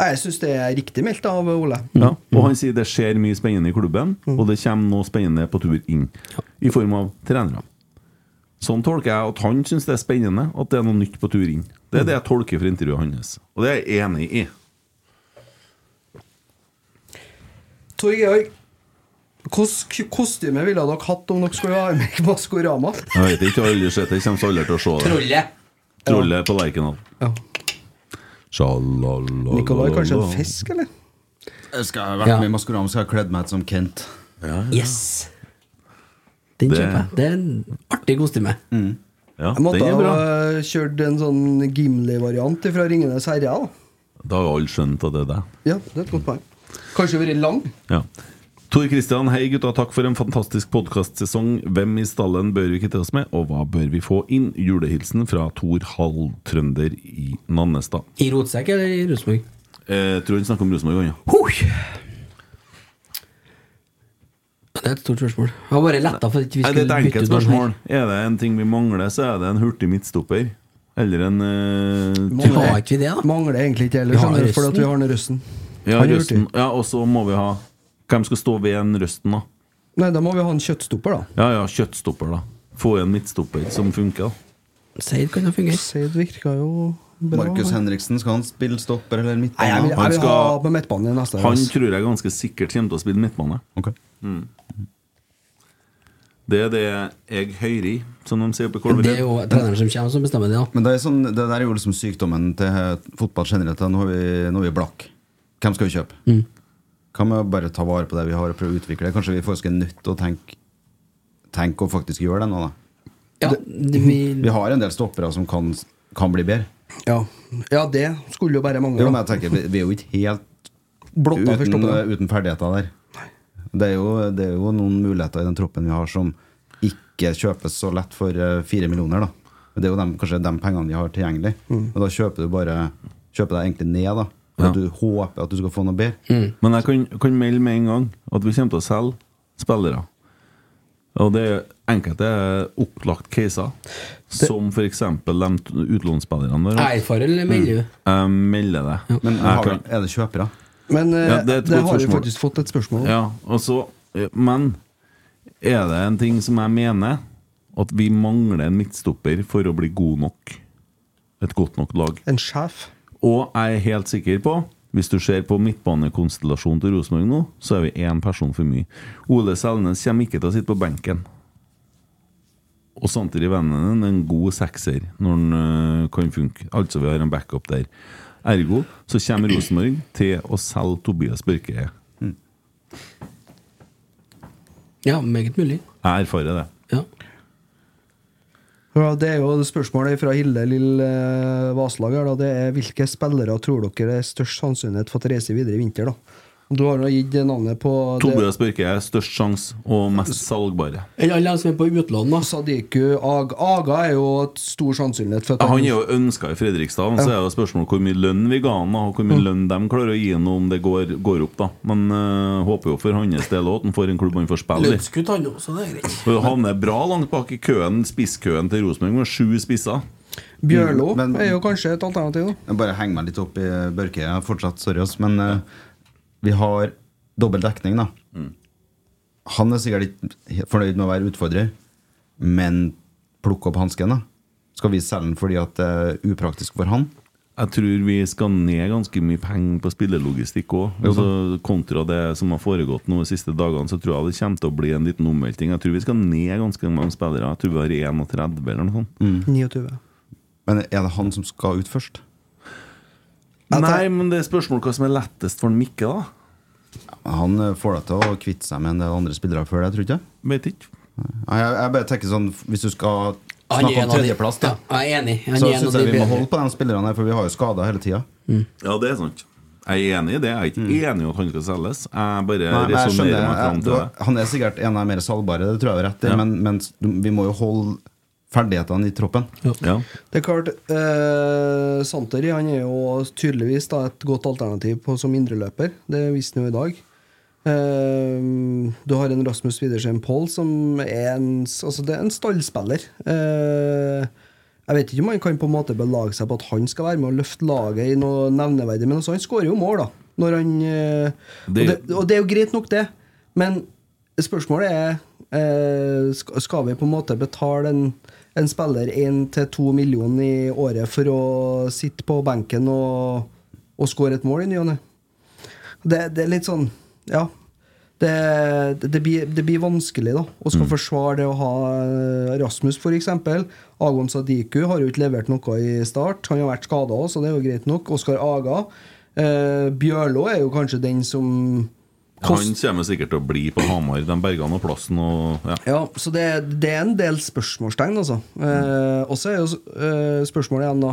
S7: Nei, Jeg syns det er riktig meldt av Ole.
S4: Ja. Og han sier det skjer mye spennende i klubben, og det kommer noe spennende på tur inn. I form av trenere. Sånn tolker jeg at han syns det er spennende at det er noe nytt på tur inn. Det er det jeg tolker fra intervjuet hans, og det er jeg enig i.
S7: Tor Georg, hvilket kostyme ville dere hatt om dere skulle ha med i Maskorama?
S4: Jeg vet ikke, jeg har aldri sett det. Jeg kommer så aldri til å se det. Trollet på Lerkendal.
S7: Ja.
S4: Sjalalala.
S7: Nikolai, kanskje en fisk, eller?
S6: Jeg skal ha vært
S7: Ja.
S6: med i Maskorama, skal ha kledd meg ut som Kent.
S17: Yes! Den
S6: Det-
S17: kjøper jeg. Det er en artig kostyme.
S7: Jeg måtte ha kjørt en sånn Gimli-variant fra Ringenes herre. Da.
S4: Da har jo alle skjønt at det er deg.
S7: Ja, det er et godt poeng. Kanskje vært lang.
S4: Ja. Tor Kristian, hei gutta, takk for en fantastisk podcastsesong Hvem i stallen bør vi kvitte oss med, og hva bør vi få inn? Julehilsen fra Tor Hall, trønder i Nannestad.
S17: I rotsekk eller i Rosenborg?
S4: Eh, tror han snakker om Rosenborg, han, ja.
S17: Det er et stort spørsmål. Jeg var bare letta for at vi
S4: Nei, Det er
S17: skulle
S4: et
S17: bytte
S4: enkelt
S17: ut noen
S4: spørsmål.
S17: her.
S4: Er det en ting vi mangler, så er det en hurtig midtstopper. Eller en eh,
S17: ikke vi det, da?
S7: Mangler egentlig ikke
S4: Vi
S7: heller,
S4: har
S7: skjønner du, fordi at vi
S4: Røsten.
S7: har den Røsten.
S4: Ja,
S7: Han er
S4: røsten. ja, og så må vi ha Hvem skal stå ved en røsten, da?
S7: Nei, da må vi ha en kjøttstopper, da.
S4: Ja, ja, kjøttstopper, da. Få en midtstopper som funker. da.
S17: Seid kan jo fungere.
S7: Seid virka jo bra.
S6: Markus Henriksen, skal han spille stopper eller
S7: Nei, jeg vil,
S6: midtbane?
S7: jeg vil ha på midtbanen neste år.
S4: Han
S7: ass.
S4: tror jeg ganske sikkert kommer til å spille midtbane. Mm. Det er det jeg hører i, som de sier på Kolvereid.
S17: kommer som bestemmer det, ja.
S6: Men det, er sånn, det der er jo liksom sykdommen til eh, fotball generelt. da. Nå er vi, nå er vi blakk. Hvem skal vi kjøpe?
S17: Mm.
S6: Kan vi bare ta vare på det vi har, og prøve å utvikle det? Kanskje vi faktisk er nødt til å tenke Tenk å faktisk gjøre det nå, da.
S17: det- vi-
S6: vi har en del stoppere som kan, kan bli bedre.
S7: Ja. ja, det skulle jo bare mangle.
S6: Jo,
S7: da.
S6: men jeg tenker, vi, vi er jo ikke helt
S7: Blotta for
S6: uten,
S7: stoppere.
S6: uten ferdigheter der. Det er, jo, det er jo noen muligheter i den troppen vi har som ikke kjøpes så lett for eh, fire millioner. Da. Det er jo dem, kanskje de pengene de har tilgjengelig.
S4: Mm.
S6: Og da kjøper du bare Kjøper deg egentlig ned, da. For
S4: Ja. Mm.
S6: at du håper at du skal få noe bedre.
S4: Men jeg kan, kan melde med en gang at vi kommer til å selge spillere. Og det er enkelte er opplagt caser, som f.eks. de t- utlånsspillerne våre.
S17: Eierfare, eller melder du?
S4: Mm. Jeg melder det.
S6: Men
S4: Jeg
S6: har,
S4: kan-
S6: er det kjøpere?
S7: Men eh,
S4: Ja, det er
S7: det,
S4: et godt
S7: har vi
S4: spørsmål.
S7: faktisk fått et spørsmål om.
S4: Ja, og så, eh, men er det en ting som jeg mener at vi mangler en midtstopper for å bli god nok? Et godt nok lag.
S7: En sjef.
S4: Og jeg er helt sikker på hvis du ser på midtbanekonstellasjonen til Rosenborg nå, så er vi én person for mye. Ole Selnes kommer ikke til å sitte på benken. Og samtidig vender han en god sekser når han øh, kan funke. Altså vi har en backup der. Ergo så kommer Rosenborg til å selge Tobias Børke.
S17: Ja, meget mulig.
S4: Jeg erfarer det.
S7: Ja, det er jo det spørsmålet fra Hilde Lill eh, Vaslag her, da. Det er hvilke spillere tror dere er størst sannsynlighet for at reiser videre i vinter, da? Du har jo gitt navnet på
S4: Tobias Børke er størst sjanse og mest salgbare.
S17: Eller alle som er på utlån, da.
S7: Sadiku Aga, Aga er jo et stor sannsynlighet for at
S4: Han er jo ønska i Fredrikstad, men så
S7: Ja.
S4: er jo spørsmålet hvor mye lønn vi ga han, da, og hvor mye
S7: Mm.
S4: lønn de klarer å gi han om det går, går opp. da Men øh, håper jo for hans del òg at han får en klubb han får spille i.
S17: Lønnskutt han også, det er greit.
S4: Og Havner bra langt bak i køen, spisskøen til Rosenborg med sju spisser.
S7: Mm, Bjørlo er jo kanskje et alternativ, da.
S6: Jeg bare henger meg litt opp i Børke. Jeg er fortsatt sorry, ass, men eh, vi har dobbel dekning, da. Han er sikkert ikke helt fornøyd med å være utfordrer, men plukke opp hansken, da. Skal vi selge den fordi at det er upraktisk for han?
S4: Jeg tror vi skal ned ganske mye penger på spillelogistikk òg.
S6: Jo da.
S4: kontra det som har foregått nå de siste dagene, så tror jeg det kommer til å bli en liten omvelting. Jeg tror vi skal ned ganske mange spillere. Jeg tror vi har 31 eller noe sånt.
S7: 29.
S6: Men er det han som skal ut først?
S4: Nei, men det er spørsmål hva som er lettest for Mikke, da.
S6: Han eh, får deg til å kvitte seg med en del andre spillere før det, tror du ikke?
S4: Vet ikke.
S6: Jeg, jeg bare tenker sånn, hvis du skal
S18: Han er en
S6: snakke om
S18: av de-
S6: tredjeplass, da,
S18: Ja, jeg er enig. Han
S6: så
S18: er en
S6: syns
S18: av de
S6: jeg vi må
S18: bedre.
S6: holde på de spillerne her, for vi har jo skader hele tida.
S4: Ja, det er sant. Jeg er enig i det. Jeg er ikke enig i at han skal selges. Jeg bare
S6: Mm. Nei, men jeg
S4: resonnerer
S6: skjønner,
S4: meg fram
S6: jeg,
S4: til
S6: du,
S4: det.
S6: han er sikkert en av de mer salgbare, det tror jeg du har rett i,
S4: Ja.
S6: men, men s- du- vi må jo holde ferdighetene i troppen.
S7: Det er klart, eh, Santeri han er jo tydeligvis da, et godt alternativ på, som indreløper. Det visste han jo i dag. Eh, du har en Rasmus Widersen Pohl som er en, s- altså, det er en stallspiller. Eh, jeg vet ikke om han kan på en måte belage seg på at han skal være med og løfte laget i noe nevneverdig, men altså, han skårer jo mål, da. Når han, eh,
S4: Det-
S7: og, det, og det er jo greit nok, det. Men spørsmålet er eh, sk- Skal vi på en måte betale en, en spiller 1-2 millioner i året for å sitte på benken og, og skåre et mål i ny og ne? Det, det er litt sånn Ja. Det, det, det, blir, det blir vanskelig da å skal forsvare det å ha eh, Rasmus, f.eks. Agon Sadiku har jo ikke levert noe i start. Han har vært skada òg, så det er jo greit nok. Oskar Aga. Eh, Bjørlo er jo kanskje den som
S4: Han kommer sikkert til å bli på Hamar. De berga nå plassen og ja.
S7: Ja, så det, det er en del spørsmålstegn, altså. Eh, og så er jo eh, spørsmålet igjen, da,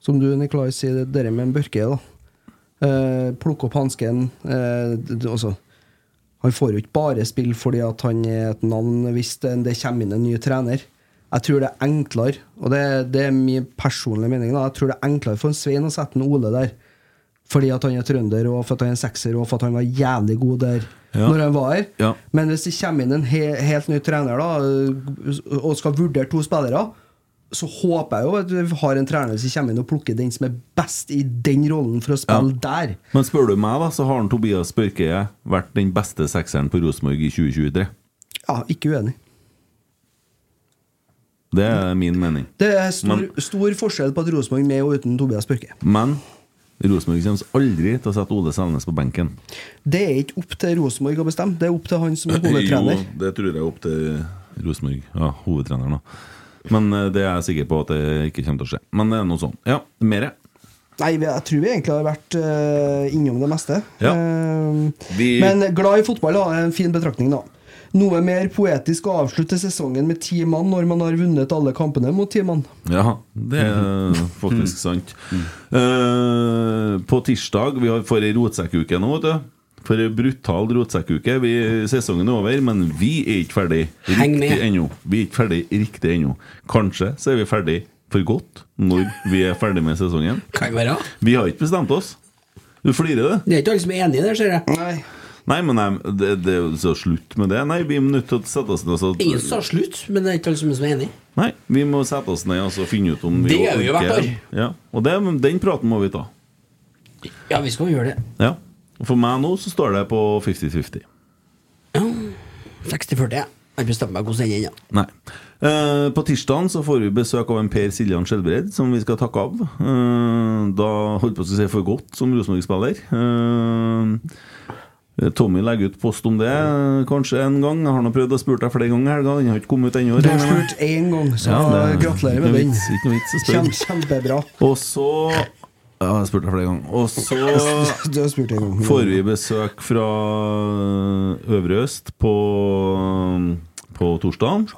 S7: som du, Nikolai, sier, det der med en Børke, da. Eh, plukke opp hansken. Eh, d- d- altså, han får jo ikke bare spille fordi at han er et navn hvis det, det kommer inn en ny trener. Jeg tror det er enklere, og det, det er min personlige mening, da. jeg tror det er enklere for en Svein å sette en Ole der. Fordi at han er trønder, og for at han er en sekser, og for at han var jævlig god der
S4: Ja.
S7: når han var her.
S4: Ja.
S7: Men hvis det kommer inn en he helt ny trener da, og skal vurdere to spillere, så håper jeg jo at vi har en trener som kommer inn og plukker den som er best i den rollen for å spille der.
S4: Men spør du meg, da, så har han Tobias Børkeie vært den beste sekseren på Rosenborg i 2023.
S7: Ja, ikke uenig.
S4: Det er
S6: Mm.
S4: min mening.
S7: Det er stor,
S4: Men-
S7: stor forskjell på et Rosenborg med og uten Tobias Børke.
S4: Men Rosenborg kommer aldri til å sette Ole Selnes på benken.
S7: Det er ikke opp til Rosenborg å bestemme, det er opp til han som er hovedtrener.
S4: Jo, det tror jeg er opp til Rosenborg. Ja, hovedtreneren, da. Men eh, det er jeg sikker på at det ikke kommer til å skje. Men det er noe sånn. Ja, mere.
S7: Nei, vi- jeg tror vi egentlig har vært eh, innom det meste.
S4: Ja.
S7: Eh,
S4: Vi-
S7: Men glad i fotball da, er en fin betraktning, da. Noe mer poetisk å avslutte sesongen med ti mann når man har vunnet alle kampene mot ti mann.
S4: Ja, det er
S18: Mm.
S4: faktisk sant. Eh, på tirsdag Vi har for ei rotsekkuke nå, vet du. For ei brutal rotsekkuke. Vi- Sesongen er over, men vi er ikke ferdig
S18: Heng med.
S4: riktig ennå. Vi er ikke ferdig riktig ennå. Kanskje så er vi ferdig for godt når vi er ferdig med sesongen.
S18: Kan være.
S4: Vi har ikke bestemt oss. Du flirer, du.
S18: Det er ikke alle som er enig i det, ser jeg.
S7: Nei.
S4: Nei, men nei, det, det er jo så slutt med det. Nei, vi er nødt til å sette oss ned og så-
S18: Ingen sa slutt, men det er ikke alle som er enig.
S4: Nei, vi må sette oss ned og så finne ut om vi
S18: Det gjør vi jo hvert
S4: orker.
S18: år.
S4: Ja, og det, den praten må vi ta.
S18: Ja, vi skal jo gjøre det.
S4: Ja. Og For meg nå så står det på 50-50.
S18: Ja. 60-40. jeg. Jeg har bestemt meg hvordan den er ennå.
S4: Nei. Eh, på tirsdagen så får vi besøk av en Per Siljan Skjelbred, som vi skal takke av. Eh, da holdt på å si for godt som Rosenborg-spiller. Eh, Tommy legger ut post om det eh, kanskje en gang. Jeg har nå prøvd å spørre deg flere ganger i helga. Den har ikke kommet ut ennå.
S7: Du har spurt én gang, så eh,
S4: Ja, det-
S7: gratulerer med
S4: ikke noe
S7: den.
S4: vits- ikke noe vits å spørre.
S7: Kjem- Kjempebra.
S4: Og så Ja, jeg har spurt deg flere ganger. Og så
S7: Du har spurt en gang.
S4: får vi besøk fra eh, Øvre Øst på, eh, på torsdag.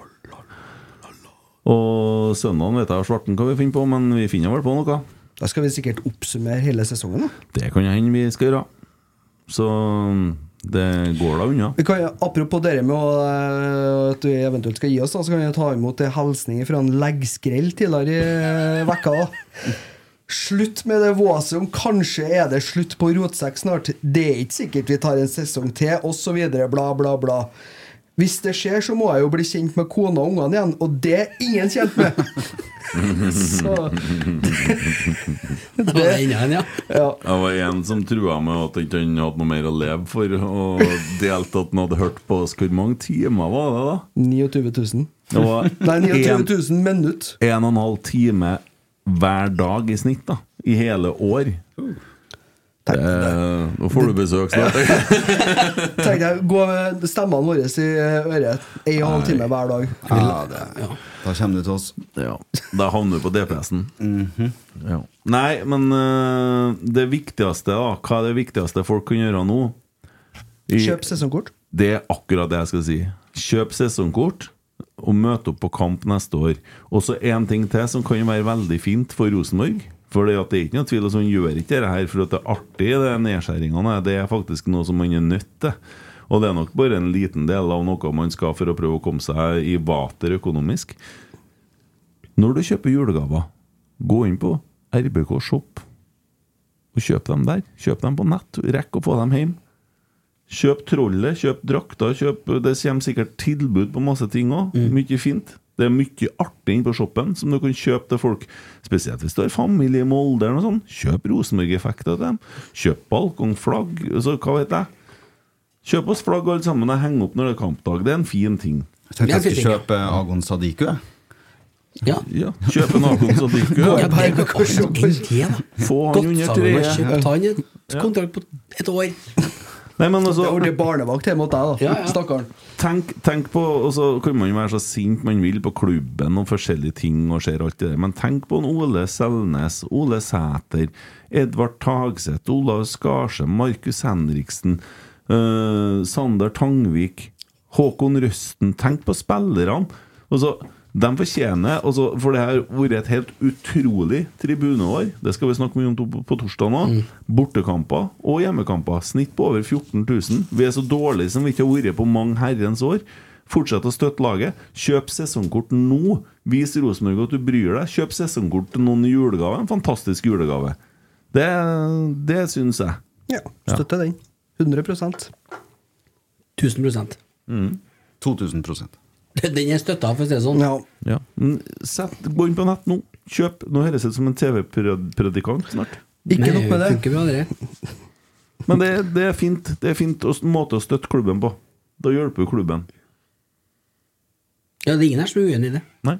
S4: Og søndagen vet jeg svarten hva vi finner på, men vi finner vel på noe.
S7: Da skal vi sikkert oppsummere hele sesongen. da
S4: Det kan hende vi skal gjøre. Så mm, det går da unna.
S7: Vi kan, apropos dere med å, eh, at vi eventuelt skal gi oss, da, så kan vi ta imot en hilsning fra en leggskrell
S6: eh,
S7: tidligere i vekka. da. Slutt med det våset om kanskje er det slutt på rotsekk snart. Det er ikke sikkert vi tar en sesong til, osv. Bla, bla, bla.
S6: Hvis det skjer, så må jeg jo bli kjent med kona og ungene igjen, og det er ingen kjent med! Så-
S7: Det var det ene, ja.
S4: Det var en som trua med at han ikke hadde noe mer å leve for, og delte at han hadde hørt på oss. Hvor mange timer var det, da?
S6: 29 000.
S4: Det var
S6: Nei, 29
S4: en-
S6: 000 minutt.
S4: En og en halv time hver dag i snitt, da. I hele år. Eh, Nå får du besøk snart.
S6: Tenk deg, gå med stemmene våre i øret en og en halv time hver dag.
S4: Ja, Da kommer du til oss. Ja, Da havner du på DPS-en. ja. Nei, men eh, det viktigste, da. Hva er det viktigste folk kan gjøre nå? I-
S6: Kjøp sesongkort.
S4: Det er akkurat det jeg skal si. Kjøp sesongkort og møt opp på kamp neste år. Og så én ting til som kan være veldig fint for Rosenborg. For det at det er ikke noe tvil om at han gjør ikke det her for at det er artig, det er nedskjæringene. Det er faktisk noe som man er nødt til. Og det er nok bare en liten del av noe man skal for å prøve å komme seg i vater økonomisk. Når du kjøper julegaver, gå inn på RBK Shop og kjøp dem der. Kjøp dem på nett. Rekk å få dem hjem. Kjøp trollet, kjøp drakter, kjøp Det kommer sikkert tilbud på masse ting òg.
S7: Mm.
S4: Mye fint. Det er mye artig inne på shoppen som du kan kjøpe til folk. Spesielt hvis du har familie i Molde eller noe sånt. Kjøp Rosenborg-effekter til dem. Kjøp balkongflagg. Så hva vet jeg. Kjøp oss flagg alle sammen og heng opp når det er kampdag. Det er en fin ting.
S8: Jeg tenkte jeg skulle kjøpe Agon Sadiku, jeg.
S7: Ja.
S4: Kjøp en Agon Sadiku.
S7: Ja, det går kanskje opp en te, da.
S4: Få han
S7: Godt
S4: under
S7: sammen med
S4: treet.
S7: kjøpt han
S4: Ja.
S7: en kontrakt på et år.
S4: altså,
S6: Det ordentlig barnevakt hjemme hos deg, da.
S7: Ja, ja.
S6: Stakkaren.
S4: Tenk, tenk på, og så kan man jo være så sint man vil på klubben og forskjellige ting og ser alt det der, men tenk på en Ole Selnes, Ole Sæter, Edvard Tagseth, Olav Skarsheim, Markus Henriksen, eh, Sander Tangvik, Håkon Røsten. Tenk på spillerne. Og så, de fortjener og så- For det har vært et helt utrolig tribuneår. Det skal vi snakke mye om to- på torsdag nå. Bortekamper og hjemmekamper. Snitt på over 14 000. Vi er så dårlige som vi ikke har vært på mange herrens år. Fortsett å støtte laget. Kjøp sesongkort nå. Vis Rosenborg at du bryr deg. Kjøp sesongkort til noen i julegave. En fantastisk julegave. Det, det syns jeg.
S6: Ja, støtter den. 100
S7: 1000
S8: 2000
S7: Den er støtta, for å si det sånn.
S4: Ja. Mm, Sett, gå inn på nett nå. Kjøp. Nå høres det ut som en TV-predikant snart.
S7: Ikke nok med det. Funker bra, dere.
S4: Men det, det er fint. Det er fint å, måte å støtte klubben på. Da hjelper jo klubben.
S7: Ja, det er ingen her som er uenig i det.
S4: Nei.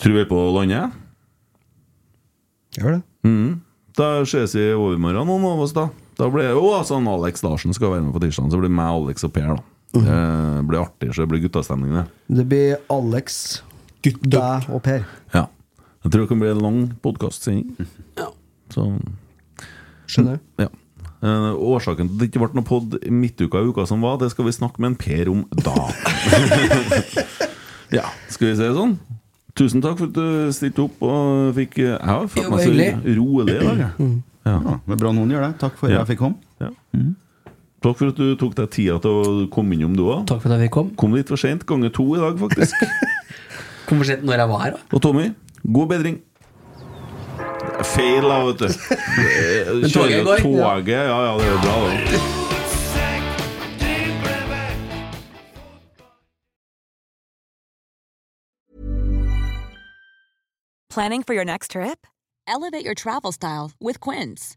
S4: Tror vi på landet?
S6: Gjør det.
S4: Mhm. Da ses vi i overmorgen, noen av oss, da. Da blir det, Å, sånn Alex Larsen skal være med på tirsdag, så blir det meg, Alex og Per, da.
S6: Mm.
S4: Det blir artig, så det blir guttastemning, det.
S6: Det blir Alex, deg og Per.
S4: Ja. Jeg tror det kan bli en lang podkastsending.
S6: Skjønner.
S4: Ja. Eh, årsaken til at det ikke ble noe pod midtuka i uka som var, det skal vi snakke med en Per om da. ja, skal vi se sånn? Tusen takk for at du stilte opp og fikk eh, Jeg har følt
S8: Jo,
S4: meg så
S8: hyggelig.
S4: rolig i dag, jeg.
S8: Mm. Ja, det er bra noen gjør det. Takk for at
S4: Ja.
S8: jeg fikk komme.
S4: Ja. Takk for at du tok deg tida til å komme innom, du òg.
S7: Takk for at jeg fikk komme.
S4: Kom litt for seint, ganger to i dag, faktisk.
S7: Kom for sent når jeg var her,
S4: Og Tommy, god bedring. Det er feil, da, vet du.
S7: Men
S4: Det-
S7: toget
S4: Kjører
S7: går.
S4: toget. Ja, ja, det er jo bra, da.
S19: Planning for your next trip? Elevate your travel style with Quince.